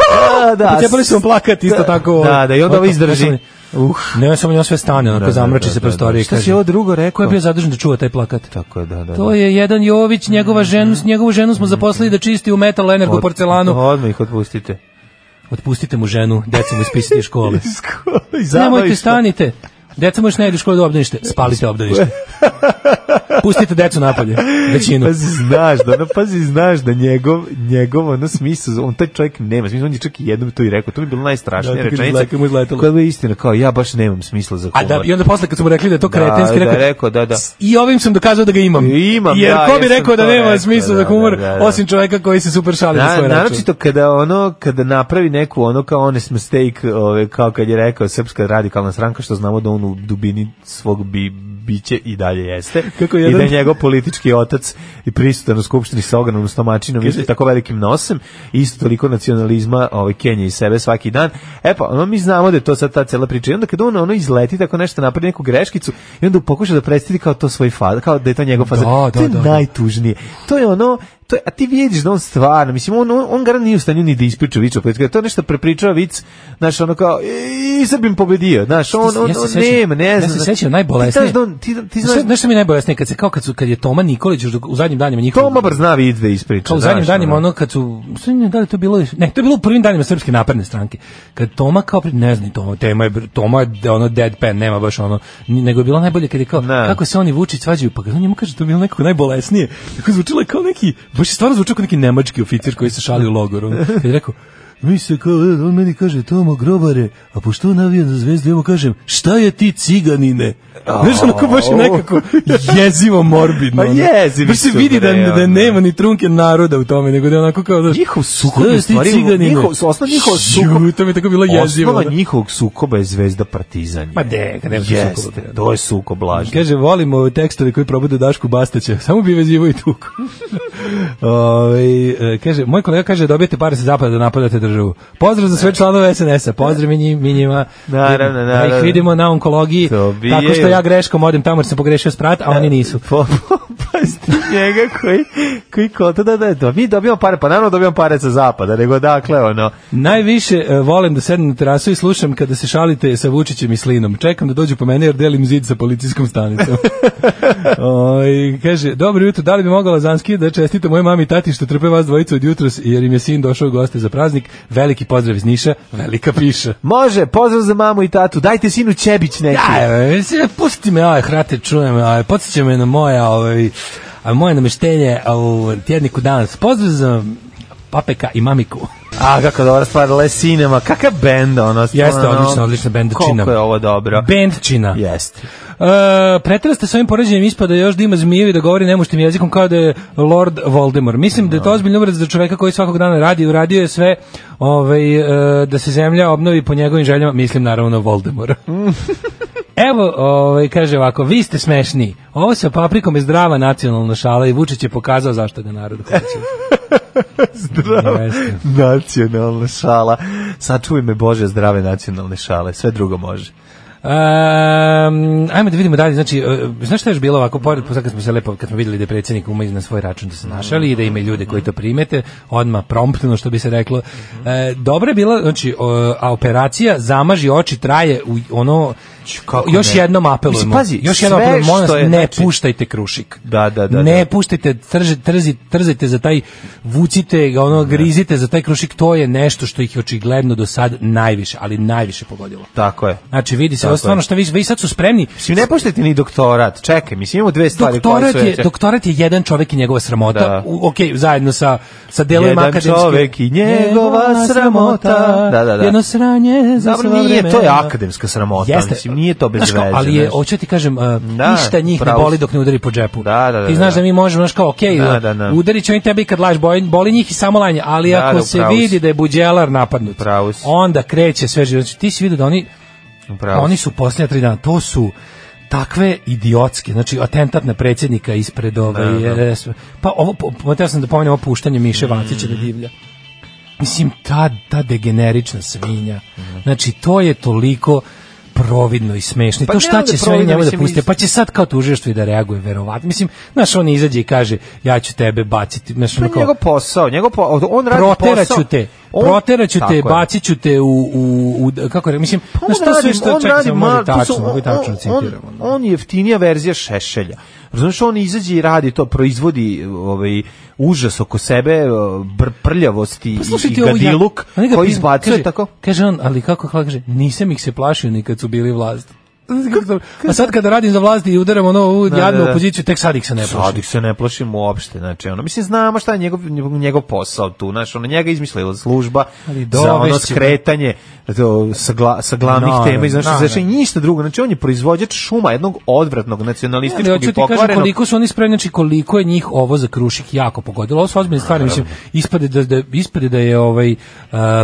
(laughs)
da.
Pocepali su vam plakat isto
Da,
tako.
da, da, i onda ovo
Oto,
izdrži.
znaš, ono, Ne, samo njom sve stane, onako
Da, da,
zamrači
da,
se
da, da.
prostorije. i
Šta si
kaže,
ovo drugo rekao?
Ko je bio zadužen da čuva taj plakat?
Tako je, da, da.
To
da.
je jedan Jović, njegova ženu, njegovu ženu smo zaposlili da čisti u metal energu
Od-
porcelanu.
Odmah ih otpustite.
Otpustite mu ženu, deca mu ispisati iz
(laughs)
škole.
I
Nemojte,
zabavište.
stanite. Deca mu još ne idu u školu da obdanište. Spalite
(laughs)
obdanište. Pustite decu napolje, većinu.
Pazi, znaš da, no, pazi, znaš da njegov, njegov, ono smisao, on taj čovjek nema smisla, on je čak i jednom to i rekao, to mi je bilo najstrašnija
Da, to kad
rečenica,
izleka mu izletelo.
koja je istina, kao ja baš nemam smisla za
A
humor.
da, i onda posle kad su mu rekli da je to
Da,
kretenski,
da,
rekao,
rekao, da, da.
"S- I ovim sam dokazao da ga imam.
I imam,
Jer
da,
ko bi
jesam
rekao da
to
nema
rekao,
smisla za
da,
humor,
da, da, da.
osim čoveka koji se super šali na
Na,
svoj račun.
naročito kada ono kada napravi neku ono kao honest mistake ove, kao kad je rekao srpska radikalna stranka što znamo da on u dubini svog bi, biće i dalje jeste
Kako
i da
jedan-
je njegov politički otac i prisutan u skupštini sa ogromnom stomačinom i tako velikim nosem i isto toliko nacionalizma ovaj Kenje i sebe svaki dan e pa ono mi znamo da je to sad ta cela priča i onda kada on ono izleti tako nešto napravi neku greškicu i onda pokuša da predstavi kao to svoj faz kao da je to njegov faz
Da,
to je
da, da, da.
najtužnije. To je ono, to je, a ti vidiš da on stvarno, mislim, on, on, on garant nije u stanju ni da ispriča vič, opet, to je nešto prepričava vic, znaš, ono kao, i Srbim pobedio, znaš, on, on, on,
Ja se sećam-
nema, ne
ja
znam.
se
znaš.
sećam
Ti znaš,
najbolesnije.
da on, ti, ti
Znaš,
znaš,
znaš šta mi je najbolesnije? Kad se kao kad, su, kad je Toma Nikolić još u zadnjim danima njihovog...
Toma bar zna vid da ispriča.
Kao u
znaš,
zadnjim danima
ono.
ono kad su mislim da li je to bilo ne to je bilo u prvim danima srpske napredne stranke kad Toma kao pri- ne znam Toma tema je br- Toma je de- ono deadpan nema baš ono ni- nego je bilo najbolje kad je kao
Ne.
kako se oni Vučić svađaju pa kad on njemu kaže to je bilo nekako najbolesnije tako zvučilo je kao neki baš je stvarno zvučilo kao neki nemački oficir koji se šali u logoru ono. kad je rekao Mi se kao, e, on meni kaže, Tomo grobare, a pošto on navija za zvezdu, ja mu kažem, šta je ti ciganine? Znaš, onako baš je nekako jezivo morbidno.
Pa
ono.
jezivi
Baš se
su,
vidi da,
bre,
da
ono.
nema ni trunke naroda u tome, nego da je onako kao da...
Njihov sukob je
Šta
u
si ti
stvari-
ciganine?
njihov- osnov njihovog sukoba-
Ju, to mi je tako bilo jezivo.
ono, Osnova
da.
njihovog sukoba je zvezda Partizan.
Ma de, kad nema tu
Jeste,
sukoba.
to je sukob lažni.
Kaže, volimo ove tekstove koji probude Dašku Bastaća. (laughs) Samo bi vezivo i
(laughs)
tuku. Ove, e, kaže, moj kolega kaže, dobijete pare sa zapada da napadate državu. Pozdrav za sve članove SNS-a. Pozdrav mi njim- mi njima.
Naravno,
Da ih
naravno.
vidimo na onkologiji.
Dobijaju.
Tako što ja greškom odem tamo jer sam pogrešio sprat, a oni nisu.
Po, po, (laughs) pa sti njega koji, koji konta da, da, da, mi dobijamo pare, pa naravno dobijamo pare sa zapada, nego dakle, ono,
Najviše e, volim da sedem na terasu i slušam kada se šalite sa Vučićem i Slinom. Čekam da dođu po mene jer delim zid sa policijskom
(laughs)
stanicom. Oj, kaže, dobro jutro, da li bi mogla Zanski da čestite moje mami i tati što trpe vas dvojicu od jutros jer im je sin došao u goste za praznik. Veliki pozdrav iz Niša, velika piša.
Može, pozdrav za mamu i tatu, dajte sinu Čebić neki.
Ja, evo, se, e, pusti me, aj, hrate, čujem, aj, podsjeća me na moje, ovaj, a moje nameštenje a, u tjedniku danas. Pozdrav za papeka i mamiku.
A, kako dobra stvar, Lesinema, kakav bend, ono, stvarno.
Jeste odlična, odlična bendačina.
Koliko je ovo dobro.
Bendčina.
Jeste.
E, pretera ste s ovim poređenjem ispada još da ima zmijevi da govori nemuštim jezikom kao da je Lord Voldemort. Mislim da je to ozbiljno uvreda za čoveka koji svakog dana radi i uradio je sve ovaj, e, da se zemlja obnovi po njegovim željama. Mislim naravno na Voldemora. Evo, ovaj, kaže ovako, vi ste smešni. Ovo sa paprikom je zdrava nacionalna šala i Vučić je pokazao zašto ga narod hoće.
Zdrava
Jeste.
nacionalna šala. Sačuvaj me, Bože, zdrave nacionalne šale, sve drugo može.
Um, ajmo da vidimo dalje, znači, uh, znaš šta je još bilo ovako, pored, sad kad smo se lepo, kad smo vidjeli da je predsjednik umeđi na svoj račun da se našali i da ima ljude koji to primete, odmah promptno, što bi se reklo. E, dobra je bila, znači, o, a operacija zamaži oči traje u ono, još
ne?
jednom apelujemo.
Mislim, pazi,
još jednom
sve
apelujemo, molim vas,
što je,
ne
znači-
puštajte krušik.
Da, da, da.
ne
da.
puštajte, trži, trzi, trzajte za taj, vucite ga, ono, grizite za taj krušik, to je nešto što ih je očigledno do sad najviše, ali najviše pogodilo.
Tako je.
Znači vidi se,
Tako
ovo
je.
stvarno što vi, vi sad su spremni.
Mislim, ne poštete ni doktorat. Čekaj, mislim, imamo dve stvari
Doktorat
koje su...
je, doktorat je jedan čovjek i njegova sramota.
Da.
U, ok, zajedno sa, sa delovima
Jedan
akademske.
čovek i njegova sramota. Da, da, da.
Jedno sranje za
Dobro,
sva
nije, to je
vremena.
akademska sramota.
Jeste.
Mislim, nije to bez
Znaš kao,
veze.
ali je,
znaš.
hoću ti kažem, uh,
Da,
ništa njih ne
pravo
boli
si.
dok ne udari po džepu.
Da, da, da,
ti znaš da,
da.
mi možemo, znaš kao, ok,
Da, da, da.
udarit će oni tebi kad laž, boli, boli njih i samo lanje, ali
Da,
ako
da,
se
pravo si.
vidi da je buđelar napadnut,
Pravo si.
onda kreće sve živo. Znači, ti si vidio da oni,
Pravo
oni
si.
su posljednja tri dana, to su takve idiotske, znači atentat na predsjednika ispred ove, RS. pa ovo, po- po- teo sam da pomenem ovo puštanje
Mm.
Miše Vacića da divlja. Mislim, ta, ta degenerična svinja,
Mm.
znači to je toliko providno i smešno. I
Pa
to
ne,
šta
ali
će sve
providno,
oni njemu da
mislim,
puste?
iz-
Pa će sad kao tužilaštvo i da reaguje, verovatno. Mislim, znaš, on izađe i kaže, ja ću tebe baciti. Znaš,
To
ono
je
kao,
Pa njegov posao. Njegov po, on radi posao.
proteraću te,
On-
proteraću
Tako
te,
je.
bacit ću te u, u, u kako rekao, mislim,
Pa on
znaš, to sve
radi-
što
on
čekaj,
radi
samo mogu
mal-
i
to su-
tačno, mogu i tačno ono.
on- on-
citiramo. da.
On je jeftinija verzija šešelja. Razumeš, on izađe i radi to, proizvodi ovaj, užas oko sebe, br prljavost i,
Pa slušaj
i
ti ovo, ja-
gadiluk
oni ga
koji
pita-
izbacuje
kaže-
tako.
Kaže on, ali kako hvala, kaže, nisam ih se plašio ni kad su bili vlast. A sad kada radim za vlast i udaram ono ovu
Da,
jadnu
da, da.
opoziciju, tek sad ih se ne plašim.
Sad ih se ne plašim uopšte, znači ono, mislim znamo šta je njegov, njegov posao tu, znači ono njega je izmislila služba
Ali
za ono
dovešće,
skretanje to, sa, gla, sa glavnih
Naravno,
tema i znači,
naravno.
znači ništa drugo, znači on je proizvođač šuma jednog odvratnog
Ali
nacionalističkog
hoću
i
ti kažem
pokvarenog
koliko su oni spremni, znači koliko je njih ovo za krušik jako pogodilo. Ovo su ozbiljne stvari, mislim, ispade da, da, ispade da je ovaj, uh,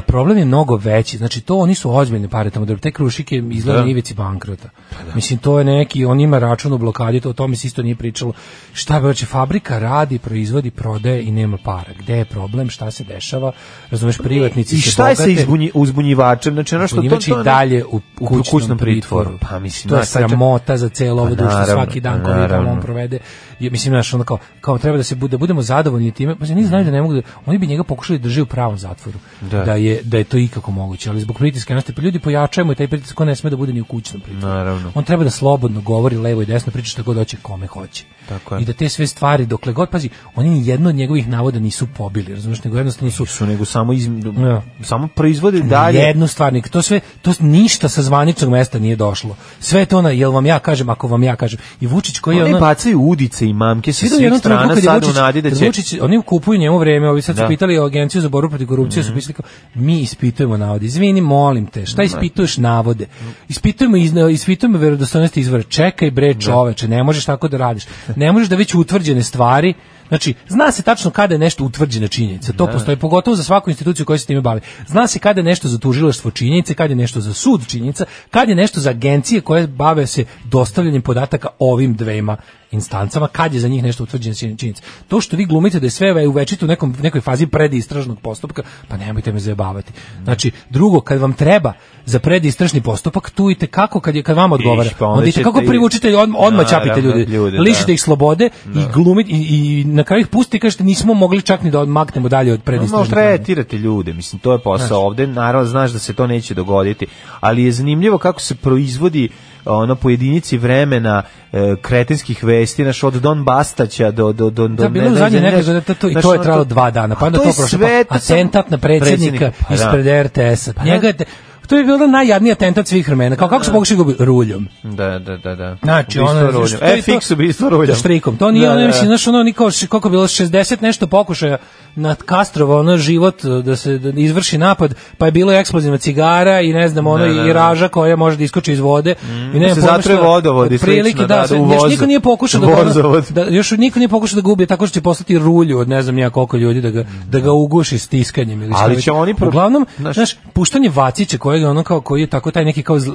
problem je mnogo veći. Znači to oni su ozbiljne pare tamo, da te krušik je izgleda
Da. Pa
na ivici bankrota. Mislim, to je neki, on ima račun u blokadi, to o tome se isto nije pričalo. Šta bi, znači, fabrika radi, proizvodi, prodaje i nema para. Gde je problem, šta se dešava, razumeš, privatnici
I
se
šta je sa
bogate.
izbunji, uzbunjivačem? Znači, ono što to,
Bunjevač
to,
i dalje u, u kućnom, pritvoru.
Pa mislim,
to je
znaš, sad će-
sramota za celo ovo
Pa,
društvo
naravno,
svaki dan koji tamo on
naravno.
provede. I, mislim naš ono kao kao treba da se bude da budemo zadovoljni time. Pa ne znaju da ne mogu da, oni bi njega pokušali da drži u pravom zatvoru. Da.
Da.
je da je to ikako moguće, ali zbog pritiska nas pa ljudi pojačajemo i taj pritisak on ne sme da bude ni u kućnom pritvoru.
Naravno.
On treba da slobodno govori levo i desno, priča šta god hoće kome hoće.
Tako je.
I da te sve stvari dokle god pazi, oni ni jedno od njegovih navoda nisu pobili, razumeš, nego jednostavno su
su nego samo iz,
Ja.
samo proizvode
dalje.
dalje.
jednu stvar, nik- to sve, to ništa sa zvaničnog mesta nije došlo. Sve je to na, jel vam ja kažem, ako vam ja kažem. I Vučić koji je
Oni
ono...
bacaju udice i mamke sa
Vidio u
svih
jednom
strana
trenutku kad je
sad u
Vučić,
nadi da
kad
će...
Vučić, oni kupuju njemu vreme, ovi sad su
Da. Mhm.
pitali agenciju za borbu protiv korupcije, su pisali kao, mi ispitujemo navode, izvini, molim te, šta ispituješ navode? Ispitujemo, iz, ispitujemo verodostojnosti izvora, čekaj bre čoveče, ne možeš tako da radiš, ne možeš da već utvrđene stvari, Znači, zna se tačno kada je nešto utvrđena činjenica. To postoji pogotovo za svaku instituciju koja se time bavi. Zna se kada je nešto za tužilaštvo činjenice, kada je nešto za sud činjenica, kada je nešto za agencije koje bave se dostavljanjem podataka ovim dvema instancama, kad je za njih nešto utvrđena čin- činjenica. To što vi glumite da je sve u večitu u nekom, nekoj fazi predistražnog postupka, pa nemojte me zajebavati. Znači, drugo, kad vam treba za predistražni postupak, tu i kako kad, je, kad vam odgovara,
pa onda
onda, i kako
ćete i-
privučite, od, odmah
Naravno,
ćapite ljude,
ljude, da.
lišite ih slobode i glumite i, i na kraju ih pustite i kažete nismo mogli čak ni da odmaknemo dalje od
No, Možda
predistražnog. plana.
tretirate ljude, mislim, to je posao ovdje ovde, naravno znaš da se to neće dogoditi, ali je zanimljivo kako se proizvodi ono po jedinici vremena e, kretenskih vesti, naš od Don Bastaća do do do do
Da, bilo je u zadnje nekako, da to- to- i
znaš,
to je
ono,
trajalo dva dana, pa
A
onda
je
to prošlo, pa
sve, to sam-
atentat na predsjednika
pa da.
ispred RTS-a.
Pa
Njega je, te- to je bilo najjadniji atentat svih vremena, kao kako su pokušali ga ubi- ruljom.
Da, da, da, da.
Znači,
Ubistvo
ono,
ruljom.
što je
E,
to-
fiks ubistvo ruljom.
Štrikom. To nije,
Da,
ono,
da,
mislim,
da.
znaš, ono, niko, koliko je bilo, 60 nešto pokušaja na Kastrova, ono, život, da se da izvrši napad, pa je bilo eksplozivna cigara i ne znam, ono,
Da, da, da. Mm,
i raža koja može da iskoči iz vode. I ne
Da se zatruje vodovod i slično, da, da, u
još
vozu.
niko nije pokušao da, ono-
Vozovod.
da, još niko nije pokušao da ga ubije, tako što će poslati rulju od ne znam ja koliko ljudi da ga, da ga uguši stiskanjem. Ili šta
Ali
već.
će oni pro-
Uglavnom,
znaš-
znaš, puštanje Vacića koje kojeg ono kao koji je tako taj neki kao zl...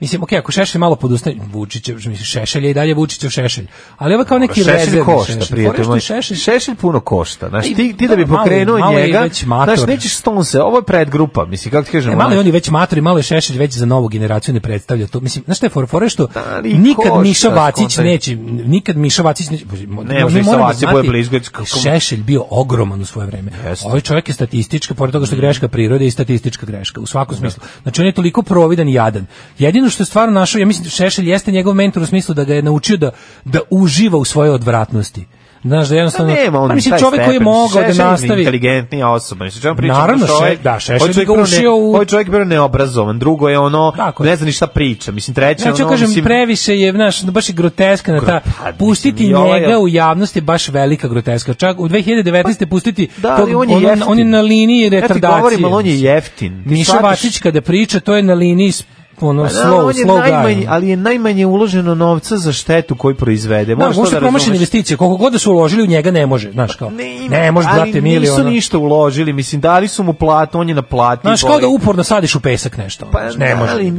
mislim okej ako Šešelj malo podustane Vučićev mislim Šešelj je i dalje Vučićev Šešelj ali ovo kao neki
Šešelj
rezervni
košta, prijatelj
Fora
moj.
što je Šešelj
Šešelj puno košta. Znaš,
I
ti, ti da
to
bi
malo-
pokrenuo
malo je
njega,
već mator.
znaš, nećeš stonse, ovo je predgrupa, mislim, kako ti kažem.
E, malo
ono-
je oni već matori, malo je Šešelj već za novu generaciju ne predstavlja to. Mislim, znaš šta je for, fora je što
Ali
nikad
košta,
Miša Vacić
skontaj.
neće, nikad Miša Vacić neće, mo-
Ne,
mo-
može
mi
i sa
moramo
Vacić
znati,
bude blizu, kako-
Šešelj bio ogroman u svoje vreme.
Jeste. Mhm.
Ovaj čovjek je statistička, pored toga što je greška prirode i statistička greška, u svakom smislu. Znači, on je toliko providan i jadan. Jedino što je stvarno našao, ja mislim, Šešelj jeste njegov mentor u smislu da ga je naučio da, da uživa u svojoj odvratnosti. Znaš, da
Pa
jednostavno...
nema, on
pa mislim,
taj
čovjek koji je
stepen.
mogao da
Šešelj je
nastavi...
inteligentnija osoba. Mislim, čemu pričam?
Naravno,
Ovo čovjek-
Še- da, Šešelj
ovo
bi
čovjek
ga
prvo
ušio u-
Ovo je čovjek bio neobrazovan, drugo je ono,
Tako je.
ne zna ni šta priča. Mislim, treće,
Znači, Ja ću
ono,
kažem,
mislim,
previše je, znaš, ono, baš je groteska na ta,
Gro- pa,
pustiti
mislim, i ovaj-
njega u javnosti je baš velika groteska. Čak u 2019. pustiti,
Pa, da,
tog,
ali on je jeftin.
on je na liniji
Ja ti
retardacije.
govorim, ali on je jeftin. Ti
Miša
shvataš-
Vačić kada priča, to je na liniji s- ono,
Pa da,
slow,
on je
slow guy. ono.
najmanje, ali je najmanje uloženo novca za štetu koju proizvede.
Da,
Možeš to
možda
da
promašene
razumeš.
investicije, koliko god da su uložili u njega ne može, znaš kao. Ne,
ima,
može
ali
brate mili
nisu
ono.
ništa uložili, mislim, dali su mu platu, on je naplatio.
Znaš, kao da
boli.
uporno sadiš u pesak nešto. ono,
Pa,
znaš, ne može.
ali,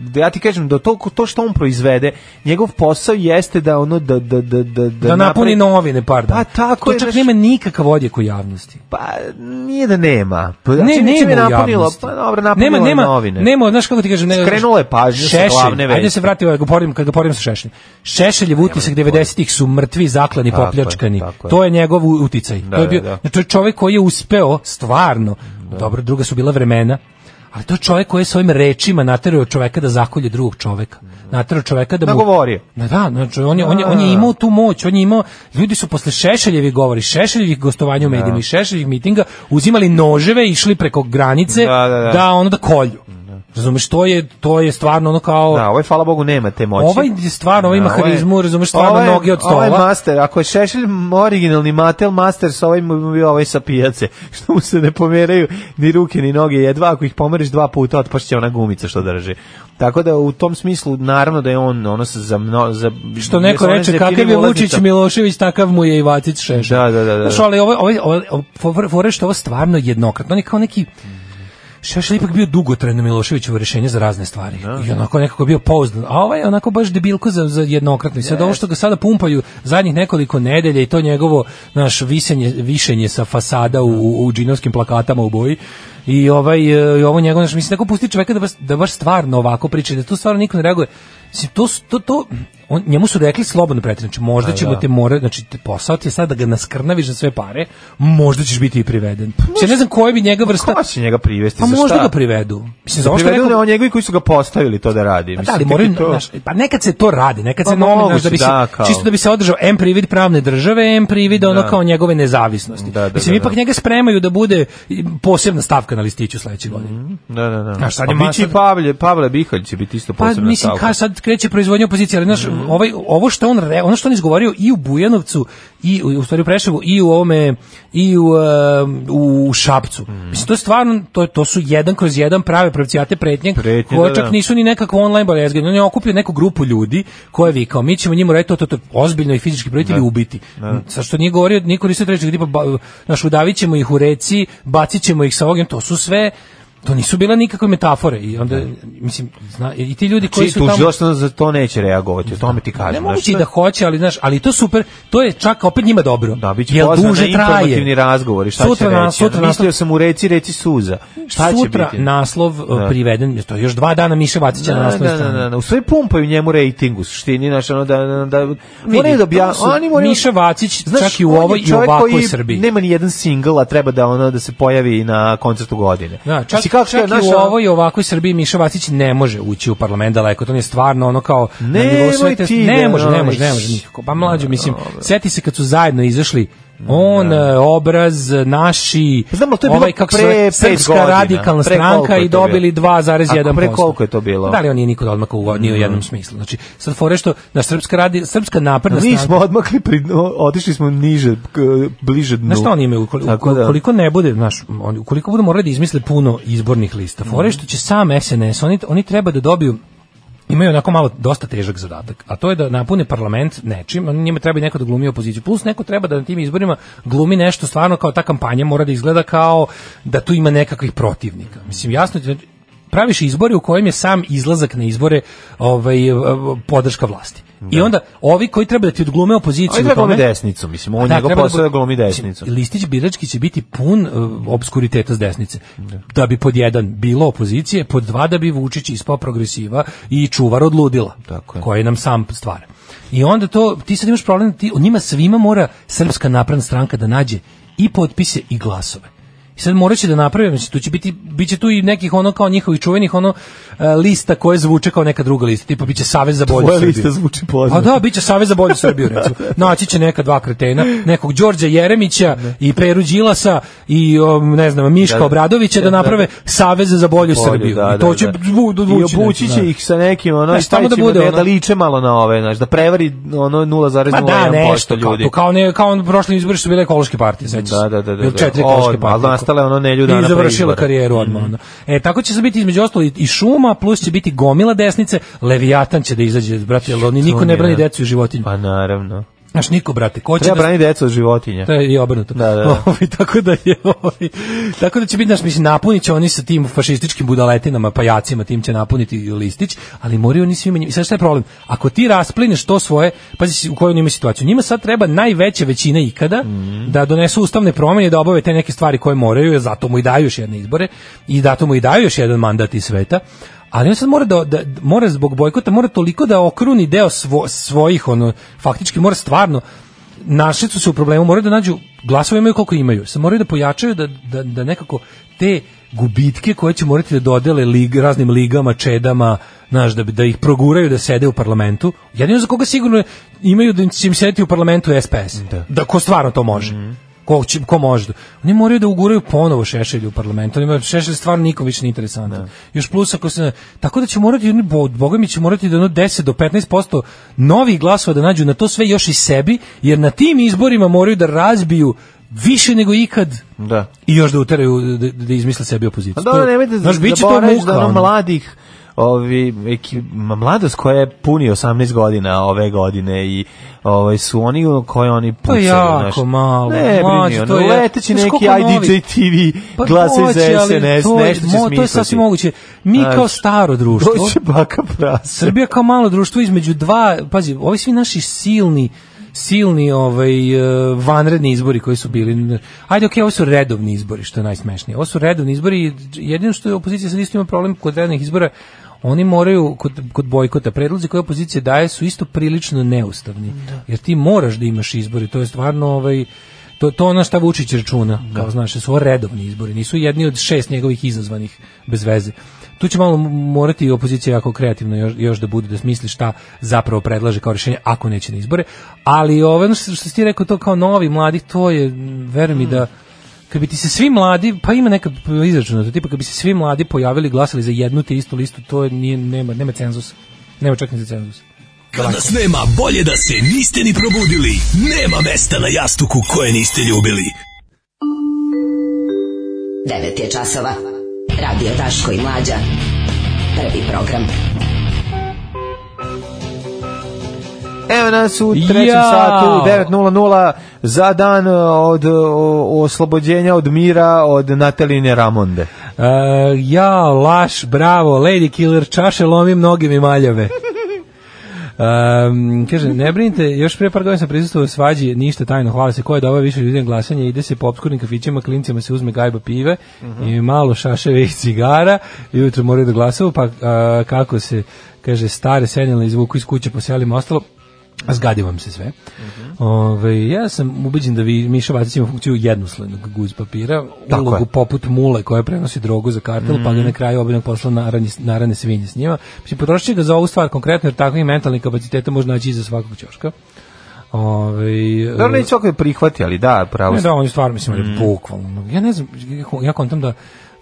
da ja ti kažem da to to što on proizvede, njegov posao jeste da ono da da da da
da napuni
napravi-
novine par dana.
Pa, tako
to
je,
čak
znaš-
nema nikakav odjek u javnosti.
Pa nije da nema. Pa,
Ne,
znači,
nema
nečim je
u
napunilo,
javnosti.
pa dobro, napunilo
nema, nema,
je novine.
Nema, znaš kako ti kažem, ne,
Skrenula je pažnju sa glavne vesti.
Ajde se vrati, ovaj, ga poredim, kad ga poredim sa Šešeljem. Šešelj je utisak 90-ih su mrtvi, zaklani,
Tako je,
popljačkani.
tako je.
To je njegov u- uticaj.
Da,
to je
da,
bio,
da.
znači, to je čovjek koji je uspeo, stvarno, dobro, druga su bila vremena, ali to je čovjek koji je svojim rečima naterao čovjeka da zakolje drugog čovjeka. Naterao čovjeka da mu...
Pa, Nagovorio.
Da, da, znači on je, on, je, on je imao tu moć, on je imao, ljudi su posle Šešeljevih govori, Šešeljevih gostovanja u medijima i Šešeljevih mitinga uzimali noževe i išli preko granice
Da, da, da.
ono da kolju. Razumeš, to je, to je stvarno ono kao...
Da, ovaj, hvala Bogu, nema te moći.
Ovaj je stvarno, ovaj ima
Da, je-
harizmu, razumeš, stvarno
ovaj-
noge od stola.
Ovaj master, ako je Šešelj originalni Matel master, sa ovim bi bio ovaj sa pijace, (laughs) što mu se ne pomeraju ni ruke ni noge, jedva ako ih pomeriš dva puta, otpašće ona gumica što drži. Tako da u tom smislu, naravno da je on ono sa- za, mno, za
Što neko
sa onim
reče,
zeptinim
kakav je Vučić
ulaznicama.
Milošević, takav mu je i Vacić Šešelj.
Da, da, da, da.
Znaš, ali ovo, ovo, ovo, ovo fore- fore što ovo stvarno jednokratno, on je kao neki... Šešelj je ipak bio dugotrajno Miloševićevo rješenje za razne stvari. I onako nekako je bio pouzdan. A ovaj je onako baš debilko za, za jednokratno. I sad ovo što ga sada pumpaju zadnjih nekoliko nedelja i to njegovo naš visenje, višenje sa fasada u, u, u džinovskim plakatama u boji i ovaj e, i ovo njegovo naš mislim tako pusti čoveka da baš, da baš stvarno ovako priča da tu stvarno niko ne reaguje. Mislim, to, su- to, to, on, njemu su rekli slobodno preti, znači možda ćemo te morati, znači te posao ti je sad da ga naskrnaviš za sve pare, možda ćeš biti i priveden. Znači, ja ne znam koja bi njega vrsta...
Ko će njega privesti?
Pa
za
možda
šta?
ga privedu. Mislim, za
Da
ovo što je
privedu
rekao,
ne, njegovi koji su ga postavili to da radi.
pa da,
Mislim,
ali
tek
moraju,
je to-
znaš, pa nekad se to radi, nekad
Pa
se nomi,
moguće,
znaš, da bi se,
da, kao.
čisto da bi se održao M privid pravne države, M privid ono
Da.
kao njegove nezavisnosti.
Da, da,
Mislim,
da,
ipak
da.
njega spremaju da bude i posebna stavka na listiću sledeće godine.
Da, da, da.
Znaš, sad je
Pa biće
masa-
i Pavle, Pavle Bihalj će biti isto
Pa
posebna
mislim
stavka. Mm.
ka sad kreće proizvodnja opozicije, ali znaš, ovaj ovo što on re- ono što on izgovorio i u Bujanovcu i u, u stvari u Preševu i u ovome i u, em, u Šapcu.
Mm.
Mislim to je stvarno to to su jedan kroz jedan prave pravcijate pretnje,
Pretnje,
koje
da,
čak
da.
nisu ni nekakvo online barezganje. On je okupio neku grupu ljudi koja je vikao, mi ćemo njima raditi to, to, to, ozbiljno i fizički prijeti ili ubiti. Sa što nije govorio, niko nisu treći, tipa, ba, naš udavit ćemo ih u reci, bacit ćemo ih sa ognjem, to su sve To nisu bile nikakve metafore i onda mislim zna, i ti ljudi koji
Čiji
su tamo
tužilaštvo za to neće reagovati, o tome ti Znači, kažem.
Ne
znaš,
mogu ti
to-
da hoće, ali znaš, ali to super, to je čak opet njima dobro.
Da, bit će
Jer
pozvan na
duže
informativni
traje.
razgovor i šta
Sutra
će
na-
reći.
sutra
Sutra Mislio
nastav-
sam u reci, reci suza. Šta
Sutra
će biti?
naslov e,
Da.
priveden, to je još dva dana Miše Vacića
Da,
na naslovnoj
da, da,
strani.
da, da. U sve pumpaju njemu rejting u suštini, znaš, ono da, da, da,
Vidi,
moraju da obja-
to su
oni moraju-
Miša Vacić
Znaš,
čak i u
on je
ovoj i
čovjek
ovakvoj
koji
Srbiji.
Nema ni jedan single, a treba da ono da se pojavi na koncertu godine.
Da, čak,
Mislim, kako
čak
kažem,
i Znači, u
znaš, ono-
ovoj i ovakvoj Srbiji Miša Vacić ne može ući u parlament daleko. To on je stvarno ono kao na
Nemoj
nivou sveta.
ti
ne
da,
može, ne
ono,
može, ne može
iš-
nikako. Pa mlađo, mislim, seti se kad su zajedno izašli on, e, obraz, naši,
Pa znam, ali to je bilo
ovaj, kako se zove,
pre pet
srpska
godina.
radikalna
Pre koliko
stranka
je
i
to
dobili
bilo?
2,1%.
Ako pre koliko je to bilo?
Da li on nije niko odmaka u, ni u jednom smislu. Znači, sad fore što da srpska, radi, srpska napredna
Mi
stranka...
smo odmakli, pri, o- otišli smo niže, k- bliže dnu.
Znaš šta oni imaju, ukoli-
Tako da-
ukoliko ne bude, znaš, oni- ukoliko budu morali da izmisle puno izbornih lista,
Mhm.
fore što će sam SNS, oni, oni treba da dobiju imaju onako malo dosta težak zadatak, a to je da napune parlament nečim, oni njima treba i neko da glumi opoziciju, plus neko treba da na tim izborima glumi nešto stvarno kao ta kampanja mora da izgleda kao da tu ima nekakvih protivnika. Mislim, jasno ti, praviš izbore u kojem je sam izlazak na izbore ovaj, podrška vlasti. I onda ovi koji treba da ti odglume opoziciju
Ovi
u
treba
tome,
glumi desnicu, mislim, on
Da,
njegov
treba da
posao je
bude-
glumi desnicu.
Listić birački će biti pun uh, obskuriteta s desnice. Da bi pod jedan bilo opozicije, pod dva da bi Vučić ispao progresiva i čuvar od ludila, koje nam sam stvara. I onda to, ti sad imaš problem, ti, o njima svima mora Srpska napredna stranka da nađe i potpise i glasove. I sad morat će da naprave, znači tu će biti, bit će tu i nekih ono kao njihovih čuvenih ono e, lista koje zvuče kao neka druga lista, tipa bit će Savez za bolju
Tvoja
Srbiju.
lista zvuči poznato.
Pa da, bit će Savez za bolju Srbiju,
(laughs)
recimo. Naći će neka dva kretena, nekog Đorđa Jeremića i Peru Đilasa i um, ne znam, Miška
Da, da.
Obradovića da
Da, da.
naprave Savez za bolju,
Bolju,
Srbiju.
da,
I to
da,
će
da.
zvu- da
I
zvuči
obući
nešto,
će
znači, da.
ih sa nekim, ono,
Znaš,
i stavit
samo da
ćemo da,
bude
da,
ono-
liče malo na ove, znaš, da prevari ono
Ma da,
0,1%
nešto, kao,
ljudi.
to, kao, ne, kao on prošli izbori su bile ekološke partije, sećaš se.
Da, da, da, da,
Ili
da.
Četiri
O,
ekološke
ali
partije.
nastala je ono nedlju
I
dana pre
završila
izbora. Mhm.
karijeru odmah. ono. E, tako će se biti između ostalo i, i šuma, plus će biti gomila desnice, Leviatan će da izađe, brate, jer oni niko
To mi
ne
je-
brani decu i životinju.
Pa naravno.
Znaš, niko, brate, ko će
Treba
da
braniti decu od životinja.
To je i obrnuto.
Da,
(laughs)
da, da.
Ovaj, tako da je ovaj, tako da će biti naš mislim napunit će oni sa tim fašističkim budaletinama, pajacima, tim će napuniti i listić, ali moraju oni svi menjati. I sad šta je problem? Ako ti rasplineš to svoje, pazi si u kojoj oni imaju situaciju. Njima sad treba najveća većina ikada
Mhm.
da donesu ustavne promjene, da obave te neke stvari koje moraju, jer zato mu i daju još jedne izbore i zato mu i daju još jedan mandat iz sveta. Ali on sad mora da, da mora zbog bojkota mora toliko da okruni deo svo- svojih ono faktički mora stvarno našli su se u problemu, moraju da nađu glasove imaju koliko imaju, se moraju da pojačaju da, da, da nekako te gubitke koje će morati da dodele lig, raznim ligama, čedama, znaš, da, bi- da ih proguraju da sede u parlamentu. Jedino za koga sigurno imaju da će im sedeti u parlamentu je SPS. Da. ko stvarno to može. Ko, će- ko može. da- Oni moraju da uguraju ponovo Šešelju u parlamentu. Oni Šešelj stvarno nikom više nije interesantan. Još plus ako se... Tako da će morati, oni, bo- boga mi će morati da ono 10 do 15% novih glasova da nađu na to sve još i sebi, jer na tim izborima moraju da razbiju više nego ikad
Da.
i još da uteraju, da, da izmisle sebi opoziciju.
Pa dobro,
To-
nemojte da
znaš, bit će to
zaboraviš
muka,
da ono
ono.
mladih ovi eki, ma, mladost koja je puni 18 godina ove godine i ovaj su oni u koje oni
Pa
pucaju
jako
znaš.
malo,
ne
mlađe,
brini
to
ono,
je-
leteći
znaš
neki
koliko novih-
IDJ TV
Pa
glasa iz
hoće, ali
SNS
to je-
nešto će
mo-
smisliti
To je sasvim moguće. Mi
Znaš,
kao staro društvo...
doće baka prase
Srbija kao malo društvo između dva, pazi, ovi svi naši silni silni ovaj e, vanredni izbori koji su bili. Ajde, okej, ovo su redovni izbori, što je najsmešnije. Ovo su redovni izbori i jedino što je opozicija sad isto ima problem kod redovnih izbora, oni moraju kod, kod bojkota predlozi koje opozicija daje su isto prilično neustavni. Jer ti moraš da imaš izbori, to je stvarno ovaj to to ono šta Vučić računa, kao znaš, su ovo redovni izbori, nisu jedni od šest njegovih izazvanih bez veze. Tu će malo morati i opozicija jako kreativno još, još da bude, da smisli šta zapravo predlaže kao rješenje ako neće na izbore. Ali ovo ono što, što si ti rekao, to kao novi, mladi, to je, m, veruj mi da, kad bi ti se svi mladi, pa ima neka izračuna, tipa kad bi se svi mladi pojavili i glasali za jednu te istu listu, to je, nije, nema, nema cenzusa. Nema čak ni za cenzus.
Kad nas nema, bolje da se niste ni probudili. Nema mesta na jastuku koje niste ljubili.
9 je časova. Radio Daško i Mlađa. Prvi program.
Evo nas u trećem
Jao.
satu, 9.00, za dan e, od o, oslobođenja od mira od Nataline Ramonde.
Uh, ja, laš, bravo, lady killer, čaše lomi mnoge mi maljave. Um, kaže, ne brinite, još prije par godina sam prisustvovao svađi, ništa tajno, hvala se, ko je dobao više ljudi na glasanje, ide se po obskurnim kafićima, klincima se uzme gajba pive
Mhm.
i malo šaševih cigara, i ujutro moraju da glasaju, pa a, kako se, kaže, stare senjale izvuku iz kuće po selima, ostalo, a zgadi vam se sve.
Mhm.
Ove, ja sam ubeđen da vi Miša Vacić ima funkciju jednoslednog guz papira,
Tako je.
ulogu poput mule koja prenosi drogu za kartel, pa
Mhm.
ga na kraju obiljnog posla naranje, narane svinje s njima. Mislim, potrošit će ga za ovu stvar konkretno, jer takvih mentalnih kapaciteta može naći iza svakog ćoška. Ove,
Dobro, neće Mhm. svako je prihvati, ali da, pravo
E. ne,
ste.
da, on je stvarno, mislim, mm. bukvalno. Ja ne znam, ja kontam da,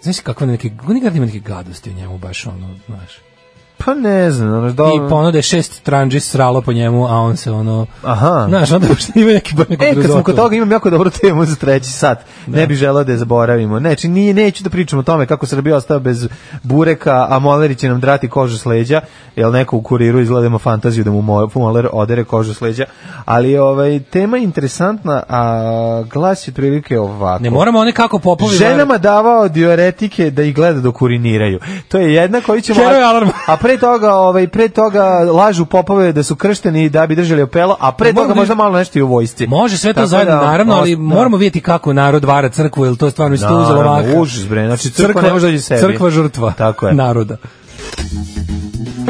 znaš kakve neke, on igra ima neke gadosti u njemu, baš ono, znaš.
Pa ne znam, ono, da...
I ponude šest tranđi sralo po njemu, a on se ono...
Aha.
Znaš, onda baš ima neki bar nekog
E, kad smo
grizotu.
kod toga imam jako dobru temu za treći sat. Ne bih želeo da je zaboravimo. Ne, či nije, neću da pričam o tome kako Srbija ostao bez bureka, a Moleri će nam drati kožu s leđa, jer neko u kuriru izgledamo fantaziju da mu Mo- Moler odere kožu s leđa. Ali ovaj, tema je interesantna, a glas je otprilike ovako.
Ne moramo one kako popovi...
Ženama davao diuretike da ih gleda dok uriniraju. To je jedna koju ćemo...
Heroj alarm.
A pre toga, ovaj, pre toga lažu popove da su kršteni da bi držali opelo, a pre
Moramo
toga
da-
možda malo nešto i u vojsci.
Može sve to
Tako
zajedno,
da,
naravno, ali
ost- da.
moramo vidjeti kako narod vara crkvu, jer to je stvarno isto uzelo
Naravno,
maha.
užas, bre, znači, crkva ne može dođi sebi.
Crkva žrtva Tako je. naroda.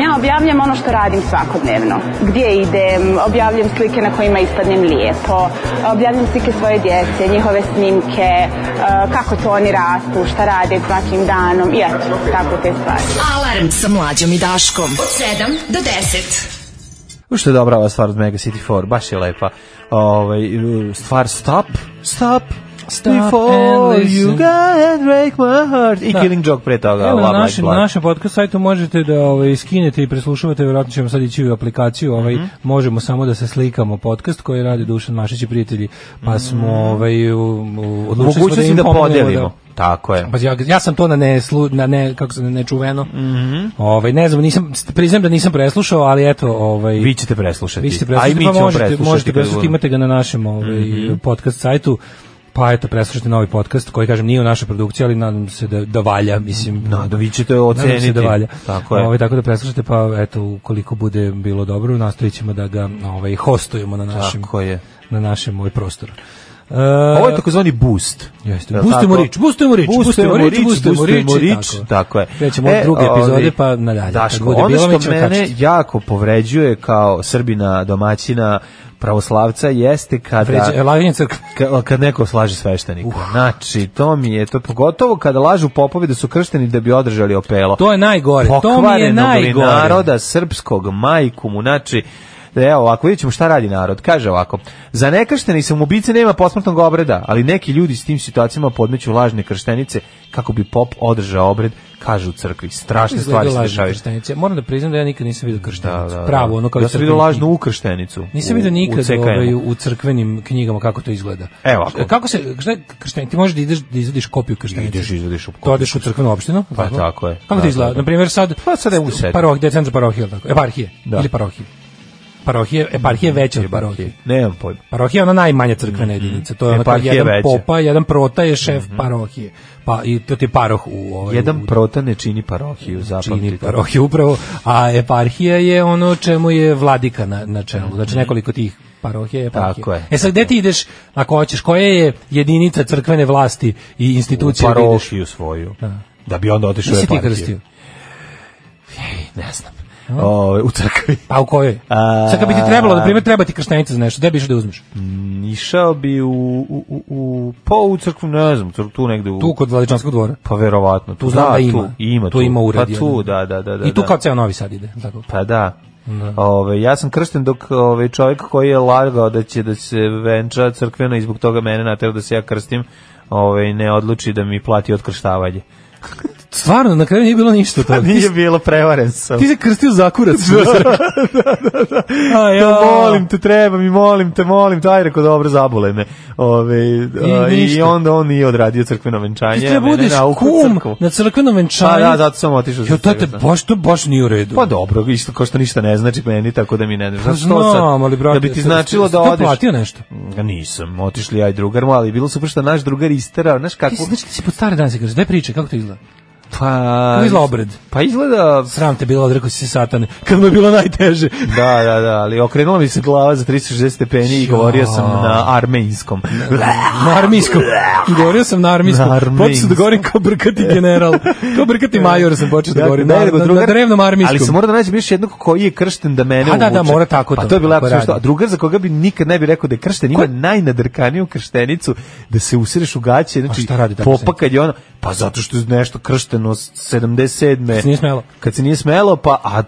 Ja objavljam ono što radim svakodnevno. Gdje idem, objavljam slike na kojima ispadnem lijepo, objavljam slike svoje djece, njihove snimke, eh, kako to oni rastu, šta rade svakim danom, i eto, tako te stvari.
Alarm sa mlađom i Daškom. Od 7 do 10.
Ušto je dobra ova stvar od Mega City 4, baš je lepa. Ovaj, stvar Stop, Stop,
Stop
before
and
you
listen.
go and break my heart. I
Da.
Killing Joke pre toga.
Evo, na
Love Like
našem, na
Blood.
našem podcast sajtu možete da ovaj, skinete i preslušavate, vjerojatno ćemo sad ići u aplikaciju, ovaj,
Mhm.
možemo samo da se slikamo podcast koji radi Dušan Mašić i prijatelji, pa smo ovaj, u, u, odlučili smo
Mhm. Mogućnosti
im
da
pomognemo
podelimo. Tako je.
Pa ja, ja sam to na ne, slu- na ne kako se nečuveno.
Mhm.
Ovaj ne znam, nisam priznajem da nisam preslušao, ali eto, ovaj
Vi ćete preslušati.
Vi ćete
A i mi
preslušati, pa
ćemo
možete,
preslušati
možete
kad
preslušati,
budemo. Mhm.
imate ga na našem ovaj podcast sajtu. Pa eto, preslušajte novi podcast koji, kažem, nije u našoj produkciji, ali nadam se da, da valja, mislim.
Nadam- vi ćete
Nadam se
oceniti.
da valja.
Tako je.
Ovaj, tako da preslušajte, pa eto, ukoliko bude bilo dobro, nastojit ćemo da ga ovaj, hostujemo na našem,
Tako je.
na našem ovaj prostoru. E,
Ovo je takozvani boost.
Jeste.
Jel'
Boostujemo
tako?
rič, boostujemo rič, boostujemo rič, boostujemo rič, tako.
tako je. E,
Krećemo od druge epizode, pa nadalje. Kad
Daško,
bude
ono
bilo, mi
što
ćemo
mene
kačiti.
jako povređuje kao srbina, domaćina, pravoslavca jeste kada...
Vređa- laganje crkve.
Ka- kad neko slaže sveštenika. Znači, to mi je to pogotovo kada lažu popovi da su kršteni da bi održali opelo.
To je najgore, to mi je
Pokvarenog li
najgore.
naroda srpskog, majku mu, znači, Evo, ovako, vidjet ćemo šta radi narod. Kaže ovako, za nekrštene i samoubice nema posmrtnog obreda, ali neki ljudi s tim situacijama podmeću lažne krštenice kako bi pop održao obred, kaže u crkvi. Strašne stvari
Izgledaju
se
lažne
dešavaju.
krštenice. Moram da priznam da ja nikad nisam vidio
Da,
krštenicu.
da, da.
Pravo, ono kao iz
ja sam vidio
crkvenih
lažnu
knjiga.
ukrštenicu.
Nisam
u-
vidio
u
nikad
CKM-u.
ovaj, u crkvenim knjigama kako to izgleda. E,
Evo ovako.
Kako se šta je kršten, ti možeš da ideš da izvadiš kopiju krštenice.
Ideš, izvadiš u
To odeš u crkvenu opštinu.
Pa tako je.
Kako
Da,
to izgleda?
da, da.
Na primjer sad
Pa sad je u sebi.
Paroh, gde je centar parohije, jel tako. Eparhije
Da.
ili parohije. Parohije, eparhije je veća od parohije.
Nemam pojma.
Parohija je ona najmanja crkvena jedinica. To je ona kao
Eparhija
jedan
Mhm. veća. Mhm.
popa, jedan prota je šef parohije. Pa i to ti je paroh u ovaj,
Jedan
u-
prota ne čini parohiju,
čini
zapamtite.
parohiju upravo, a eparhija je ono čemu je vladika na, na čelu. Znači nekoliko tih parohija je eparhija.
Tako je.
E sad gde ti ideš, ako hoćeš, koja je jedinica crkvene vlasti i institucije
u
gde ideš?
parohiju svoju. Da. bi onda otišao u
Nisi ti
eparhiju.
krstio?
Ne znam. Ovaj, u crkvi.
Pa u kojoj?
A-
Sad kad bi ti trebalo, na primjer, treba ti krštenica za nešto, gde bi išao da uzmeš?
Išao bi u, u, u, u, pa u crkvu, ne znam, cr- tu negde u...
Tu kod Vladičanskog dvora.
Pa verovatno.
Tu znam da ima.
Tu, ima
Tu ima ured
Pa tu,
jedan.
da, da, da. da
I tu
da.
kao ceo Novi Sad ide. Tako.
Pa da. Ove, ja sam kršten dok ove, čovjek koji je lagao da će da se venča crkveno i zbog toga mene natjerao da se ja krstim, ove, ne odluči da mi plati otkrštavanje.
Stvarno, na kraju nije bilo ništa od toga.
(laughs) Nije bilo, prevaren sam.
Ti se krstio za
(laughs)
kurac. da, da, da. A,
Ja,
ja.
molim te, treba mi, molim te, molim te, aj rekao, dobro, zabole me. Ove, a, I,
ništa.
onda on nije odradio crkveno venčanje.
Ti treba
mene
budeš
naukao u
kum
crkvu.
na crkvenom venčanju.
Pa da, zato sam otišao za
Jo, to te
crkvu, da.
baš, to baš nije u redu.
Pa dobro, isto kao što ništa ne znači meni, tako da mi ne znači. što
Pa Znam, ali brate,
da bi ti
jesi-
značilo
jesi
da
to
odeš...
platio nešto?
Mm, Nisam, otišli ja i drugar mu, ali bilo super što naš drugar isterao, znaš
Ti si,
kako...
znači, ti si pod stare dane se kaže, daj priče, kako to izgleda?
Pa...
Kako izgleda obred?
Pa izgleda...
Sram te bilo, odrekao si se satane, kad mu je bilo najteže.
Da, da, da, ali okrenula mi se glava za 360 stepeni i govorio sam na armejskom.
Na armijskom. Govorio sam na armijskom.
Na armijskom.
Počeo sam da govorim kao brkati general. Kao
(laughs)
brkati major sam počeo da
Dakle,
govorim.
ne,
Na,
nego
na, na
drugar-
drevnom armijskom.
Ali se mora da nađe još jednog koji je kršten da mene
A da, da,
uvuče.
mora tako
Pa
to,
to je bilo
tako
jako smiješno. A
radi.
drugar za koga bi nikad ne bi rekao da je kršten, ima
Ko-
najnadrkaniju krštenicu da se usireš u gaće, znači
Pa šta radi ta
popa
krštenica?
kad je ona, pa zato što je nešto kršten pušteno 77.
se nije smelo.
Kad se nije smelo, pa a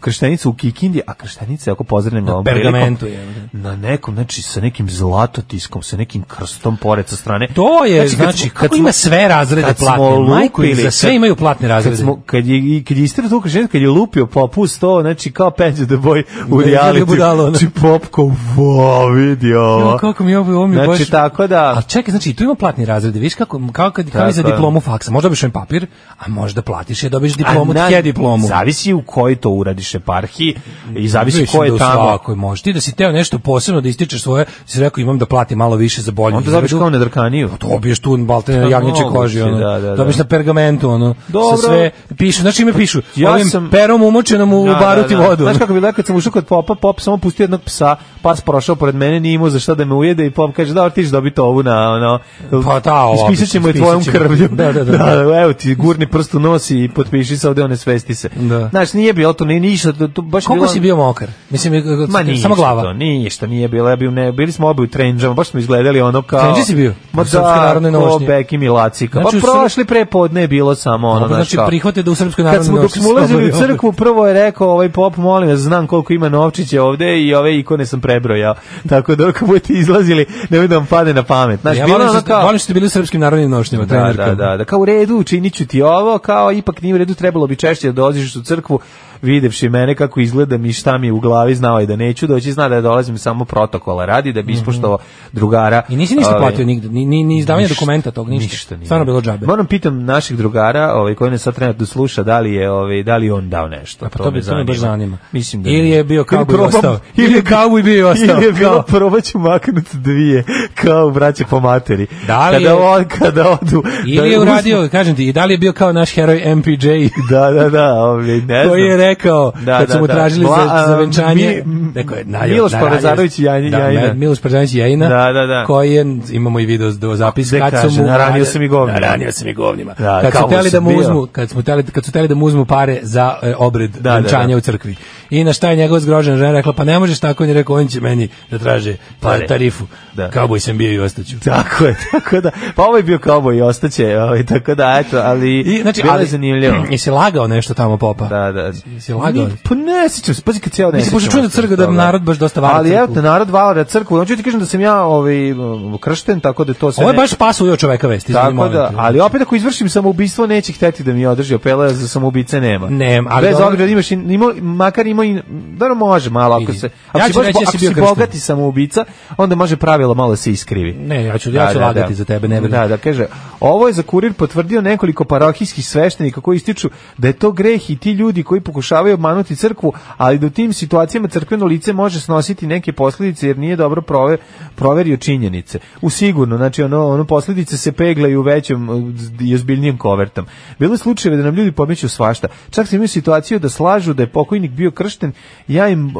krštenica u Kikindi, a krštenica ako pozdravim
Na
ovom
pergamentu
prilikom,
je.
Na nekom, znači sa nekim zlatotiskom, sa nekim krstom pored sa strane.
To je,
kad
znači,
smo-
kako
smo-
ima sve razrede
kad smo
platne, majko
lupili,
i za sve
kad-
imaju platne razrede.
Kad, smo, kad je, i- kad je istero tu krštenica, kad je lupio popus to, znači kao Penđe the Boy u
Ne, ne, ne, budalo,
reality.
ono.
Či popko, wow, vidi ovo.
Jo, kako mi je ovo, ovo mi je
Znači,
baš...
tako da...
A čekaj, znači, tu ima platni razrede, viš kako, kao kad kao i za
Tako je.
diplomu faksa, možda biš papir, a možda platiš je, dobiješ diplomu,
A na-
tje diplomu.
Zavisi u kojoj to uradiš eparhiji i zavisi
Mislim
ko je
da u
tamo.
svakoj možeš. Ti da si teo nešto posebno da ističeš svoje, si rekao imam da platim malo više za bolju
Onda zabiš
izradu.
kao na drkaniju.
dobiješ tu baltene na
Pa,
jagnječe
moguće,
koži, ono.
da, da, da.
dobiješ na pergamentu, ono,
Dobro. Pa
sa sve, pišu, znači ime pišu,
Ja
ovim
sam-
perom umočenom u
Da, da,
baruti
da.
vodu. ono.
Znaš kako bi bilo kad sam ušao kod popa, pop samo pustio jednog psa, pas prošao pored mene, nije imao za šta da me ujede i pop kaže, dobro, ti ćeš dobiti ovu na, ono,
Pa ta ova,
ispisat ćemo je
ispisat
tvojom
ćemo.
krvlju.
Da, da, da.
(laughs) evo ti, gurni prst u nos i potpiši se ovde, ne svesti se.
Da.
Znaš, nije bilo to, nije ništa, to, to baš je
Koliko
bilo-
si bio mokar? Mislim, e,
Ma ništa
samo glava.
To, ništa nije bilo, ja bio ne, bili smo obi u trendžama, baš smo izgledali ono kao...
Trendži si bio?
Ma
U Srpskoj
da,
narodnoj
ko
nošnji.
Beki Milacika.
Znači,
Znači,
u
pa
Srp-
prošli prepodne je bilo samo ono,
Dobro,
znaš
znači,
kao...
prihvate da u Srpskoj
Kad
narodnoj
smo, dok
nošnji
smo ulazili u
slobodni
crkvu, prvo je rekao ovaj pop, molim vas, znam koliko ima novčića ovde i ove ikone sam prebrojao. (laughs) Tako da dok budete izlazili, nemoj da vam pade na pamet. Znači,
ja
bilo
volim
ono
što, ste-
kao...
volim što ste bili u srpskim narodnim nošnjama,
Da, da, da, da, kao u redu, učinit ću ti ovo, kao ipak nije u redu, trebalo bi češće da dolaziš u crkvu, videvši mene kako izgledam i šta mi je u glavi, znao je da neću doći, zna da ja dolazim samo protokola radi, da bi ispoštovao drugara.
Mhm. I nisi ništa
Ovaj,
platio nigde, ni, ni, ni izdavanje
ništa,
dokumenta tog, ništa.
ništa nije.
Stvarno bilo džabe.
Moram pitam naših drugara, ovaj koji nas sad trenutno sluša, da li je ovaj da li je on dao nešto.
Pa to, bi, to me baš zanima.
Mislim da
ili
nije.
je bio
Ili
kauboj i
probam-
ostao. Ili je kauboj bio i ostao.
(laughs) Ili je bilo
Kao-
probat ću maknut dvije, kao braće po materi.
Da li
kada,
je-
on, kada odu... da
Ili je
uzmu-
uradio, kažem ti, i da li je bio kao naš heroj MPJ
(laughs) Da, da, da, ovaj, ne znam.
koji je rekao
Da,
kad
da,
su mu
da.
tražili
Bla-
za, za
a,
venčanje
Mi-
rekao je, na,
Miloš
Pa na-
Parazanović i Janji-
da,
Jajina.
Miloš Parazanović i Jajina
Da, da, da.
koji je, imamo i video do zapis
Gde
kad
kaže,
su mu
naranio sam i govnima.
naranio sam i govnima
Da,
kad su
kao
teli da
sam
mu
bio.
uzmu kad smo teli kad su teli da mu uzmu pare za e, obred
da,
venčanja
da.
u crkvi i na šta je njegova zgrožena žena rekla pa ne možeš tako on je rekao on će meni da traže
Pare.
pare tarifu
Da.
kauboj sam bio i ostaću
Tako je, (laughs) tako da. Pa ovo je bio kauboj i ostaće, ovaj, tako da, eto, ali
I, znači,
bilo je
ali- (clears throat)
zanimljivo.
Jesi lagao nešto tamo popa?
Da, da.
Jesi lagao?
Ni- Pa ne sećam se, pazi kad se ja ne
Mislim, pošto
sećam
čujem da
se toga.
crkva da narod baš dosta vara
Ali
crkvu.
evo te, narod valja crkvu. Hoću ti kažem da sam ja ovaj, kršten, tako da to se
Ovo je
ne-
baš pas ujeo čoveka vest, izvini
Tako
moment.
da, ali opet ako izvršim samoubistvo, neće hteti da mi održi apela za samoubice nema.
Ne, ali
Bez
dobro-
obzira da imaš, i- ima, makar ima i, dobro može malo, ako
Vidi.
se, ako
Ja
si,
ću
baš,
reći
bo-
da si
ako
bio
si
kršten.
bogati samoubica, onda može pravilo malo da se iskrivi.
Ne, ja ću, ja ću lagati za tebe, ne brini.
Da, da, kaže, ovo je za kurir potvrdio nekoliko parohijskih sveštenika koji ističu da je to greh i ti ljudi koji pokušavaju obmanuti crkvu, ali da u tim situacijama crkveno lice može snositi neke posljedice jer nije dobro prove, proverio činjenice. U sigurno, znači ono, ono posljedice se peglaju većom eh, i ozbiljnijim kovertom. Bilo je slučajeve da nam ljudi podmeću svašta. Čak sam imao situaciju da slažu da je pokojnik bio kršten, ja im, eh,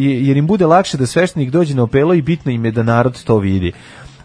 jer im bude lakše da sveštenik dođe na opelo i bitno im je da narod to vidi.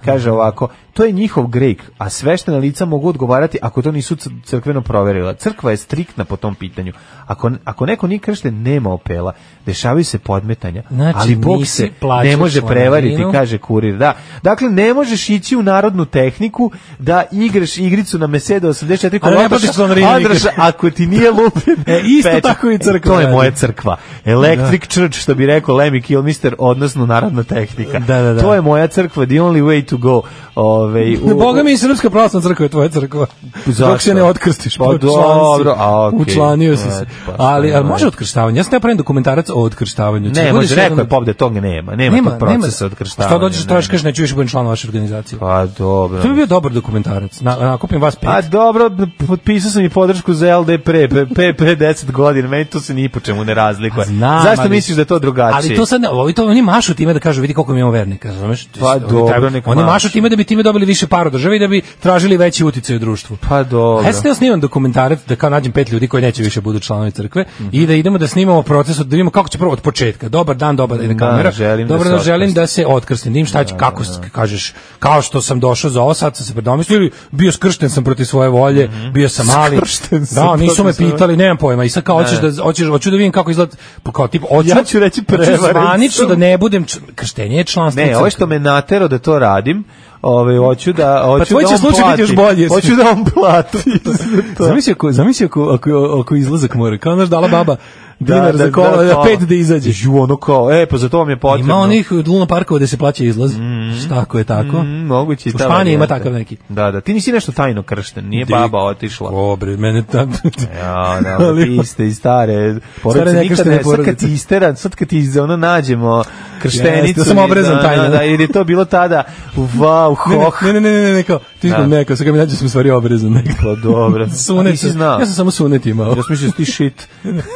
Kaže ovako, to je njihov grek, a sveštena lica mogu odgovarati ako to nisu cr- crkveno proverila. Crkva je striktna po tom pitanju. Ako, ako neko nije kršten, nema opela. Dešavaju se podmetanja,
Znači,
ali Bog
nisi
se
plaćao
ne može
članarinu.
prevariti, kaže kurir. Da. Dakle, ne možeš ići u narodnu tehniku da igraš igricu na Mesedo 84 kod
Ali ne pa
Andraša,
platiš članarinu
Andraša,
nikad.
ako ti nije lupen.
(laughs) E, isto
pečat.
tako i crkva
To je
radi.
moja crkva. Electric Church, što bi rekao Lemmy Kilmister, odnosno narodna tehnika.
Da, da, da.
To je moja crkva, the only way to go. Ove, u-
Ne, Boga mi i Srpska pravoslavna crkva je tvoja crkva.
Zašto?
Dok se ne otkrstiš.
Pa
učlan si.
dobro, a, okej.
Učlanio si
E,
se.
pa šta
ali, ali
ima.
može otkrštavanje. Ja sam teo pravim dokumentarac o otkrštavanju.
Ne, može, rekao je Bob da toga nema. Nema, tog procesa odkrštavanja.
Pa Šta dođeš,
ne.
tražiš, kažeš, neću više budem član vaše organizacije.
Pa dobro.
To bi bio dobar dokumentarac. Na, nakupim vas pet.
A dobro, potpisao sam i podršku za LD pre, pre, pre, pre 10 godina, meni to se ni po čemu ne razlikuje.
Znam,
Zašto
ali-
misliš da je to drugačije?
Ali to sad, ne- ovi to, oni mašu time da kažu, vidi koliko mi imamo vernika, razumeš?
Pa
Oni
dobro,
treba-
nek
Oni mašu
mašu.
time da bi time dobili više para od države i da bi tražili veći uticaj u društvu.
Pa dobro.
Ja sam teo snimam dokumentarac da kao nađem pet ljudi koji neće više budu članovi crkve i da idemo da snimamo proces, od- da vidimo kako će prvo od početka. Dobar dan, dobar dan kamera.
želim da
Dobro,
se
da želim da se otkrstim. Dim šta će, kako s- kažeš, kao što sam došao za ovo, sad sam se predomislio ili bio skršten sam protiv svoje volje, bio sam mali.
Mhm. Skršten sam
Da, nisu me
protiv svoje-
pitali, nemam pojma. I sad kao hoćeš da hoćeš hoću da vidim kako izgleda, pa kao tip hoću
Ja ću reći
hoću
prevaren
Pa Znači, zvanično
sam.
da ne budem č- krštenje je članstvo. u
Ne, ovo
crkvi.
što me natero da to radim, Ove, hoću da hoću
pa tvoj
da
će
on
slučaj biti
plati.
još bolje.
Hoću da on plati.
(laughs) Zamisli ako, zamisli ako, ako, ako izlazak mora, kao naš dala baba dinar za kola, da, pet da izađe.
Ju, ono kao, e, pa za to vam je potrebno.
Ima onih Luna Parkova gde se plaća izlaz. Mm. Tako je tako.
Mm, moguće i
U
ta
Španiji ima
varijanta.
takav neki.
Da, da, ti nisi nešto tajno kršten, nije
Di-
baba otišla.
Dobre, mene (laughs) tam...
Ja, da, ali
Ali-
ti ste i stare porodice
Stare
nikad
nekrštene
ne, sad kad
porodice.
ti istera, sad kad ti iz- ono nađemo krštenicu.
Jeste, da sam obrezan
da,
tajno.
Da, da, jer je to bilo tada, wow,
Ne,
hoh.
Ne, ne, ne, ne, ne, ne, kao, ti
Da.
smo neko, sad kad mi nađe sam u stvari obrezan. Ne.
Pa
(laughs)
dobro.
Sunet,
A nisi znao.
Ja sam samo sunet imao.
Ja sam mislio da si ti shit.
(laughs)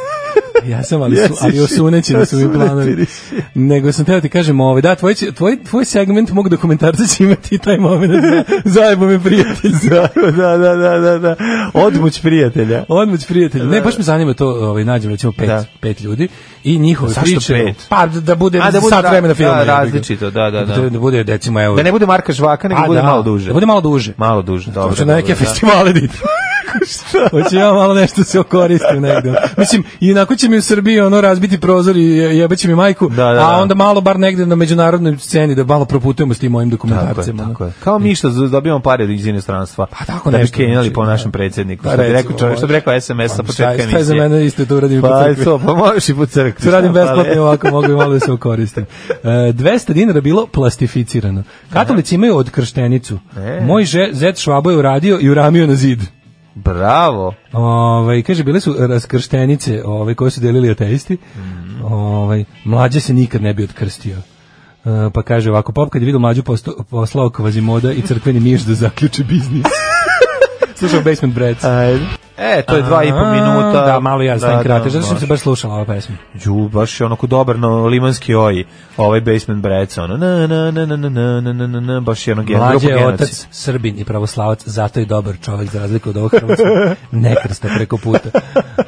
Ja sam, ali, su,
Jesi
ali
shit.
(laughs) osunećeni su mi
Osunetili
planovi.
si.
Nego sam teo ti kažem, ovaj, da, tvoj, će- tvoj, tvoj segment mog dokumentarca će imati i taj moment. za- (laughs) Zajebo me prijatelj.
da, da, da, da, da. Odmuć prijatelja.
Odmać prijatelj. Ne, baš me zanima to, ovaj, nađem recimo pet,
Da.
pet ljudi i njihove
Zašto
priče.
pet?
Pa da da bude,
A, da bude
sat
ra-
vremena filma.
da,
jebi ga.
različito, da, da, da.
Da, bude, recimo, evo.
Da ne bude Marka Žvaka, nego
A,
bude
da,
malo duže.
Da bude malo duže.
malo duže, dobro.
Hoću na neke
dobro, da.
festivale
(laughs)
da idem. Hoću ja malo nešto se okoristim negde. Mislim, inako će mi u Srbiji ono razbiti prozor i je- jebaće mi majku,
Da, da,
a
da.
onda malo bar negde na međunarodnoj sceni da malo proputujemo s tim mojim
Tako je,
dokumentarcima. ono.
tako je. Kao mi što dobijamo pare iz inostranstva. Pa
tako
da bi
nešto,
kenjali
znači,
po
da.
našem predsjedniku.
Pa
Što bi
recimo,
rekao čovjek, što bi rekao SMS sa
Pa, šta je-
početka
Šta je za
emisije.
mene isto to uradim i po
Pa
crkvi.
je to, pa možeš i po crkvi.
To radim
šta
besplatno
fali.
i ovako, mogu i malo da se okoristim. E, 200 dinara bilo plastificirano. Katolici imaju odkrštenicu.
E.
Moj že, zet Švabo je uradio i uramio na zid.
Bravo.
Ovaj kaže bile su raskrštenice, ovaj koje su delili ateisti.
Mhm.
Ovaj mlađe se nikad ne bi odkrstio. E, pa kaže ovako, pop kad je vidio mlađu posto, poslao kvazimoda i crkveni miš da zaključi biznis. (laughs) Slušao Basement Breads.
Ajde. E, to je dva i po
A,
minuta.
Da, malo ja stavim da, kratež, zato što sam
baš-
se baš slušala ova pesma.
Ju, baš je onako dobar no, limanski oji, ovaj basement brec, ono, na, na, na, na, na, na, na, na, na, na, baš je ono gen,
Mlađe
grupa
je
genocid.
otac Srbin i pravoslavac, zato je dobar čovjek za razliku od ovog hrvatskog
(laughs)
nekrsta preko puta.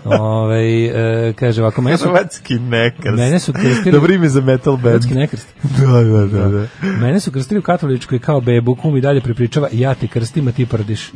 Ovaj e, kaže ovako, mene su,
Hrvatski nekrst.
Mene su krstili-
Dobro ime za metal band.
(laughs) Hrvatski nekrst.
Da, da, da, da.
Mene su krstili u katoličkoj kao bebu, kum i dalje prepričava ja te krstim, a ti prdiš.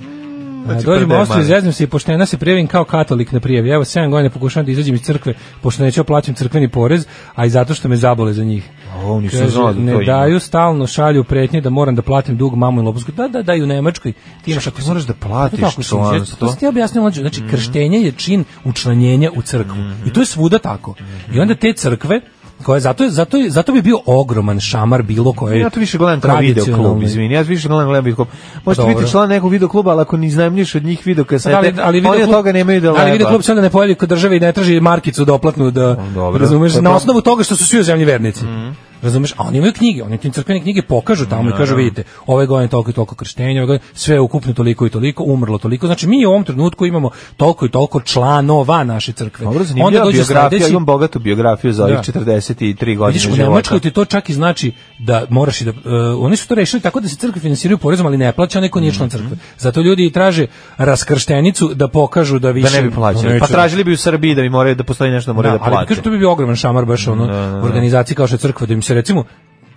A,
znači,
Dođem u
prde
Austriju,
manje.
zeznem se i poštena se prijavim kao katolik na prijavi. Evo, 7 godina pokušavam da izađem iz crkve, pošto neću plaćam crkveni porez, a i zato što me zabole za njih.
O, nisam
Kaže,
znao da to
ne
ima.
daju stalno šalju pretnje da moram da platim dug mamu i lopovsku. Da, da, daju u Nemačkoj. Ti imaš ako si-
moraš da platiš
Pa tako, mislim,
članstvo.
To sam ti ja objasnio mlađe. Znači,
Mm.
krštenje je čin učlanjenja u crkvu.
Mm-hmm.
I to je svuda tako. I onda te crkve, koje zato, je- zato, je- zato bi bio ogroman šamar bilo koje
Ja to više gledam kao video klub,
tradicionalne.
izvini. Ja više gledam gledam video klub. Možete
Dobro.
biti član nekog video kluba, ali ako ni iznajmljiš od njih video kasete, Pa ali, E, oni od
videoklub-
toga nemaju da leba.
Ali video klub se onda ne pojavi kod države i ne traži markicu doplatnu da
Dobro.
razumeš
Pa
na
to-
osnovu toga što su svi u zemlji vernici.
Mhm.
Razumeš? A oni imaju knjige, oni ti crkvene knjige pokažu tamo i kažu vidite, ove godine toliko i toliko krštenja, ove godine sve ukupno toliko i toliko, umrlo toliko. Znači mi u ovom trenutku imamo toliko i toliko članova naše crkve.
Dobro, zanimljiva biografija,
sledeći-
imam bogatu biografiju za ovih
Da.
43 godine
Pa Vidiš, u
života.
Nemačkoj ti to čak i znači da moraš i da... e, oni su to rešili tako da se crkve finansiraju porezom, ali ne plaća neko nije član
Mhm.
crkve. Zato ljudi i traže raskrštenicu da pokažu da
da
više...
ne bi plaćali.
neće-
Pa tražili bi u Srbiji da bi morali da postoji nešto da
Da,
moraju da,
ali
plate.
kažu to bi bio ogroman šamar baš ono, organizaciji kao što je crkva, da im se recimo...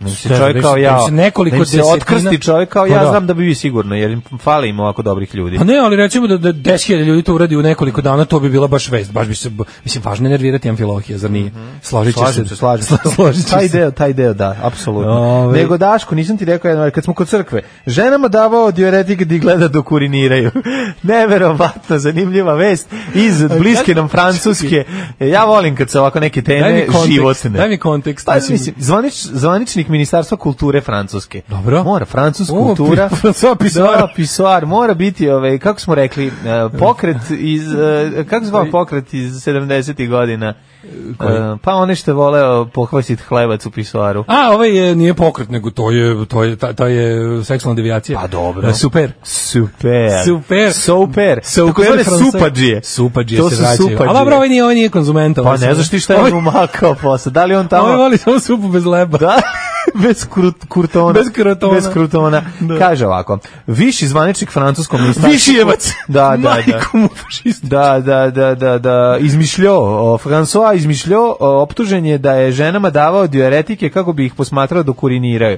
se čovjek kao
da im
ja,
se nekoliko
da im se
desetina-
otkrsti čovjek kao
Pa
ja,
da.
znam da bi vi sigurno, jer im fali im ovako dobrih ljudi.
Pa ne, ali recimo da, da 10.000 ljudi to uradi u nekoliko dana, to bi bila baš vest. Baš bi se, mislim, važno je nervirati amfilohija, zar nije? Složit će
Mhm. Slažem se, slažem se.
(laughs) Složit će
taj
se. Ovaj.
deo, taj deo, da, apsolutno.
Ove-
Nego Daško, nisam ti rekao jedno, kad smo kod crkve, ženama davao diuretik da ih gleda dok uriniraju. (laughs) Neverovatno zanimljiva vest iz bliske nam Francuske. Ja volim kad se ovako neke
Daj
teme
mi kontekst,
životne.
daj mi kontekst,
Pa,
mislim.
mislim, zvanič, zvaničnik Ministarstva kulture Francuske.
Dobro.
Mora, francuska
O, (laughs)
kultura.
pi- francuska pisoar.
Da, pisoar. Mora biti, ovaj, kako smo rekli, eh, pokret iz, eh, kako se zvao pokret iz 70-ih godina? Eh, Pa one što je voleo pohvasiti hlebac u pisoaru.
A, ovaj je, nije pokret, nego to je, to je, ta, ta je seksualna devijacija.
Pa dobro.
E, super.
Super.
Super.
Super.
Super.
Takozvane supadžije.
Supadžije
To
se
su
vraćaju.
supadžije.
Ali dobro, ovaj nije, ovaj nije konzumenta.
Pa ne znaš ti šta je on umakao posle. Da li on
Ovaj
tamo...
voli samo supu bez leba.
Da, (laughs) bez krut, kurtona.
Pa? Bez krutona.
Bez krutona. Kaže ovako, viši zvaničnik francuskom ministarstvu...
(laughs) Višijevac.
(laughs) Da, da, da.
Majku Znači, mu fašistu.
Da, da, da, da, da, izmišljio, o, François izmišljio, o, optužen je da je ženama davao diuretike kako bi ih posmatrao dok uriniraju.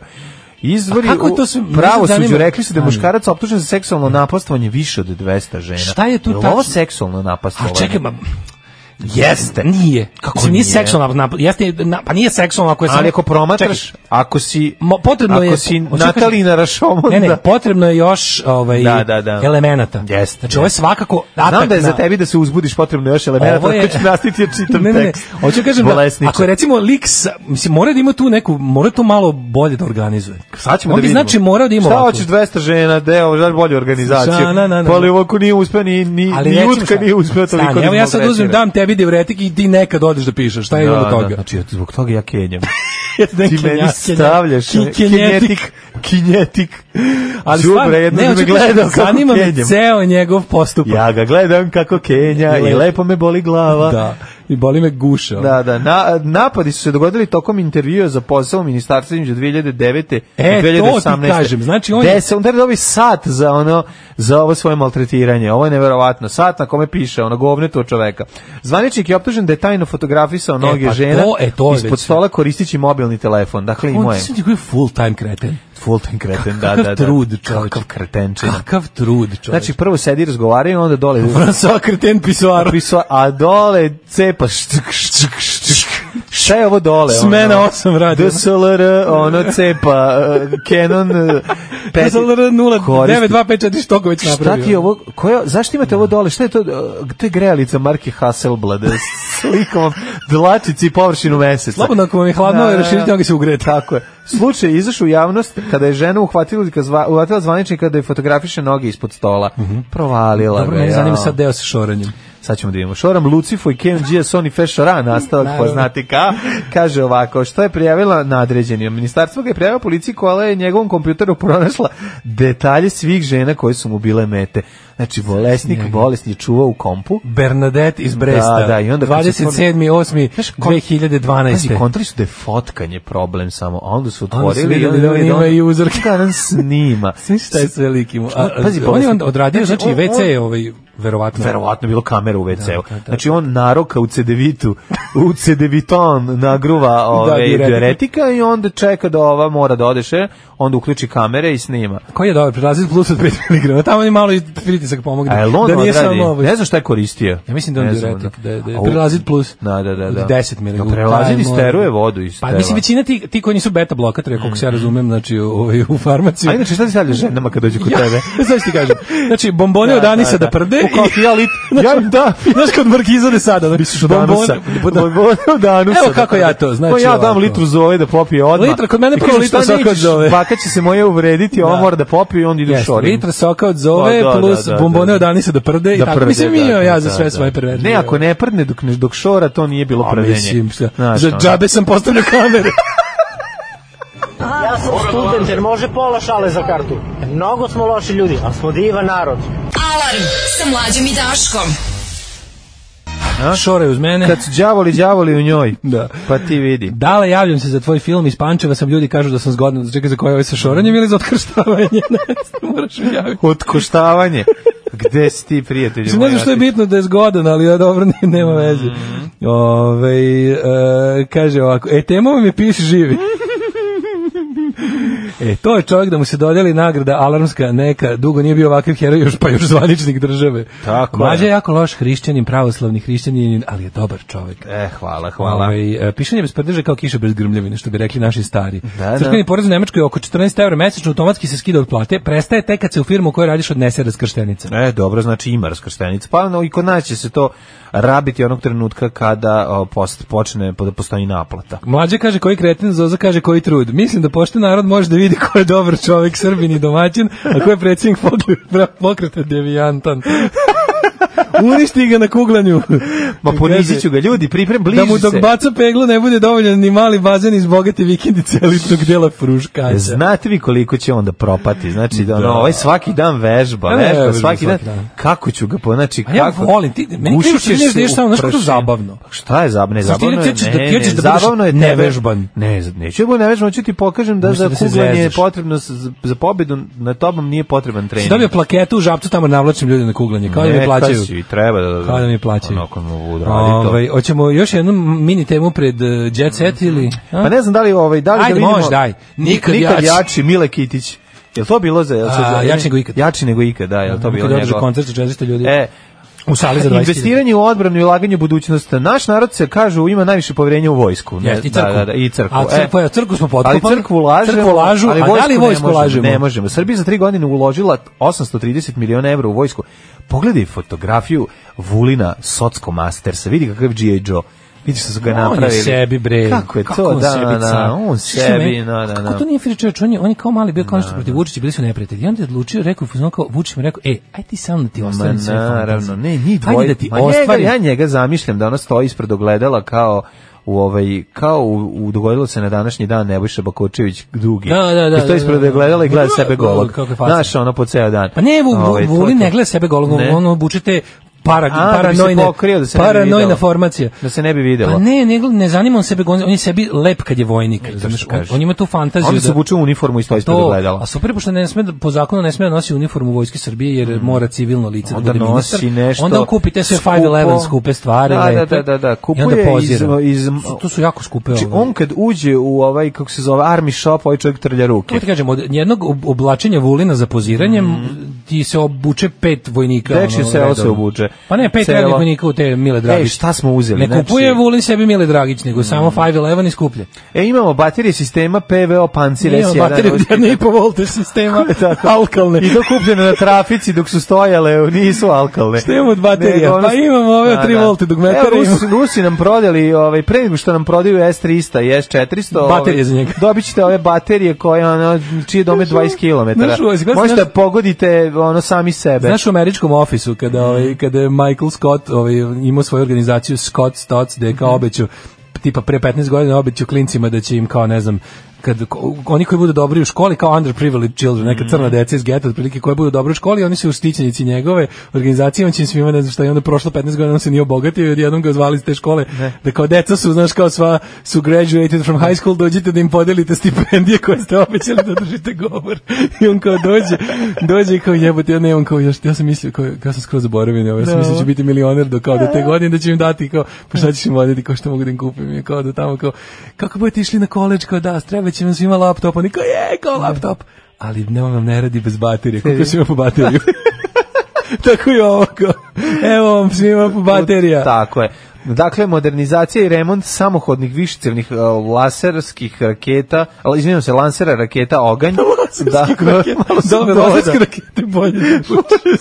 Izvori
A kako je to
u
sve- mene
pravo
zanima-
rekli su da je
Ajme.
muškarac optužen za seksualno napastovanje više od 200 žena.
Šta je tu
Jel ovo
tačno?
seksualno napastovanje?
A čekaj, ma,
Jeste.
Ovaj. Nije. Kako Mislim, nije, seksualno nap- jeste, na- pa nije seksualno ako je
Ali ako promatraš, ako si
Mo, potrebno
ako
je
si
Hoću
Natalina
kažem-
Rašomon,
Ne,
da.
ne, potrebno je još ovaj
Da, da, da.
elemenata.
Jeste.
Znači ovo je svakako atak.
Znam da je
na-
za tebi da se uzbudiš potrebno još elemenata,
Ovo je-
tako ću nastaviti ja čitam
ne, ne, ne.
tekst.
Hoću kažem da,
Bolesniče.
ako je recimo lik, sa, mislim, mora da ima tu neku, mora to malo bolje da organizuje.
Sad ćemo
On
da
bi,
vidimo.
znači morao da ima
Šta
ovako.
hoćeš 200 žena, deo, žal bolju organizaciju.
Za- na, na, na.
Pa ali ovako nije uspeo, ni, ni, ni
recimo
utka
šta?
nije uspeo toliko.
Stani,
da
evo ja
mogu
sad
reći,
uzmem,
ne.
dam tebi diuretik i ti nekad odeš da pišeš. Šta je
Da,
od toga?
da, znači, ja- zbog toga ja
(laughs)
kenjam.
Ja te
Ti
kenja-
meni
kenja-
stavljaš
ki-
eh,
kinjetik.
kinjetik.
Ali
Đubre,
stvarno,
jedno
ne,
da me
hoću kažem,
gledao kako
zanima me
kenjam.
ceo njegov postupak.
Ja ga gledam kako Kenja i
Lepo.
lepo me boli glava.
Da, i boli me guša. ono.
Da, da, na, napadi su se dogodili tokom intervjua za posao u ministarstvu između 2009.
E,
i
to ti
2018.
kažem, znači on je-
Deset, on treba dobi sat za ono, za ovo svoje maltretiranje, ovo je neverovatno, sat na kome piše, ono govne to čoveka. Zvaničnik je optužen da je tajno fotografisao noge
pa
žena
to- e, to je
ispod
već-
stola koristići mobilni telefon, dakle i
On
moje.
ti je full time kreten.
Full time kreten, da, da,
Kakav
da.
trud, čoveče.
Kakav kretenčina.
Kakav trud, čovječ.
Znači, prvo sedi i razgovaraju, onda dole...
(laughs) Francois kreten
(laughs)
pisoar.
Priso, a dole cepa ščk, ščk, ščk. Šta je ovo dole? ono?
Smena osam radi.
DSLR, ono cepa,
(laughs)
eh, Canon... eh, peti-
DSLR 0,
koristi.
9, 2, 5, 4, što već
Šta
napravio.
ti je ovo, koja, zašto imate ovo dole, šta je to, eh, to je grejalica marke Hasselblad, eh, s slikom dlačici i površinu meseca.
Slobodno ako vam je hladno,
Da, da, da.
raširite noge se ugrete.
Tako je. Slučaj je izašao u javnost kada je žena uhvatila, kad zva, uhvatila zvaničnika da je fotografiše noge ispod stola. Provalila
Mhm. Dobro,
ga. ono.
mene zanima
jao.
sad deo sa šoranjem.
Sad ćemo da vidimo. Šoram Lucifo i KMG Sony Fešora, nastavak
Naravno.
poznati ka, kaže ovako, što je prijavila nadređeni. Ministarstvo ga je prijavila policiji koja je njegovom kompjuteru pronašla detalje svih žena koje su mu bile mete. Znači, bolesnik, bolesni čuva u kompu.
Bernadette iz Bresta.
Da, da, i onda kad se
27. 8.
Znaš, kon- Pazi,
2012.
kontali Znači, su da je fotkanje problem samo, a onda su
Onda su
otvorili
vidjeli da on
i
ima
onda-
i uzor.
(laughs) Kako nam
(laughs)
snima.
Svi šta je sve likimu. A, a,
Pazi,
on je
bolesnik.
onda odradio,
Znači,
znači,
on-
WC je
on-
ovaj, verovatno.
verovatno bilo kamera u WC-u. Znači on naroka u cedevitu, u cedeviton nagruva ove
diuretika.
diuretika i onda čeka da ova mora da odeše, onda uključi kamere i snima.
Koji je dobar, prelazi plus od 5 mg. Tamo je malo i pritisak pomogne.
A je on
da nije
odradi?
samo ovaj.
Ne znam šta je koristio.
Ja mislim da je on
Ne znam, ono.
diuretik, da, je- da je
A u-
prelazit plus
Da, da, da.
od
da.
10 mg.
Da, prelazit isteruje vodu iz
Pa
tela.
mislim većina ti ti koji nisu beta blokatori, koliko se ja razumem, znači ovaj u farmaciji.
A inače šta ti stavljaš ženama kad dođu kod tebe?
(laughs) Znaš ti kažem. Znači, bombone od Anisa da, prde.
U kofi,
i-
ja lit, ja im da.
(laughs) Znaš kod Markiza de sada. ono,
Misliš od
bombone-
anusa.
da.
Bombone od anusa.
Evo kako ja to, znači
Pa ja dam
ovako.
litru zove da popije odmah.
Litra, kod mene
I
prvo
kažem,
litra
šta
soka od
nećeš?
Zoe.
Baka će se moje uvrediti, ona
Da.
mora da popije i onda ide u
Jeste,
šoring.
litra soka od zove
Pa, da,
plus
da, da,
bombone
da.
od Anisa da prde i
da
tako.
prde,
mislim,
da,
imio
da,
ja za
da,
sve
da.
svoje perverzije.
Ne, ako ne prdne dok, ne- dok šora, to nije bilo
A,
prdenje.
Mislim, šta,
Znaš,
za
ono.
džabe sam postavljao kamere.
Ja sam student jer može pola šale za kartu. Mnogo smo loši ljudi, ali smo divan narod.
Alarm sa mlađom i Daškom.
Šore uz mene.
Kad su đavoli, đavoli u njoj.
Da.
Pa ti vidi.
Dale, javljam se za tvoj film iz Pančeva, sam ljudi kažu da sam zgodan, čekaj za koje ovo je sa šoranjem ili za otkrštavanje, (laughs) ne, znam, moraš mi javiti.
Otkoštavanje. Gde si ti, prijatelju?
Mislim, ne znam
moj,
što je
ja ti-
bitno da je zgodan, ali ja, dobro, ne- nema veze.
Mhm.
Ove, e, kaže ovako, e, temo mi piši
(laughs)
živi. E, to je čovjek da mu se dodeli nagrada alarmska neka, dugo nije bio ovakav heroj, još, pa još zvaničnik države.
Tako je.
Mađa je jako loš hrišćanin, pravoslavni hrišćanin, ali je dobar čovjek.
E, hvala, hvala.
Ovaj, e, pišanje bez prdeže kao kiša bez grmljavine, što bi rekli naši stari.
Da,
Crkveni
da.
porez u Nemačkoj je oko 14 evra mesečno, automatski se skida od plate, prestaje tek kad se u firmu u kojoj radiš odnese raskrštenica.
E, dobro, znači ima raskrštenica. Pa no, i kod nas će se to rabiti onog trenutka kada o, post, počne da postoji naplata.
Mlađe kaže koji kreten, Zoza kaže koji trud. Mislim da pošten narod može da vidi ko je dobar čovjek, srbin i domaćin, a ko je predsjednik pokreta, pokreta
(laughs)
devijantan. Uništi ga na kuglanju.
Ma ponizit ću ga, ljudi, priprem, bliži
Da mu dok
se.
baca peglu ne bude dovoljan ni mali bazen iz bogate vikendice elitnog dela fruškaća.
Znate vi koliko će onda propati, znači da, ono,
Da.
ovaj svaki dan vežba,
Ne, ne,
vežba,
vežba
svaki,
svaki
dan.
dan.
Kako ću ga po, znači
A ja
kako?
volim, ti- meni
Gušit
kažeš da
ćeš
ideš da
se
ideš samo, znaš,
u
kako je
prašinu.
zabavno?
Šta je zabavno? Ne,
Znaš, ti
zabavno je,
hoćeš da-
ne,
ti
ne,
hoćeš da budeš
zabavno je tebe-
nevežban.
Ne, neću da budem nevežban, ću ti pokažem da
Umeš
za
da se
kuglanje je
zvezdaš.
potrebno, s- za pobjedu na tobom nije potreban
Si
trening.
dobio plaketu u žabcu tamo navlačim ljudi na kuglanje, kao da
Ne,
mi plaćaju.
kad si, treba da,
Kao da mi plaćaju.
Onako mogu uraditi to.
Ovaj, hoćemo još jednu mini temu pred uh, Jet Set ili... a?
Pa ne znam da li ovaj da li
Ajde,
da vidimo.
može, daj.
Nikad,
Nikad
nikad
jači.
jači Mile Kitić. Jel to bilo za, jel se
A,
za-
jači nego ikad.
Jači nego ikad, da, jel to bilo
Kad održa
njegovo.
koncert za 400 ljudi.
E,
U sali za 20.000.
Investiranje u odbranu i ulaganje u budućnost. Naš narod se kažu ima najviše poverenja u vojsku, ne,
Jeste, i crkvu.
Da, da, da, i crkvu.
A crkvu,
E,
evo, crkvu smo potkopali.
Ali crkvu lažemo,
Crkvu lažu, a da li
vojsku ne
vojsku
možemo,
lažemo?
Ne možemo. Srbija za tri godine uložila 830 miliona evra u vojsku. Pogledaj fotografiju Vulina Socko Mastersa, vidi kakav G.I. Joe. Vidiš što su ga napravili.
On je sebi, bre.
Kako je to?
on
da,
sebi
da, da,
car?
on
Znaš šta
sebi,
meni-
da, da,
Kako
da.
to nije Fira čovječ? On je, on je kao mali bio kao nešto protiv Vučića, bili su neprijatelji. I onda je odlučio, rekao, fuzon kao, Vučić mi rekao, e, aj ti sam da ti
Ma
ostavim sve
naravno,
fantazije.
ne, njih
Ajde
dvoje.
da ti
Ma njega-
ostvarim.
ja njega zamišljam da ona stoji ispred ogledala kao u ovaj kao u, u dogodilo se na današnji dan Nebojša Bakočević dugi.
Da, da, da,
I stoji ispred
da, da.
ogledala i gleda
Da,
sebe golog.
kako je fascinantno.
Znaš, ono po ceo dan.
Pa ne, Vu-
Ovaj, to je
Vulin
to.
ne gleda sebe golog, ono-
Ne.
on obuče te para,
A, da bi se
paranojne,
pokrio, da se ne bi
paranojna
videlo.
formacija.
Da se ne bi videlo.
Pa ne, ne, gl- ne zanima on sebe, gonzi- on je sebi lep kad je vojnik. razumeš, on,
kažeš.
on ima tu fantaziju.
Onda se obuče u uniformu i stoji ispred
To,
ogledala.
A super, pošto ne sme, da- po zakonu ne sme da nosi uniformu Vojske Srbije, jer mora civilno lice
Mm.
da
Onda
bude
nosi
ministar.
nešto
Onda on kupi te sve 511
skupo.
skupe stvari.
Da, da,
lepe,
da, da, da,
i
kupuje
onda pozira.
iz- iz-
Su- to su jako skupe. ono.
Znači,
ove.
on kad uđe u ovaj, kako se zove, army shop, ovaj čovjek trlja ruke.
Kako ti kažem, od jednog ob- oblačenja vulina za poziranje ti se obuče pet vojnika.
Dečje
ono,
selo Mm. se
redovno.
obuče.
Pa ne, pet
Selo.
rednih vojnika u te Mile Dragić.
Ej, E, šta smo uzeli?
Ne
Znači- Mm.
kupuje vulin sebi Mile Dragić, nego samo 511 i skuplje.
E, imamo baterije sistema PVO Pancir
Nije
S1.
baterije od 1,5 volta
(laughs)
sistema, alkalne.
I to kupljeno na trafici dok su stojale, nisu alkalne. ono
Šta imamo od baterija? Pa imamo ove od 3 volti dugmetara
Evo, Rusi,
imamo.
Rusi nam prodali, ovaj, pre nego što nam prodaju S300 i S400, ovaj,
Baterije za njega.
dobit ćete ove baterije koje, ono, čije dome 20 km.
Znaš, ovo, izgleda-
Možete
znaš-
da pogodite ono sami sebe.
Znaš u američkom ofisu kada ovaj kada je Michael Scott ovaj imao svoju organizaciju Scott Stotts da je kao obećao tipa pre 15 godina obećao klincima da će im kao ne znam kad ko- oni koji budu dobri u školi kao underprivileged children, neka crna deca iz geta otprilike koji budu dobri u školi, oni su uštićenici njegove organizacije, on će im svima ne znam šta i onda prošlo 15 godina on se nije obogatio i odjednom ga zvali iz te škole da kao deca su, znaš kao sva su graduated from high school, dođite da im podelite stipendije koje ste obećali da držite govor i on kao dođe dođe i kao jebote, ja nemam kao još, ja sam mislio kao, ja sam skroz zaboravio, na ovo, ja sam
Da.
mislio da ću biti milioner do kao do te godine da će im dati kao pa šta ćeš im voditi kao što mogu da im kupim i kao do tamo kao kako budete išli na koleđ kao da treba će vam svima laptop oni kao je kao laptop ali ne vam ne radi bez baterije kako svima po (laughs) bateriju tako i ovo kao evo vam svima po baterija
Tako je. Dakle, modernizacija i remont samohodnih višicevnih e, laserskih raketa, al, izvinjam se, lansera raketa
(laughs)
Oganj. Laserskih (laughs)
raketa. Dobro, laserske rakete bolje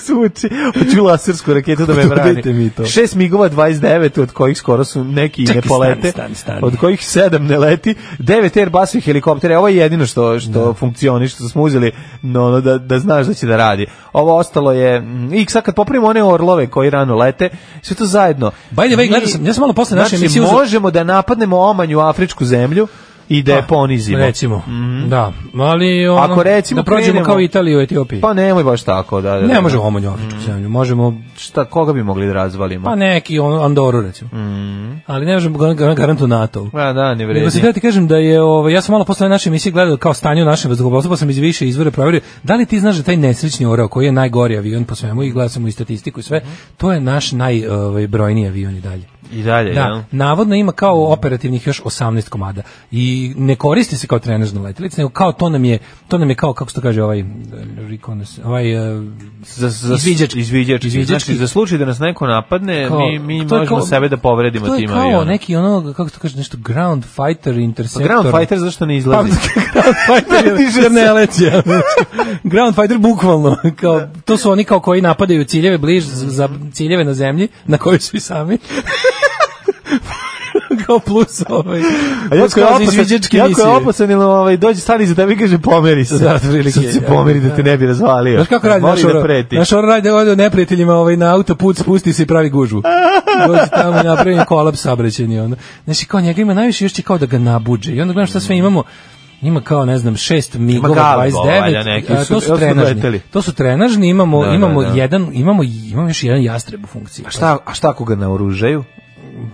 zvuči. (laughs) Hoću lasersku raketu da me brani.
Dajte mi to.
Šest migova 29, od kojih skoro su neki i ne
Čekaj,
polete.
stani, stani, stani.
Od kojih sedam ne leti. Devet Airbus i helikoptera. Ovo je jedino što, što funkcioni, što smo uzeli no, ono, da, da znaš da će da radi. Ovo ostalo je... mm, I sad kad popravimo one orlove koji rano lete, sve to zajedno.
By the way,
Mi-
gledao sam, ja sam malo posle naše
znači,
emisije uzeo-
možemo da napadnemo omanju afričku zemlju i da je ponizimo.
Pa, recimo da ali ono,
Mhm. Ako recimo
da prođemo
krenemo-
kao Italiju u Etiopiji
Pa Mhm. nemoj baš tako. Da, da, da.
ne možemo omanju afričku zemlju možemo
Šta, koga bi mogli da razvalimo?
pa neki on Andoru recimo
Mhm.
ali ne možemo gar- gar- garantu NATO
Pa da, ne vredi.
Nego se da ti kažem da je ovaj ja sam malo posle ove naše emisije gledao kao stanje u našem vazduhoplovstvu, pa sam iz više izvora proverio. Da li ti znaš da taj nesrećni orao koji je najgori avion po svemu i gledao sam mu i statistiku i sve,
Mhm.
to je naš najbrojniji avion i dalje.
I dalje, jel?
Da, navodno ima kao operativnih još 18 komada i ne koristi se kao trenažna letelica, nego kao to nam je, to nam je kao, kako se to kaže, ovaj, eh, reconnaissance, ovaj, eh,
za, za,
Izviđački.
izviđački.
Izviđački.
Znači, za slučaj da nas neko napadne,
Kao-
mi, mi
to je
možemo
kao-
sebe da povredimo
to je
tim
kao
avionom.
neki ono, kako to kaže, nešto ground fighter
Pa
interceptor.
Ground Fighter zašto ne (laughs) izlazi?
(laughs) Ground Fighter jer-
Diže
jer ne
se.
leće.
(laughs)
Ground Fighter bukvalno. Kao, to su oni kao koji napadaju ciljeve bliž za ciljeve na zemlji, na kojoj su i
(laughs)
sami. kao plus ovaj.
A jako Pa je
plus kao za
opasan,
izviđačke
jako je
misije.
opasan, ili ovaj, dođe stani za tebe i kaže pomeri (laughs) se.
Da, otprilike,
Sad se
ja,
pomeri da te ne bi razvalio.
Znaš kako radi
Voli
naš
da
oro?
preti.
naš oro radi da ode neprijateljima ovaj, na autoput, spusti se i pravi gužvu. Dođe tamo i napravi im kolaps sabrećeni. Onda. Znači, kao njega ima najviše, još će kao da ga nabuđe. I onda gledam šta sve imamo. Ima kao, ne znam, šest migova,
Galibova,
29,
valja neki,
a, to
su-
su
jel su
trenažni.
leteli?
To su trenažni, imamo,
Da, da,
imamo,
da.
Jedan, imamo, imamo još jedan jastreb u funkciji.
A šta, a šta ako ga naoružaju?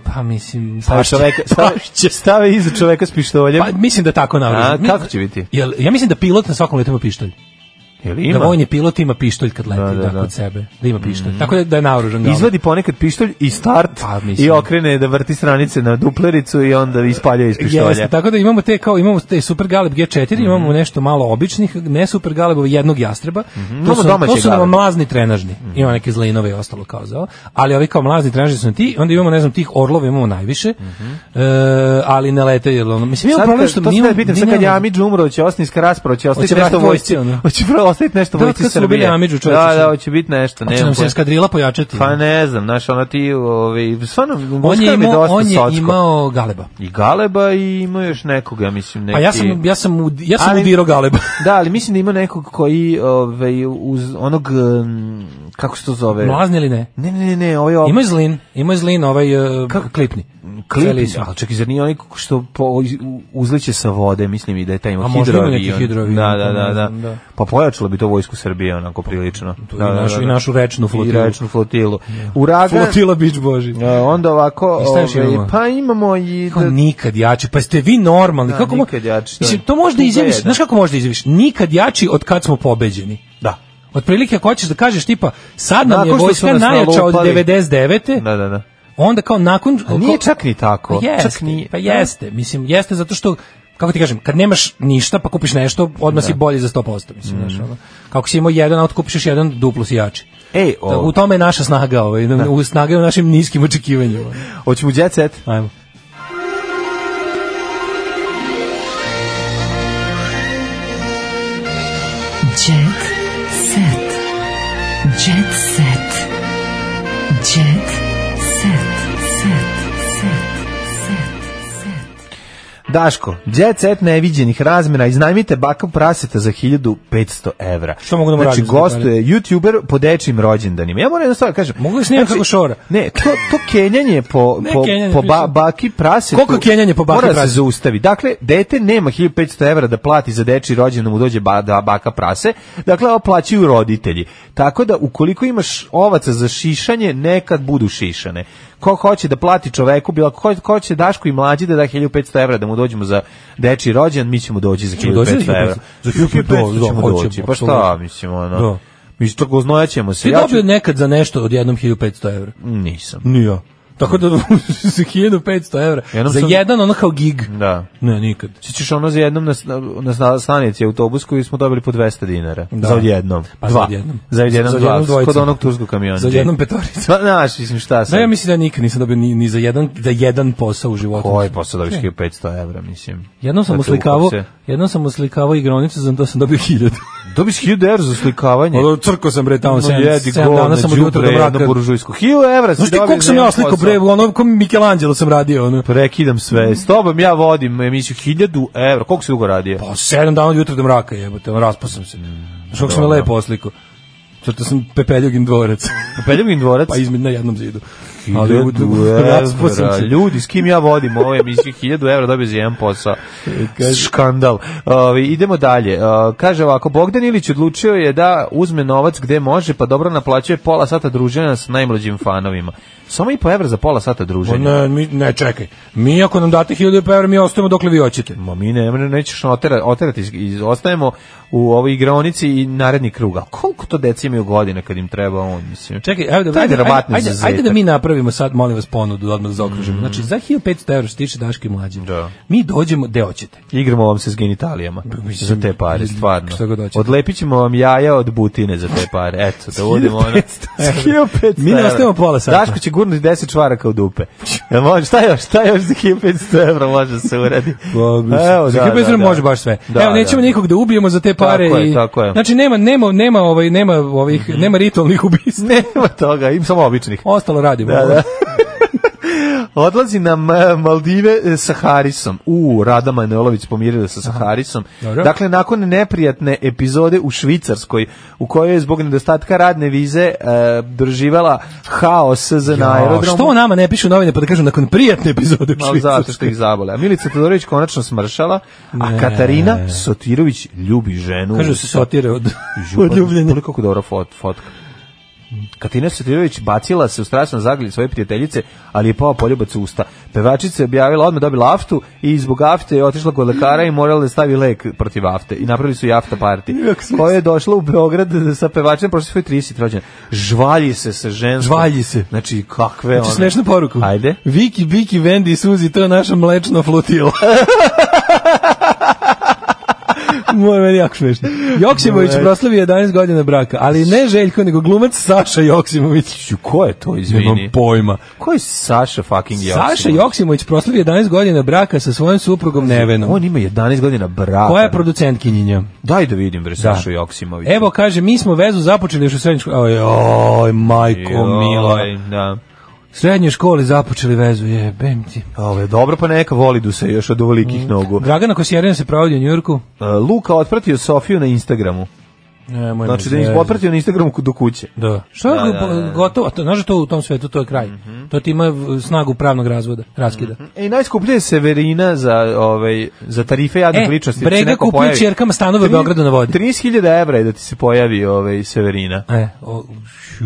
Pa mislim...
Stave, čoveka, stave, stave iza čoveka s pištoljem.
Pa mislim da tako navrži.
A, kako će biti?
Jel, ja mislim da pilot na svakom letu ima pištolj.
Jel ima?
Da vojni pilot ima pištolj kad leti
Da,
da,
da, da. Mm.
kod sebe. Da ima pištolj. Tako da, da je naoružan. ga.
Izvadi ponekad pištolj i start
Pa, mislim.
i okrene da vrti stranice na duplericu i onda ispalja iz pištolja.
Jeste, tako da imamo te kao imamo te Super Galeb G4,
Mhm.
imamo nešto malo običnih, ne Super Galebova, jednog jastreba.
Mhm. Imamo
To su,
domaće
to su nam
galebe. Mhm.
mlazni trenažni. Ima neke zlinove i ostalo kao za ovo, ali ovi kao mlazni trenažni su nam ti, onda imamo ne znam tih orlova imamo najviše. e, ali ne lete jer ono mislim
Mhm.
imamo
Sad
problem
kad-
što
to
mi
sad
imamo-
pitam,
mi
sad kad je
nemamo-
Amidž umro, će ostati niska rasprava, će ostati
Hoće
nešto
vratiti
vojsci.
vojsci, ono.
Hoće prvo ostati nešto
Da,
vojsci
kad su
Srbije.
ubili Amidžu, čoveče,
Da, da,
sad.
hoće biti nešto,
Hoće
nemam
nam se
pojma.
eskadrila pojačati.
Pa ne znam, znaš, ona ti, ovaj, stvarno,
on je
Moskva mi
imao,
dosta
on je
socko.
imao Galeba.
I Galeba i ima još nekoga, mislim, neki...
Pa ja sam ja sam ud- ja sam
Ali-
udirao
(laughs)
Galeba.
Da, ali mislim da ima nekog koji ovaj, uz onog, um, kako se to zove?
Mlazni ili ne?
Ne, ne, ne, ne, ovaj... ovaj
Ima je zlin, ima je zlin ovaj uh, klipni.
klip,
Celisov.
ali čak i zar nije onaj što po, u- uzliće sa vode, mislim i da je taj
A
imao
možda ima neki
hidroavion.
hidroavion,
Da,
to
da,
ne
da,
znam,
da.
da. Pa,
Pa pojačalo bi to vojsku Srbije onako prilično.
i
Da, da,
našu-
da, da.
i našu rečnu flotilu.
I rečnu flotilu. Uragan,
Flotila Beach Boži.
e, onda ovako,
I šta još
ovaj,
imamo?
pa imamo i...
Kao
da-
nikad jači. Pa jeste vi normalni.
Da,
kako mo-
nikad jači, to je-
Mislim, to možda
Tuga
izjaviš.
je, da.
Znaš kako možda izjaviš? Nikad jači od kad smo pobeđeni.
Da.
Otprilike ako hoćeš da kažeš tipa sad nam
Nakon
je
što su
vojska
nas
najjača od
nalupali.
99.
Da, da, da.
Onda kao nakon...
A nije čak ni tako.
Pa jeste,
čak nije.
pa jeste. Mislim, jeste zato što, kako ti kažem, kad nemaš ništa pa kupiš nešto, odmah si bolji za 100%. Mislim,
Mhm.
znaš, ono. Kako si imao jedan, a onda kupiš još jedan, duplo si jači.
Ej,
Tako,
E, o,
u tome je naša snaga, ovaj, u snaga je u našim niskim očekivanjima.
hoćemo u jet set?
Ajmo.
Jet set. Jet set. Jet set. Set. Set.
Daško, jet set neviđenih razmjera, iznajmite baka praseta za 1500 evra.
Što mogu da mu
znači,
radim za
gostuje youtuber po dečijim rođendanima. Ja moram jednu stvar da kažem. Znači,
Mogu da snimam kako šora.
Ne, to, to kenjanje po,
Ne
po,
kenjanje,
po ba,
mislim.
baki prasetu...
Koliko kenjanje po baki
mora se
prasetu?
zaustavi. Dakle, dete nema 1500 evra da plati za dečiji rođendan mu dođe ba, da baka prase. Dakle, ovo plaćaju roditelji. Tako da, ukoliko imaš ovaca za šišanje, nekad budu šišane. Ko hoće da plati čoveku, bilo ko, ko hoće Daško i mlađi da da 1500 evra da mu dođemo za dečiji rođendan, mi ćemo doći za
Ćemo doći za
1500 evra.
1500?
Za 1500 ćemo
Da, da,
doći. Pa šta,
apsolutno.
mislim, ono...
Da.
Mislim, tako znojaćemo se.
Ti
Ja ću-
dobio nekad za nešto od jednom 1500 evra?
Nisam.
Nije. Tako da (laughs) za 1500 evra.
Jednom
za
sam-
jedan ono kao gig.
Da.
Ne, nikad.
Sjećaš ono za jednom na, na, na stanici autobus koji smo dobili po 200 dinara.
Da.
Za odjednom.
Pa za
dva.
odjednom.
Za odjednom
Za
dva.
odjednom dvojica.
Kod onog turskog kamiona.
Za jednom petoricu.
Pa, znaš, mislim šta sad.
Da, ja mislim da nikad nisam dobio ni, ni za, jedan, za jedan Pa posao u životu.
Koji posao dobiš
Ne.
1500 evra, mislim.
Jednom sam
Zato
uslikavao,
ukopce.
jednom sam uslikavao igronicu, za to sam dobio 1000.
Dobiš 1000 evra za
(laughs)
uslikavanje.
Ono, crko sam bre tamo
Ono,
7
jedi govne,
dana sam od jutra do
đubre, jedno
mraka.
buržujsko. 1000 evra si
Znaš ti
dobio
koliko
za
sam ja
jedan
oslikao
posao.
bre, ono kao Michelangelo sam radio, ono.
Prekidam sve. S tobom ja vodim emisiju 1000 evra. Koliko si dugo radio?
Pa 7 dana od jutra do mraka, jebote, ono, raspao sam se. Znaš kako sam me
dobro.
lepo oslikao. Crto sam Pepeljugin dvorac. (laughs)
Peljevin dvorac.
pa izmed na jednom zidu.
Ali
(laughs) u- raspao sam se.
Ljudi, s kim ja vodim ovo emisiju, 1000 evra dobio za jedan posao. Škandal. Ovi, idemo dalje. O, kaže ovako, Bogdan Ilić odlučio je da uzme novac gde može, pa dobro naplaćuje pola sata druženja s najmlađim fanovima. Samo i po evra za pola sata
Ma
druženja.
Pa Ne, mi, ne, čekaj. Mi ako nam date 1000 evra, mi ostajemo dokle vi hoćete.
Ma mi ne, ne- nećeš otera, oterati, iz- iz- ostajemo u ovoj igraonici i naredni krug. A koliko to deci imaju godina kad im treba on, mislim?
Čekaj, ajde,
To je
ajde, ajde,
verovatno
ajde,
izuzetak.
ajde da mi napravimo sad, molim vas, ponudu odmah da zaokružimo. Znači, za 1500 evra što tiče Daške mlađe,
Da.
mi dođemo gde hoćete.
Igramo vam se s genitalijama
Pa mislim,
za te pare, stvarno.
šta god hoćete.
Odlepit ćemo vam jaja od butine za te pare. Eto, da uvodimo ono.
1500 evra.
1500
Mi ne
evra.
ostajemo pola sata.
Daško će gurnuti 10 čvaraka u dupe. Jel može, šta još, šta još za 1500 evra može da se uradi?
Evo, Pa, za 1500 evra može baš sve.
Da,
Evo, nećemo
da.
nikog da ubijemo za te pare.
Tako je,
i,
tako je.
Znači, nema, nema, nema, ovaj, nema, ovih, nema ritualnih ubijstva.
Nema toga, im samo običnih.
Ostalo radimo.
Da, da. Odlazi na M- Maldive e, sa Harisom. U, Rada Manojlović pomirila se sa Harisom.
Dobro.
Dakle, nakon neprijatne epizode u Švicarskoj, u kojoj je zbog nedostatka radne vize e, doživala haos za na
A,
aerodromu.
što o nama ne pišu novine pa da kažu nakon prijatne epizode u
Malo zato što
Švicarskoj.
ih zabole. A Milica Todorović konačno smršala, a
Ne.
Katarina Sotirović ljubi ženu.
Kažu se sotire od,
Ju,
od
pa,
ljubljenja.
Koliko je dobra fot, fotka. Katina Sotirović bacila se u strašnom zagrlju svoje prijateljice, ali je pao poljubac u usta. Pevačica je objavila odmah dobila aftu i zbog afte je otišla kod lekara i morala da stavi lek protiv afte. I napravili su i afta
(laughs)
party. Koja je došla u Beograd sa pevačem prošle svoje 30 rođena. Žvalji se sa ženskom.
Žvalji se.
Znači, kakve
Znači, smešnu poruku.
Ajde.
Viki, Biki, Vendi i Suzi, to je naša mlečno
(laughs)
flotilo. Moj meni jako smešno. Joksimović
Dobro.
proslavi 11 godina braka, ali ne Željko, nego glumac Saša Joksimović.
Ko je to, izvini?
Nemam pojma.
Ko je Saša fucking Joksimović?
Saša Joksimović proslavi 11 godina braka sa svojom suprugom Nevenom.
On ima 11 godina braka.
Koja je producentkinja?
Daj da vidim, bre, Sašu Joksimović.
Evo, kaže, mi smo vezu započeli još u srednjoj školi. Oj, oj, majko mila.
Da.
Srednjoj školi započeli vezu, jebem ti.
Ovo je dobro, pa neka voli du se još od ovolikih
Mm.
nogu.
Dragana Kosjerina se provodi u Njurku.
E, Luka otpratio Sofiju na Instagramu.
Nemoj
Znači
me
da je
zezati.
otpratio na Instagramu do kuće.
Da. Što je
Da, da, da. Mhm.
gotovo? A To, znaš da to u tom svetu, to je kraj. To ti ima v- snagu pravnog razvoda, raskida.
E, i najskuplje je Severina za, ovaj, za tarife jadnih
E,
ličnosti. Znači,
Brega kupio ćerkama stanove u Beogradu na vodi.
13.000 evra je da ti se pojavi ovaj, Severina.
E, o, šu.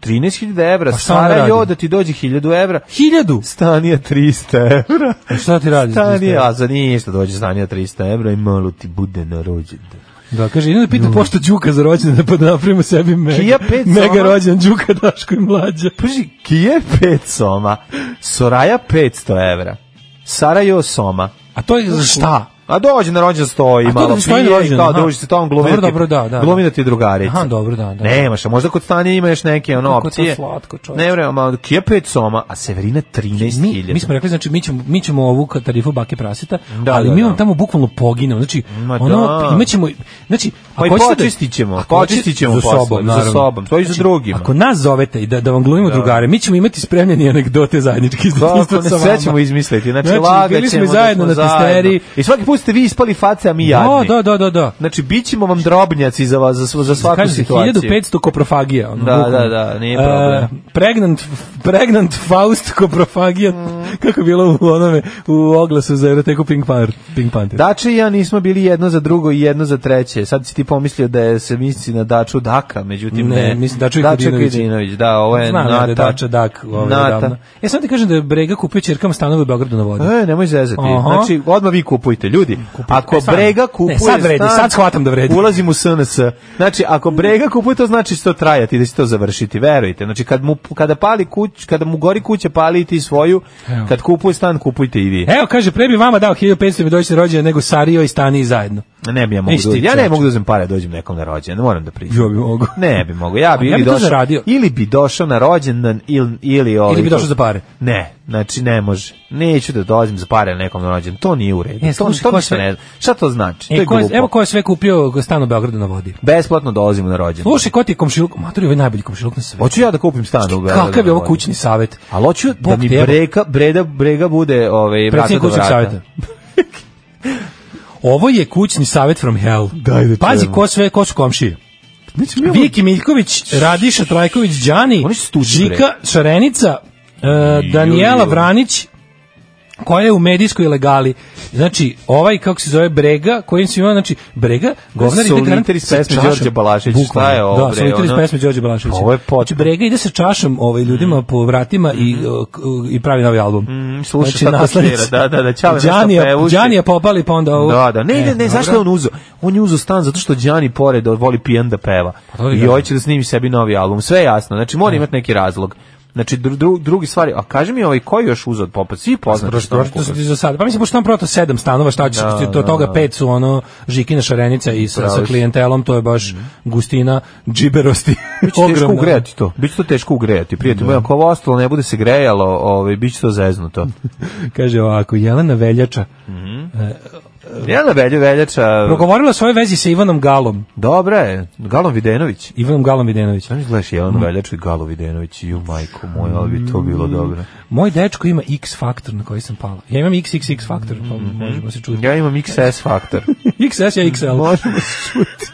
13.000 evra,
Pa šta ona
Sara
radi?
Jo da ti dođe 1000 evra,
Hiljadu?
stanija 300 evra.
A E, šta ti radi?
Stanija, a za ništa dođe stanija 300 evra i malo ti bude na rođendan.
Da, kaže, idem da pita pošto Đuka za rođendan pa da napravimo sebi mega,
Kija pet
mega
soma.
rođendan Đuka Daško i mlađa.
Paži, Kije 5 soma, Soraja 500 evra, Sarajo soma.
A to je za šta?
A dođe na rođendan stoji
A to
malo
da stoji na
prije i
rođendan,
kao
aha.
druži se tom glumi
Dobro,
da ti-
dobro, da, da,
glumi da ti je drugarica.
Aha, dobro, da, da.
Nemaš, a možda kod Stanje ima još neke ono
Kako je to
opcije.
slatko, čovječe.
Ne vrema, malo Kije 5 soma, a Severina
Mi,
13.000.
mi smo rekli, znači, mi ćemo, mi ćemo ovu ka- tarifu bake prasita,
Da,
ali
da,
mi vam
da.
tamo bukvalno poginemo. Znači,
Ma
ono,
da.
imaćemo, znači,
Pa i
hoćete da-
počistit ćemo,
ako hoćete-
počistit ćemo
za
posle,
sobom,
za
naravno. Znači,
sobom, to i za drugima.
Ako nas zovete i da, da vam glumimo drugare, mi ćemo imati spremljene anegdote zajednički iz
Kako
detinjstva
ne
sa
sve
vama.
ćemo izmisliti. Znači,
Znači,
lagaćemo
bili smo i
da
zajedno
smo
na testeriji.
zajedno. I svaki put ste vi ispali face, a mi jadni.
Da, Znači, da, da, da, da.
Znači, bit ćemo vam drobnjaci za, vas, za, za svaku
Kažete,
situaciju.
1500 koprofagija. Ono,
Da,
bukvalno.
da, da, nije problem.
E, pregnant, pregnant Faust koprofagija,
Mm.
kako je bilo u onome, u oglasu za Euroteku Pink, Pan, Pink Panther.
Dače i ja nismo bili jedno za drugo i jedno za treće. Sad si ti pomislio da je se misli na Daču Daka, međutim ne.
Ne, mislim Daču i Kudinović.
Kudinović, da, ovo je
Znam ja
Nata.
da je Dača Dak ovaj,
Nata.
odavno. E, sad ti kažem da je Brega kupio čerkama stanove u Beogradu na vodi.
E, nemoj zezati.
Aha.
Znači, odmah vi kupujte, ljudi. Ako
E, sad-
Brega
ne,
kupuje
sad vredi,
stan,
sad shvatam da vredi.
Ulazim u SNS. Znači, ako Brega kupuje, to znači što trajati, da će to završiti, verujte. Znači, kad mu, kada, pali kuć, kada mu gori kuća, pali i ti svoju.
Evo.
Kad kupuje stan, kupujte i vi.
Evo, kaže, pre bi vama dao 1500 mi doći na rođendan nego Sario i Stani zajedno.
Ne bi ja mogu
Isti
da, ja ne
čovječe.
mogu da uzmem pare da dođem nekom na rođendan, moram da priznam.
Ja bi mogo.
Ne bi mogu. Ja bi,
A ja bi
ili,
to
došao,
zaradio.
ili bi došao na rođendan ili ili ovaj
Ili bi došao za pare.
Ne, znači ne može. Neću da dolazim za pare na nekom na rođendan. To nije u redu.
E,
to,
slušaj,
to
ko
mi se
sve-
ne zna. Šta to znači? to
E,
je
ko je,
glupo.
evo ko je sve kupio stan u Beogradu na vodi.
Besplatno dolazimo na rođendan.
Slušaj, ko ti je komšiluk? Matori, ovo je ovaj najbolji komšiluk na svetu.
Hoću ja da kupim stan u Beogradu.
Kakav je
na
ovo
rođendan.
kućni savet?
Ali hoću da
Bog
mi
ti, evo.
breka, breda, brega bude ovaj, vrata do
Predsjednik kućnog
vrata. (laughs)
savjeta. Ovo je kućni savjet from hell.
Daj da
Pazi
čujemo.
ko sve, ko su komšije.
Znači, mi ovo-
Viki Miljković, Radiša Trajković, Đani,
Oni su stuci, bre.
Žika Šarenica, e, Danijela
joj.
Vranić, koja je u medijskoj legali. Znači, ovaj, kako se zove, Brega, kojim se ima, znači, Brega, govnar ide
Solitar
garant
iz
sa
pesme
čašom.
Đorđe Balaševića.
Bukvalno.
Šta je ovo,
Da,
bre,
solitar iz
ono?
pesme Đorđe Balaševića.
Ovo je potpuno. Mhm.
Znači, Brega ide sa čašom ovaj, ljudima po vratima i, o, k- i pravi novi album. Znači,
Mm, sluša šta to
naslednici.
svira, da, da, da, Ćale nešto
Đanija-
pevuši.
Đanija popali, pa onda ovo.
Da, da, ne, ne, ne,
dobro.
zašto je on uzo? On je uzo stan zato što Đani pored voli pijan da peva.
Pa to ti
I
kažem.
hoće da snimi sebi novi album. Sve je jasno, znači mora
E.
imati neki razlog. Znači, dru, dru- drugi stvari, a kaži mi ovaj, koji još uzo od popa? Svi poznati što
Prošlo su ti za sad. Pa mislim, pošto sam proto sedam stanova, šta ćeš,
Da,
ti- od toga pet su ono Žikina Šarenica i sa, sa
Praviš.
klijentelom, to je baš
Mhm.
gustina
(laughs)
džiberosti.
Biće teško ugrejati to. Biće to teško ugrejati. Prijatelj moj, ako ovo ostalo ne bude se grejalo, ovaj, biće to
(laughs)
zeznuto.
Kaže ovako, Jelena Veljača
Jelena Velja, Veljača,
progovorila o svojoj vezi sa Ivanom Galom.
dobra je, Galom Videnović.
Ivanom Galom Videnović.
Znaš, gledaš
Mm.
Jelenu Veljaču i Galo Videnović, ju majko moja, ali bi to bilo dobro.
Moj dečko ima X faktor na koji sam pala. Ja imam XXX faktor, pa
Mhm.
možemo se čuti. (laughs)
Ja imam XS faktor.
XS ja XL.
Možemo se čuti.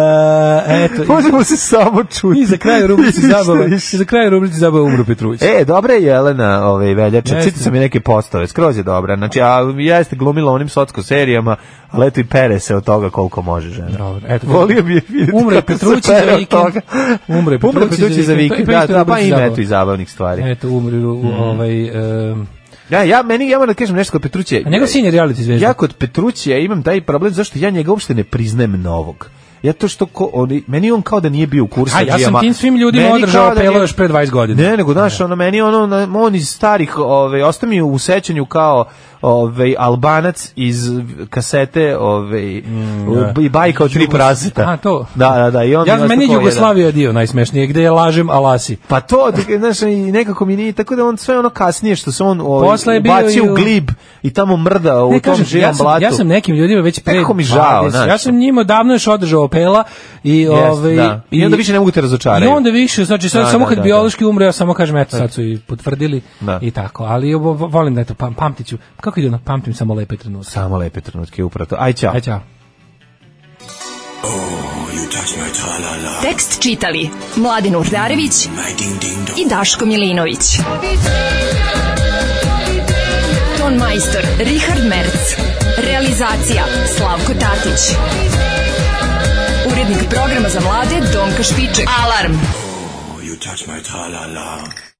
(laughs) eto,
Možemo se samo čuti.
I za kraj
(laughs)
rubrici
Ništa
zabave, i
više.
za kraj rubrici zabave umro Petrović.
(laughs) E, dobra je Jelena ovaj, Veljača,
Jeste.
čitao sam i neke postove, skroz je dobra. Znači, a jeste glumila u onim socko serijama, ali eto i pere se od toga koliko može žena.
Dobro, eto.
Volio bi je vidjeti
Umro je
kako se
Petrucci
pere
za
od
vikend.
toga.
Umro je
Umro je
Petrucci za
Petrucci za
vikend.
vikend,
To je isto E.
da, da, pa
rubrici
ima
zabave.
eto i zabavnih stvari.
Eto, umri
Mhm.
ovaj... em,
Ja, ja, meni, ja moram da kažem nešto kod Petrućija.
A njegov sin je reality zvezda.
Pa Ja kod Petrućija imam taj problem zašto ja njega uopšte ne priznajem novog. Ja to što ko, oni, meni on kao da nije bio u kursu.
A ja sam tim svim ljudima održao apelo još pre 20 godina.
Ne, nego znaš, ono meni ono na- on iz starih, ovaj ostao mi u sećanju kao ovaj Albanac iz kasete, ovaj
Mm, da.
i bajka od tri praseta.
A, to.
Da, da, da, i on
ja,
mi
meni je
je ostao kao jedan.
Jugoslavija dio najsmešnije, gde je lažem Alasi.
Pa to, tako, znaš, i nekako mi nije, tako da on sve ono kasnije što se on
Posle
ovaj,
je bio
bacio
i
u
u-
glib i tamo mrda Pa u
Ne,
tom
kažem,
živom
ja sam,
blatu.
ja sam nekim ljudima već pre...
Nekako mi žao,
20.
znaš.
Ja sam njima davno još održao opela i...
Jeste,
ovaj,
da. I onda više ne mogu te razočarati.
I onda više, znači sad
Da,
samo
da,
kad
da,
biološki umre, ja samo kažem, eto sad su i potvrdili
Da.
i tako. Ali ovo, vo- volim da eto, pam, pamtit ću. Kako ide ono, pamtim samo lepe trenutke. E,
Samo lepe trenutke, upravo to. Aj, čao.
Aj, čao.
Tekst čitali Mladin Urdarević i Daško Milinović. Ton majstor Richard Merc. Realizacija Slavko Tatić. Urednik programa za mlade Donka Špiček. Alarm!
You touch my tra-la-la.